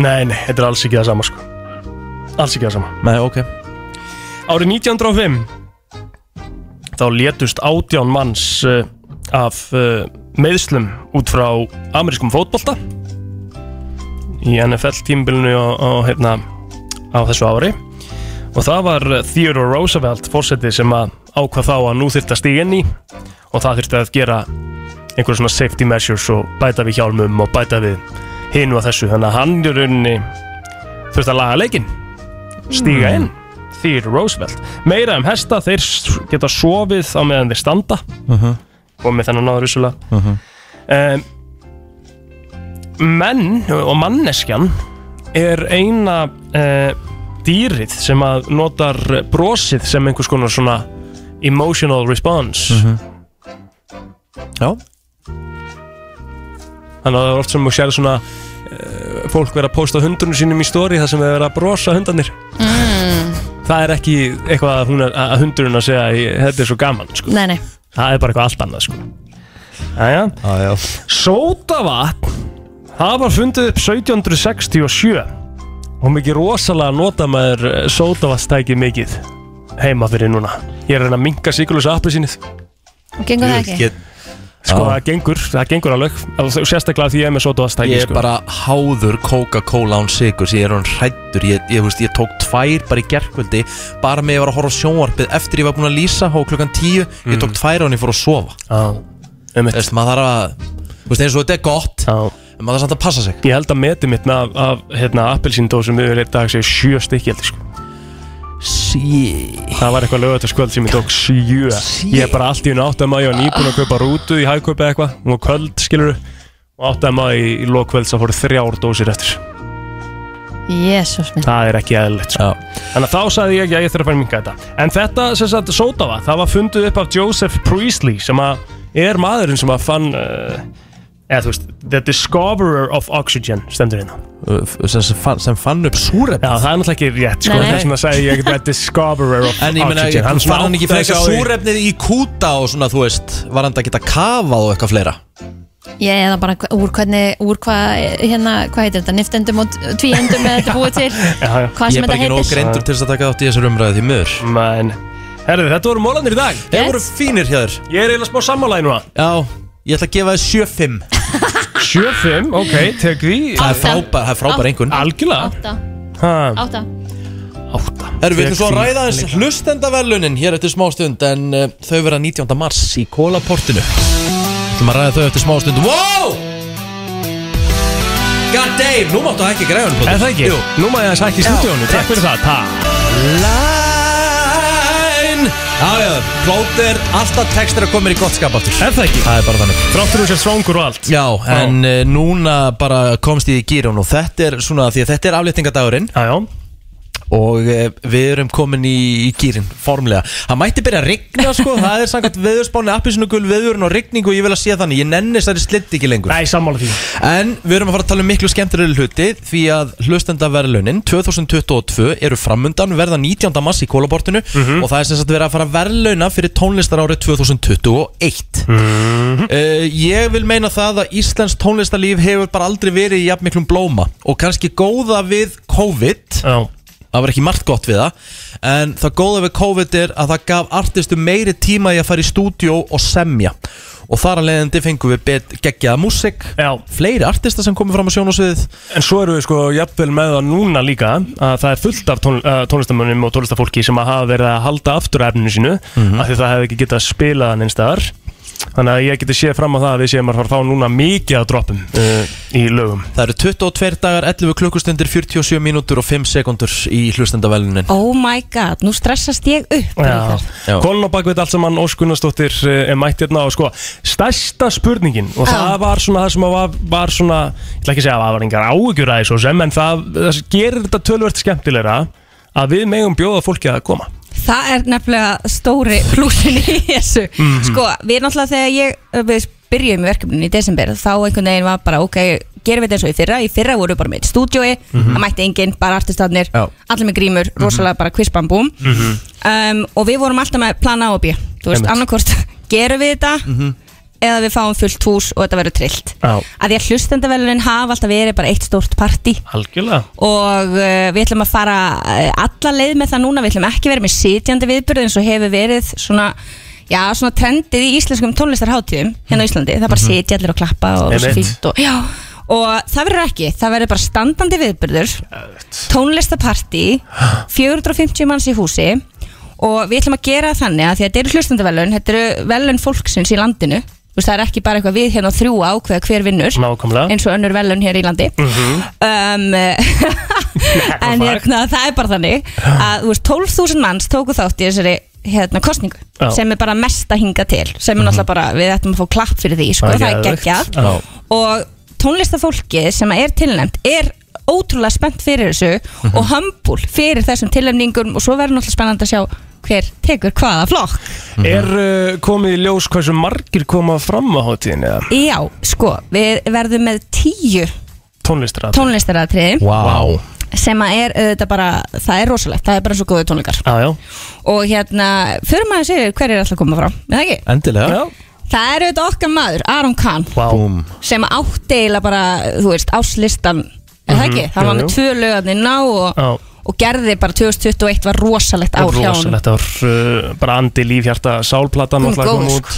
Nei, nei, þetta er alls ekki það sama sko Alls ekki það sama
Nei, ok
Árið 1905 Þá létust átján manns uh, af uh, meðslum út frá amerískum fótbolta í NFL tímbilinu á, á, hérna, á þessu ári og það var eh, Theodore Roosevelt fórsetið sem að ákvað þá að nú þyrfti að stíga inn í og það þyrfti að gera einhver svona safety measures og bæta við hjálmum og bæta við hinu að þessu þannig að hann í rauninni þurfti að laga leikinn stíga inn Theodore Roosevelt meira um hesta, þeir s- geta sofið á meðan þeir standa og með þennan áður vissulega um, menn og manneskjan er eina uh, dýrið sem að notar brosið sem einhvers konar svona emotional response
Já
Þannig að það er oft sem þú sér svona uh, fólk vera að posta hundunum sínum í stóri þar sem þau vera að brosa hundanir
mm.
Það er ekki eitthvað að, hún er, að hundurinn að segja "Ég- þetta er svo gaman sko.
Nei, nei
Það er bara eitthvað allt annað sko. Æja
Æja
Sótavatn Það var fundið upp 1767 og mikið rosalega nota maður sótavatnstæki mikið heima fyrir núna Ég er að reyna að minka sigurlösa appelsínið
Og gengur það ekki
Sko
Já.
það gengur, það gengur alveg og sérstaklega því ég er með sótavatnstæki
Ég er
sko.
bara háður Coca-Cola án sigurs Ég er hann hrættur Ég, ég, veist, ég tók tvær bara í gerkvöldi Bara með ég var að horfa á sjónvarpið Eftir ég var búin að lýsa á klukkan tíu
Mm.
Ég tók tvær án ég fór að sofa
Já
Veist, maður þarf að Þú veist eins og þetta er gott
Já
En maður þarf samt að passa sig
Ég held að metið mitt af, af hérna, appelsíndósum yfir einn dag séu sjö stykki heldur sko.
Sí
Það var eitthvað lögutaskvöld sem ég tók sjö Ég er bara allt í hún áttaði maður Ég var nýbúin að kaupa rútu í hægkaupa eitthvað Hún var kvöld skilur Og áttaði maður í, í lokkvöld Það fóru þrjár dósir eftir
Jésús minn
Það er ekki eðlilegt sko. Þannig að þá sagði ég að ég þarf að fara að minga þetta En þetta sem sagt sótava Það var fundið upp af Joseph Priestley Sem að er maðurinn sem að fann uh, Eða þú veist The discoverer of oxygen Stendur hérna
Uh, sem, sem, fann, sem fann upp súrefni
Já, það er náttúrulega ekki rétt sko,
Nei, nei.
þess vegna sagði ég eitthvað discoverer of
En ég meina,
oxygen
hann fann hann ekki
áttaði sig
frekar
á því.
súrefnið í kúta og svona, þú veist, var hann að geta kafað og eitthvað fleira
Ég eða bara hva- úr hvernig, úr hvað, hérna, hvað heitir þetta, niftendum og tvíendum eða þetta búið til Hvað
Ég
sem
er bara
þetta
ekki nóg greindur
heitir
til þess að taka átt í þessar umræðu því miður
Men, herðu, þetta voru mólanir í dag
Þeir voru fínir hjá þér
Ég er eiginlega smá sammálaði núna
Já, ég ætla að gefa þér 7-5
7-5, ok, tek því
Það er frábær, það er frábær einhvern
Algjörlega
Átta,
Ha,
átta
Erum við
Tek
ætlum svo að
því,
ræða
Annika.
þess hlustendaverlunin hér eftir smástund en uh, þau vera 19. mars í kólaportinu ætlum að ræða þau eftir smástund Wow! God damn, nú máttu ekki græðan
Er það ekki? Nú maður ég að sækja í stúdíónu, takk fyrir það Takk
Line Já, já, plót er alltaf textir að koma í gott skap aftur
Er það ekki?
Það er bara þannig
Þráttur þú sér svangur og allt
Já, en uh, núna bara komst ég í gýrun og þetta er svona því að þetta er afléttingadagurinn
Já, já,
og uh, við erum komin í, í gýrin formlega. Það mætti byrja að rigna sko, það er samkvæmt veðurspáni appisnugul veðurinn og rigning og ég vil að sé þannig, ég nenni þessari slitt ekki lengur.
nei, sammála því
En við erum að fara að tala um miklu skemmtilegri hluti því að hlustendaverlunin 2022 eru framundan verða 19. mass í kólabortinu
Mhm.
og það er sem sagt verið að fara að verðlauna fyrir tónlistar árið 2021
Mhm.
uh, Ég vil meina það að Íslands tónlistarlíf hefur bara aldrei verið í jafn miklum blóma og kannski góða við COVID
Já,
það var ekki margt gott við það en það góða við COVID er að það gaf artistum meiri tíma í að fara í stúdíó og semja og þar að leiðandi fengum við bet- geggjaða músik
já
fleiri artista sem komið fram á sjónasviðið
En svo eru við sko jafnvel með það núna líka að það er fullt af tón, uh, tónlistamönnum og tónlistafólki sem að hafa verið að halda aftur af efninu sínu af því það hefði ekki getað spilað hann einstæðar Þannig að ég geti séð fram á það að við séum að fara að fá núna mikið að droppum uh, í lögum
Það eru 22 dagar, 11 klukkustundir, 47 mínútur og 5 sekundur í hlustendavælunin
Oh my god, nú stressast ég upp
Já,
Ríkharð.
Já.
Koln og bakveit allt saman Óskunarsdóttir er mætt hérna og sko stærsta spurningin og það var svona það sem að var, var svona ég ætla ekki að segja að það var engar áhugjur að þessu sem en það, það sem gerir þetta tölvert skemmtilegra að við megum bjóða fólki að koma
Það er nefnilega stóri plúsin í þessu Sko, við náttúrulega þegar ég við byrjum í verkefninu í desember þá einhvern veginn var bara, ok, gerum við þetta eins og í fyrra í fyrra voru við bara með eitt stúdjói það mætti enginn, bara artistatnir,
Já.
allir með grímur rosalega bara kvisbambúm
Mm-hmm.
um, og við vorum alltaf með plan A og B þú veist,
Einmitt.
annarkvort gerum við þetta
Mm.
eða við fáum fullt hús og þetta verður trillt
Já.
að því að hlustendavelunin hafa alltaf verið bara eitt stórt partí
Algjörlega
og uh, við ætlum að fara uh, alla leið með það núna, við ætlum ekki verið með sitjandi viðbyrð eins og hefur verið svona já, svona trendið í íslenskum tónlistarháttíðum hérna á Íslandi, það bara sitja allir og klappa og
Einmitt.
svo fínt og, já, og það verður ekki, það verður bara standandi viðbyrður tónlistapartí 450 manns í húsi og við ætlum að gera það þannig að því að þetta eru hlustandavelun, þetta eru velun fólksins í landinu, þú veist það er ekki bara eitthvað við hérna á þrjú að ákveða hver vinnur
Nákvæmlega
eins og önnur velun hér í landi
Mhm.
um, en hérna, það er bara þannig að þú veist, 12.000 manns tóku þátt í þessari hérna, kostningu
Já. Mhm.
sem er bara mest að hinga til sem er náttúrulega bara, við ættum að fá klapp fyrir því sko,
Það er
það er
geðveikt.
geggjað
Já.
og tónlistafólki sem er tilnæmt er ótrúlega spennt fyrir þessu
Mhm.
og humble fyrir þessum tilnefningum og svo verður náttúrulega spennandi að sjá hver tekur hvaða flokk
Er uh, komið í ljós hversu margir koma fram á hátíðin eða
Já, sko, við verðum með tíu
tónlistrat?
tónlistaratriði
Vá.
sem að er, þetta bara, það er rosalegt það er bara svo góðu tónleikar
Já, já
og hérna, fyrir maður segir hver er alltaf að koma fram er það ekki?
Endilega
Já.
Það er auðvitað okkar maður, Aron Kahn
Búm.
sem átti eiginlega bara, þú veist, áslistan er það
Mhm,
ekki? Það var
jú,
með
jú.
tvö lögarnir ná og,
Já.
og gerði bara 2021 var rosalegt ár hjá hann
Rosalegt ár, uh, bara andi lífhjarta sálplata
Hún er
náttúrulega
góð,
kom út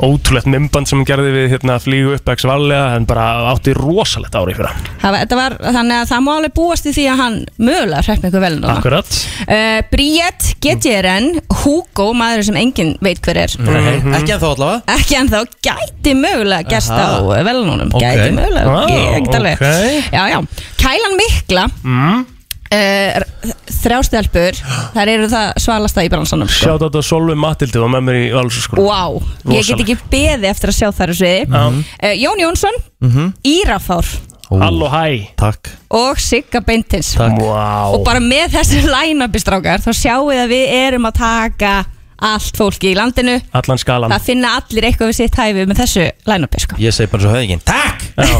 Ótrúlegt mymband sem hún gerði við hérna flýgu upp ekki svalega en bara átti rosalegt ár í fyrra
Það var, þetta var, þannig að það má alveg búast í því að hann mögulega hreppna ykkur vel núna
Akkurat
uh, Bríett, GTRN, Hugo maður sem enginn veit hver er
Mhm.
Nei, Mhm. Ekki ennþá allavega
ekki en þá gæti mögulega gerst á
Aha.
velunum
Ok.
gæti Um mögulega,
Vá,
ég er ekkert alveg
ok.
já, já. Kælan mikla
mm.
uh, þrjástelpur þær eru það svalasta í bransanum sko.
Sjátt á þetta Solveig Matildi var með mér í Valsurskóla
wow, ég get ekki beði eftir að sjá þær þessu
Já.
Mhm.
mm. uh, Jón Jónsson,
Mhm.
Írafár
Halló hæ
Takk
og Sigga Beintins
wow.
og bara með þessu line-upi strákar þá sjáum við að við erum að taka allt fólki í landinu
Allan skalan
það finna allir eitthvað við sitt hæfi með þessu line-upi sko.
Ég segi bara svo höfðingin Takk
Já,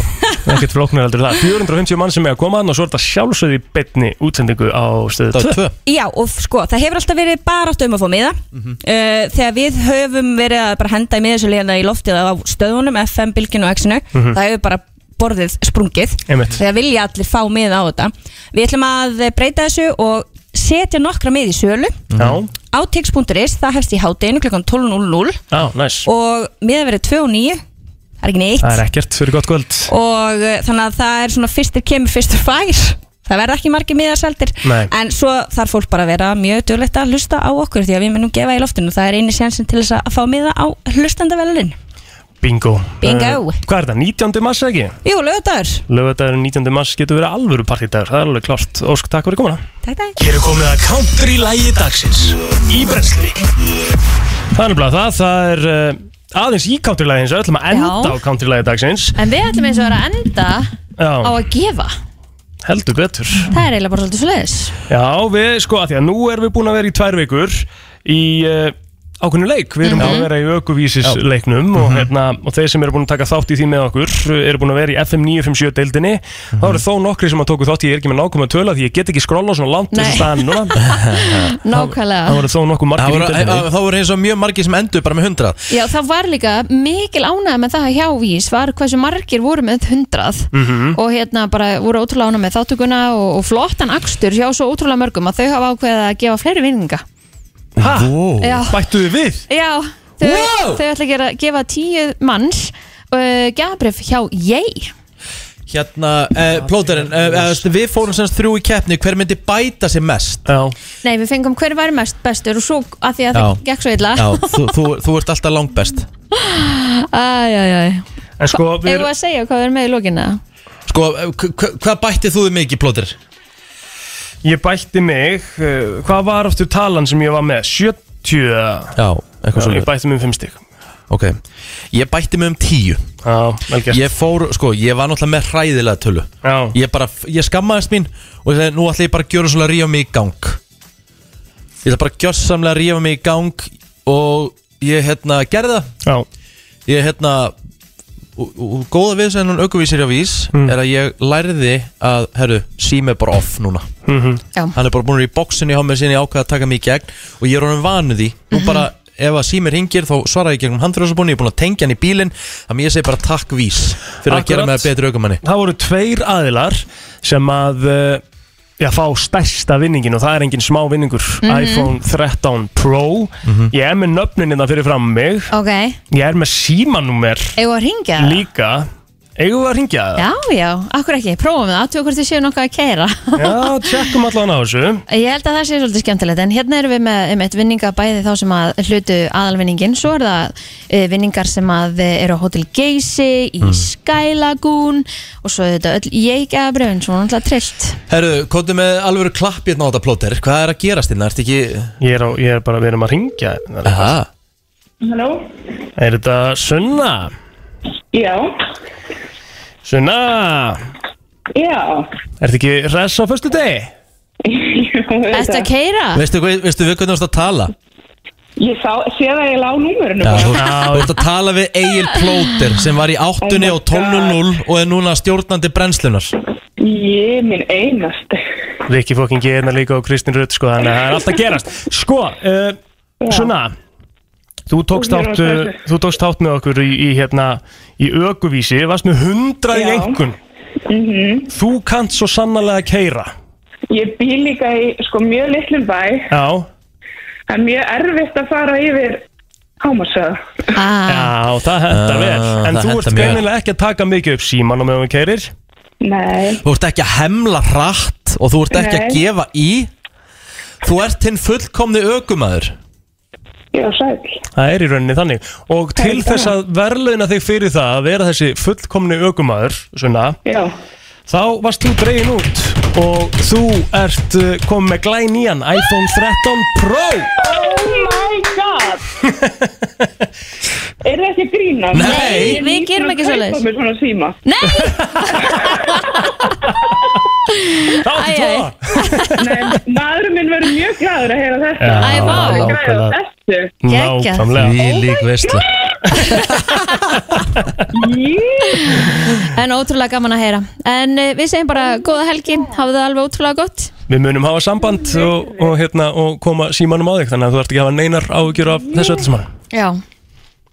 ekkert flóknir heldur en það 450 mann sem er að koma hann og svo er þetta sjálfsögði betni útsendingu á stöðu 2
Já og f- sko það hefur alltaf verið bara átt um að fá miða
Mhm.
uh, þegar við höfum verið að bara henda í miðasölu í loftið á stöðunum FM, Bilgin og Exinu
Mhm.
það hefur bara borðið sprungið
Einmitt.
þegar vilja allir fá miða á þetta Við ætlum að eh, breyta þessu og setja nokkra mið í sölu
Já,
á tix.is, það hefst í hátinu klukkan 12.00
já, næs
og miða verið 2 og 9 það er ekki neitt
Það er ekkert fyrir gott kvöld
og uh, þannig að það er svona fyrstir kemur, fyrstir fær það verða ekki margir miðarseldir
Nei.
en svo þarf fólk bara að vera mjög duglegt að hlusta á okkur því að við munum gefa í loftinu það er eini sjansin til þess að fá miða á hlustandavelin
Bingo
Bingo.
Eh, Hvað er það, 19. mars eða ekki?
Jú, lögadagur
Lögadagur 19. mars getur verið alvöru partídagur Það er alveg klárt Ósk, takk fyrir komuna
Takk, takk
Hér er komið að country lægi dagsins Í brensli
Það er nefnilega það, það er uh, aðeins í countrylæði eins og öllum að enda
Já.
á countrylæði dagsins
En við ætlum eins og vera að enda á
Já,
að gefa
heldur betur
Það er eiginlega bara svolítið svo leiðis
Já, við, sko, að því að nú erum við búin að vera í tvær vikur í uh, ákveðinu leik, við erum
Mhm.
búin að vera í ökuvísis leiknum og, hérna, og þeir sem eru búin að taka þátt í því með okkur uh, eru búin að vera í FM 957 deildinni þá
Mhm.
eru þó nokkri sem að tóku þátt, ég er ekki með nákvæm að töla því ég get ekki skrolla svona langt
Nei.
þessu staðan núna
Nákvæmlega
Það voru þó nokkuð margir
Það voru-
í deildinni
Þá voru eins og mjög margir sem endur bara með 100
Já, það var líka mikil ánægð með það hjá Vís var hversu margir voru með hundrað
Mhm.
og hérna bara voru ótrúlega ánægð með þáttuguna og, og flottan akstur hjá svo ótrúlega mörgum að þau hafa ákveðið að gefa fleiri vinninga
Hæ?
Já.
Bættu þið við?
Já, þau,
Wow!
þau ætla að gera, gefa tíu manns uh, gabrif hjá ég
Hérna, uh, plóterinn uh, uh, Við fórum semst þrjú í keppni Hver myndi bæta sig mest?
Já,
Nei, við fengum hver væri mest bestur og svo að því að
Já.
það gekk svo illa
þú, þú, þú ert alltaf langbest
Æj, æj, æj
En sko,
við erum að segja hvað við erum með í lókina
Sko, eh, hva- hva- hvað bætti þú þig mikið, plóter?
Ég bætti mig, uh, hvað var aftur talan sem ég var með? 70?
Já, eitthvað
Ég
svoleiðis.
bætti mig um 5 stík
Ok, ég bætti mig um tíu
Já, vel gert
Ég fór, sko, ég var náttúrulega með hræðilega tölu
Já
Ég bara, ég skammaðist mín Og ég segi, nú ætla ég bara að gjöra svolítið að rífa mig í gang Ég ætla bara að gjörsamlega að rífa mig í gang Og ég, hérna, gerði
það
Já Ég, hérna og- og og Góða við sem hún aukuvísir á vís
Mm.
Er að ég lærði að, herru, sím er bara off núna
Mhm.
Já.
hann er bara búin að vera í bóksinni hjá mér sinni ákveða að taka mig í gegn og ég er honum vanuð því og bara ef að símir hingir þá svara ég í gegnum handfjörðsabunni ég er búin að tengja hann í bílinn þannig ég segi bara takk vís fyrir að gera mig að betri aukumanni
Það voru tveir aðilar sem að uh, já, fá stærsta vinningin og það er engin smá vinningur
Mhm.
iPhone 13 Pro Ég er með nöfninina fyrir fram mig
Ok,
Ég er með símanúmer
eigum við að ringja það?
líka Eigum við að ringja það?
Já, já, akkur ekki, prófum það, aðtöku hvort þið séu nokkuð að kæra
Já, tjekkum allan á þessu
Ég held að það sé svolítið skemmtilegt en hérna erum við með um eitt vinninga bæði þá sem að hlutu aðalvinningin svo er það e, vinningar sem að e, eru á Hotel Geysi, í
Mm.
Sky Lagoon og svo er þetta öll ég eða brefin svo náttúrulega trillt
Herru, kóttu með alvöru klapp hérna á þetta plóter hvað er að gerast hérna, ert ekki
Ég er, á, ég er bara, við erum að hérna, ringja
Aha.
Halló?
Er þetta Sunna?
Já,
Sunna,
Já,
Ertu ekki hress á förstu degi?
Ertu að keira?
Ah. Veistu, hvað- veistu við hvernig þú ert að tala?
ég sá, sé það eiginlega á númurinu
Já, þú,
bara.
þú ert að tala við Egil Plóter sem var í áttunni
Oh my
og 12.0 og er núna stjórnandi brennslunar
Ég minn einast
Rikki fokkin geðna hérna líka og Kristín Rutt sko, þannig að það er allt að gerast Sko, uh, svona Þú tókst,
Ég er
átt,
að
uh,
þessu.
þú tókst átt með okkur í, í, hérna, í ökuvísi, varst með 100 í
Já.
einhvern
mm
Þú kannt svo sannarlega að keira
Ég bý líka í sko mjög litlum bæ
Já,
Það er mjög erfitt að fara yfir hámarsöðu
Ah.
Já það hentar
Ah,
vel En
það hentar
þú ert
mjög vel.
greinilega ekki að taka mikið upp síman og meðan við keirir
Nei
Þú ert ekki að hemla hratt og þú ert ekki að
Nei.
gefa í Þú ert hinn fullkomni ökumæður
Já, sæl
Það er í rauninni þannig Og til þess að verðlauna þig fyrir það að vera þessi fullkomni ökumæður svona,
Já
Þá varst þú dregin út og þú ert uh, komið með glæn í hann iPhone 13 Pro
Oh my god Er það ekki að grína?
Nei. Nei,
við gerum ekki svoleiðis.
Ég er nýbúin að kaupa mér svona síma
Æ,
æ.
Nei, maðurinn minn verður mjög glæður að heyra þetta
Já, Æ, vá.
Það er græður á
nákvæmlega.
þessu
Geggjað.
Nákvæmlega
Því
Oh
lík veistla
En ótrúlega gaman að heyra En eh, við segjum bara góða helgi Hafið það alveg ótrúlega gott
Við munum hafa samband og, og, hérna, og koma símanum á þig Þannig að þú ert ekki að hafa neinar áhugjur af þessu öllu saman
Já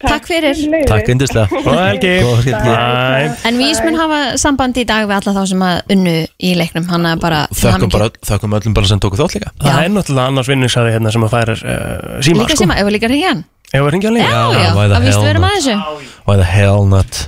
Takk, fyrir
Takk yndislega
Góða helgi.
Góða helgi.
Bye.
En við mun hafa sambandi í dag við alla þá sem að unnu í leiknum Hanna bara til
Þökkum,
hamingju.
bara, þökkum öllum bara sem tóku þátt líka
Það er náttúrulega annars vinningsaði hérna sem að færa uh, síma
Líka
sko.
síma, ef við líka hringja hann
Ég var hringja hann líka
Já, já,
why the
að vístu
hell
verðum að
not?
þessu
Why the hell not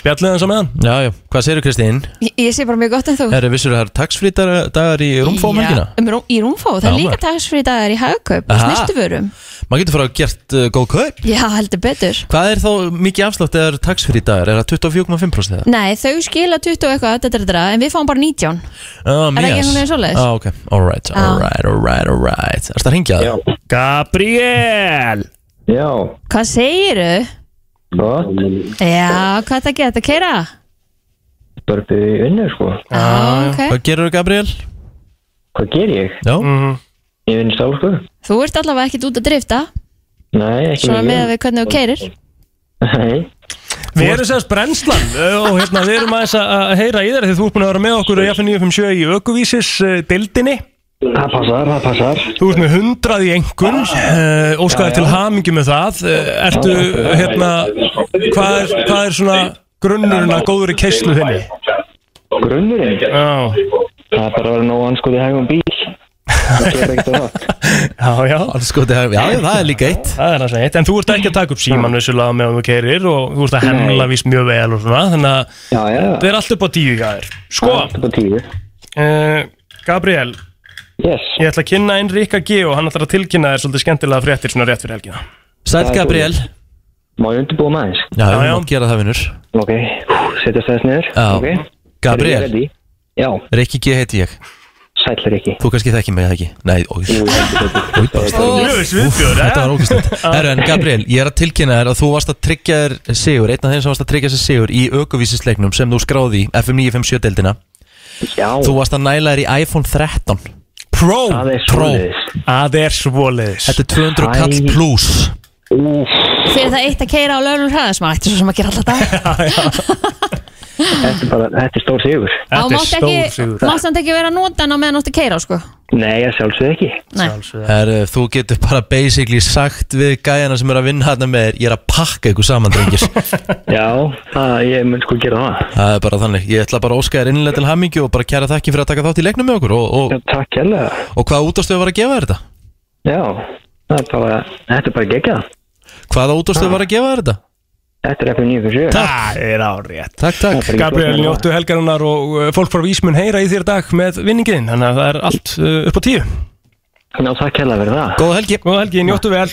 Spjallið hans á meðan
Já, já, hvað segirðu Kristín?
Ég, ég sé bara mjög gott en þú
Er það vissur að það eru taxfrítar dagar í rúmfómelgina?
Já, um rú, Í rúmfó, það
Já,
er líka
maður.
tagsfrí dagar í hagkaup og
Aha.
snirtuvörum
Maður getur fara að gert uh, góð kaup
Já, heldur betur
Hvað er þá mikið afslátt eða eru taxfrí dagar? Er það 24,5% eða?
Nei, þau skila 20 og eitthvað, þetta er þetta, en við fáum bara 19
Ah,
Er það ekki
Mías.
einhvern veginn svoleiðis?
Ah, ok, alright, alright, alright, alright Erst það að ringja það? Já
Gabriel
Já
Hvað segiru?
Gott
Já, hvað það geta að keira?
Bara byrju í vinnu sko
Já, ok.
Ah, Hvað gerur þú Gabriel?
Hvað ger ég?
Já mm
-hmm.
Ég vinn stálku
Þú ert allavega ekkert út að drifta
Nei, ekki
Svona
mikið.
með að við hvernig þú keirir
Nei
Við erum sérst brennslan uh, og hérna, við erum aðeins að að heyra í þér því þú ert búin að vera með okkur á Jaffa 957 í Ökuvísis uh, dildinni
Það passar, það passar
Þú ert með 100 í engun uh, óskaði til hamingi með það uh, Ertu, hérna, hvað er, hvað er svona grunnurinn að góður í keislu þinni?
Grunnurinn?
Já
Það er bara að vera nóg anskoði hægum bíl Það ger ekkert á það
Já, já
Anskoti, já, já, það er líka eitt
Það er það eitt, en þú ert ekki að taka upp síman vissulega meðan þú keirir og þú ert að hemla víst mjög vel og svona þannig að
já, já.
það er allt upp á tíu gæðir Sko
Allt upp á tíu
uh, Gabriel
Yes
Ég ætla að kynna einn Ríkka G og hann ætlar að tilkynna þér svolítið skemmtilega fréttir svona rétt fyrir helgina
Sæl Gabriel
Má ég undirbúa maður?
Já, við mátt gera það vinnur
Ok, setjast þess niður
Já.
Ok.
Gabriel.
Eruð þið ready? Já,
Rikki G heiti ég
Sæll Rikki
Þú kannski þekki mig eða ekki? Nei, ói
Jú,
Ói, bara
Jú, sviðbjör, eh?
Þetta var ógustund Herru, en Gabriel, ég er að tilkynna þér að þú varst að tryggja þér sigur Einn af þeim sem varst að tryggja þér sigur í aukuvísisleiknum sem þú skráði í FM 957 deildina
Já
Þú varst að næla þér í iPhone 13 Pro
Það er
Pro
svoleiðis.
Það er svoleiðis
Þetta er 200 kall pluss
Fyrir það eitt að keira á lögnum hraða sem maður ætti svo sem að gera alltaf dag
Þetta er bara, þetta er stór sigur
Á mátt ekki, mátt samt ekki vera að nota hann á meðan þú áttu að keira sko
Nei, ég sjálfsög ekki
Nei.
Herru, þú getur bara basically sagt við gæjana sem er að vinna hérna með þér Ég er að pakka ykkur saman, drengir
Já, það, ég mun sko gera það
Það er bara þannig, ég ætla bara að óska þér innlega til hamingju og bara kæra þakki fyrir að taka þátt í leiknum með okkur og, og,
Takk hérlega
og hvaða útastöð var að gefa þér þetta?
Já, það er bara, þetta er bara geggjað Ah.
Hvaða útastöð var að gefa þér þetta?
Þetta er FM 957
Það er árétt
Takk, takk
Gabriel, njóttu helgarinnar og uh, fólk frá Ísmun heyra í þér í dag með vinningin þannig að það er allt uh, upp á tíu
Já, takk hérlega fyrir það
Góða helgi
Góða helgi, njóttu vel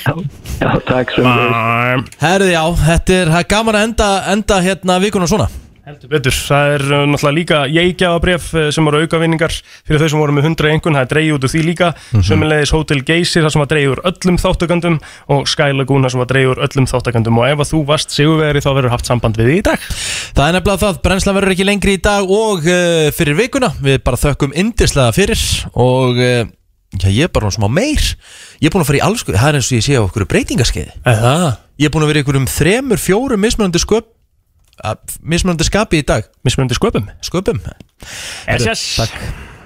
Já, takk sem
Bye.
Herðu já, þetta er, það er gaman að enda, enda hérna vikuna svona
Heldur betur, það er uh, náttúrulega líka jeikjafabref sem eru aukavinningar fyrir þau sem voru með 100 engun, það er dreigið út úr því líka mm
Mhm.
sömulegis Hotel Geysir, það sem var dreigið úr öllum þáttakandum og Sky Lagoon, það sem var dreigið úr öllum þáttakandum og ef að þú varst sigurveri þá verður haft samband við því í dag
Það er nefnilega það, brennslan verður ekki lengri í dag og uh, fyrir vikuna Við bara þökkum indislega fyrir og uh, já, ég er bara svona smá meir Ég er búin að fara í alls, það er eins og ég sé á okkur breytingaskeiði
Eða?
Ég er búin að vera í okkur um þremur, fjórum mismunandi sköp að- Mismunandi skapi í dag
Mismunandi sköpum
Sköpum
Yes, yes.
Takk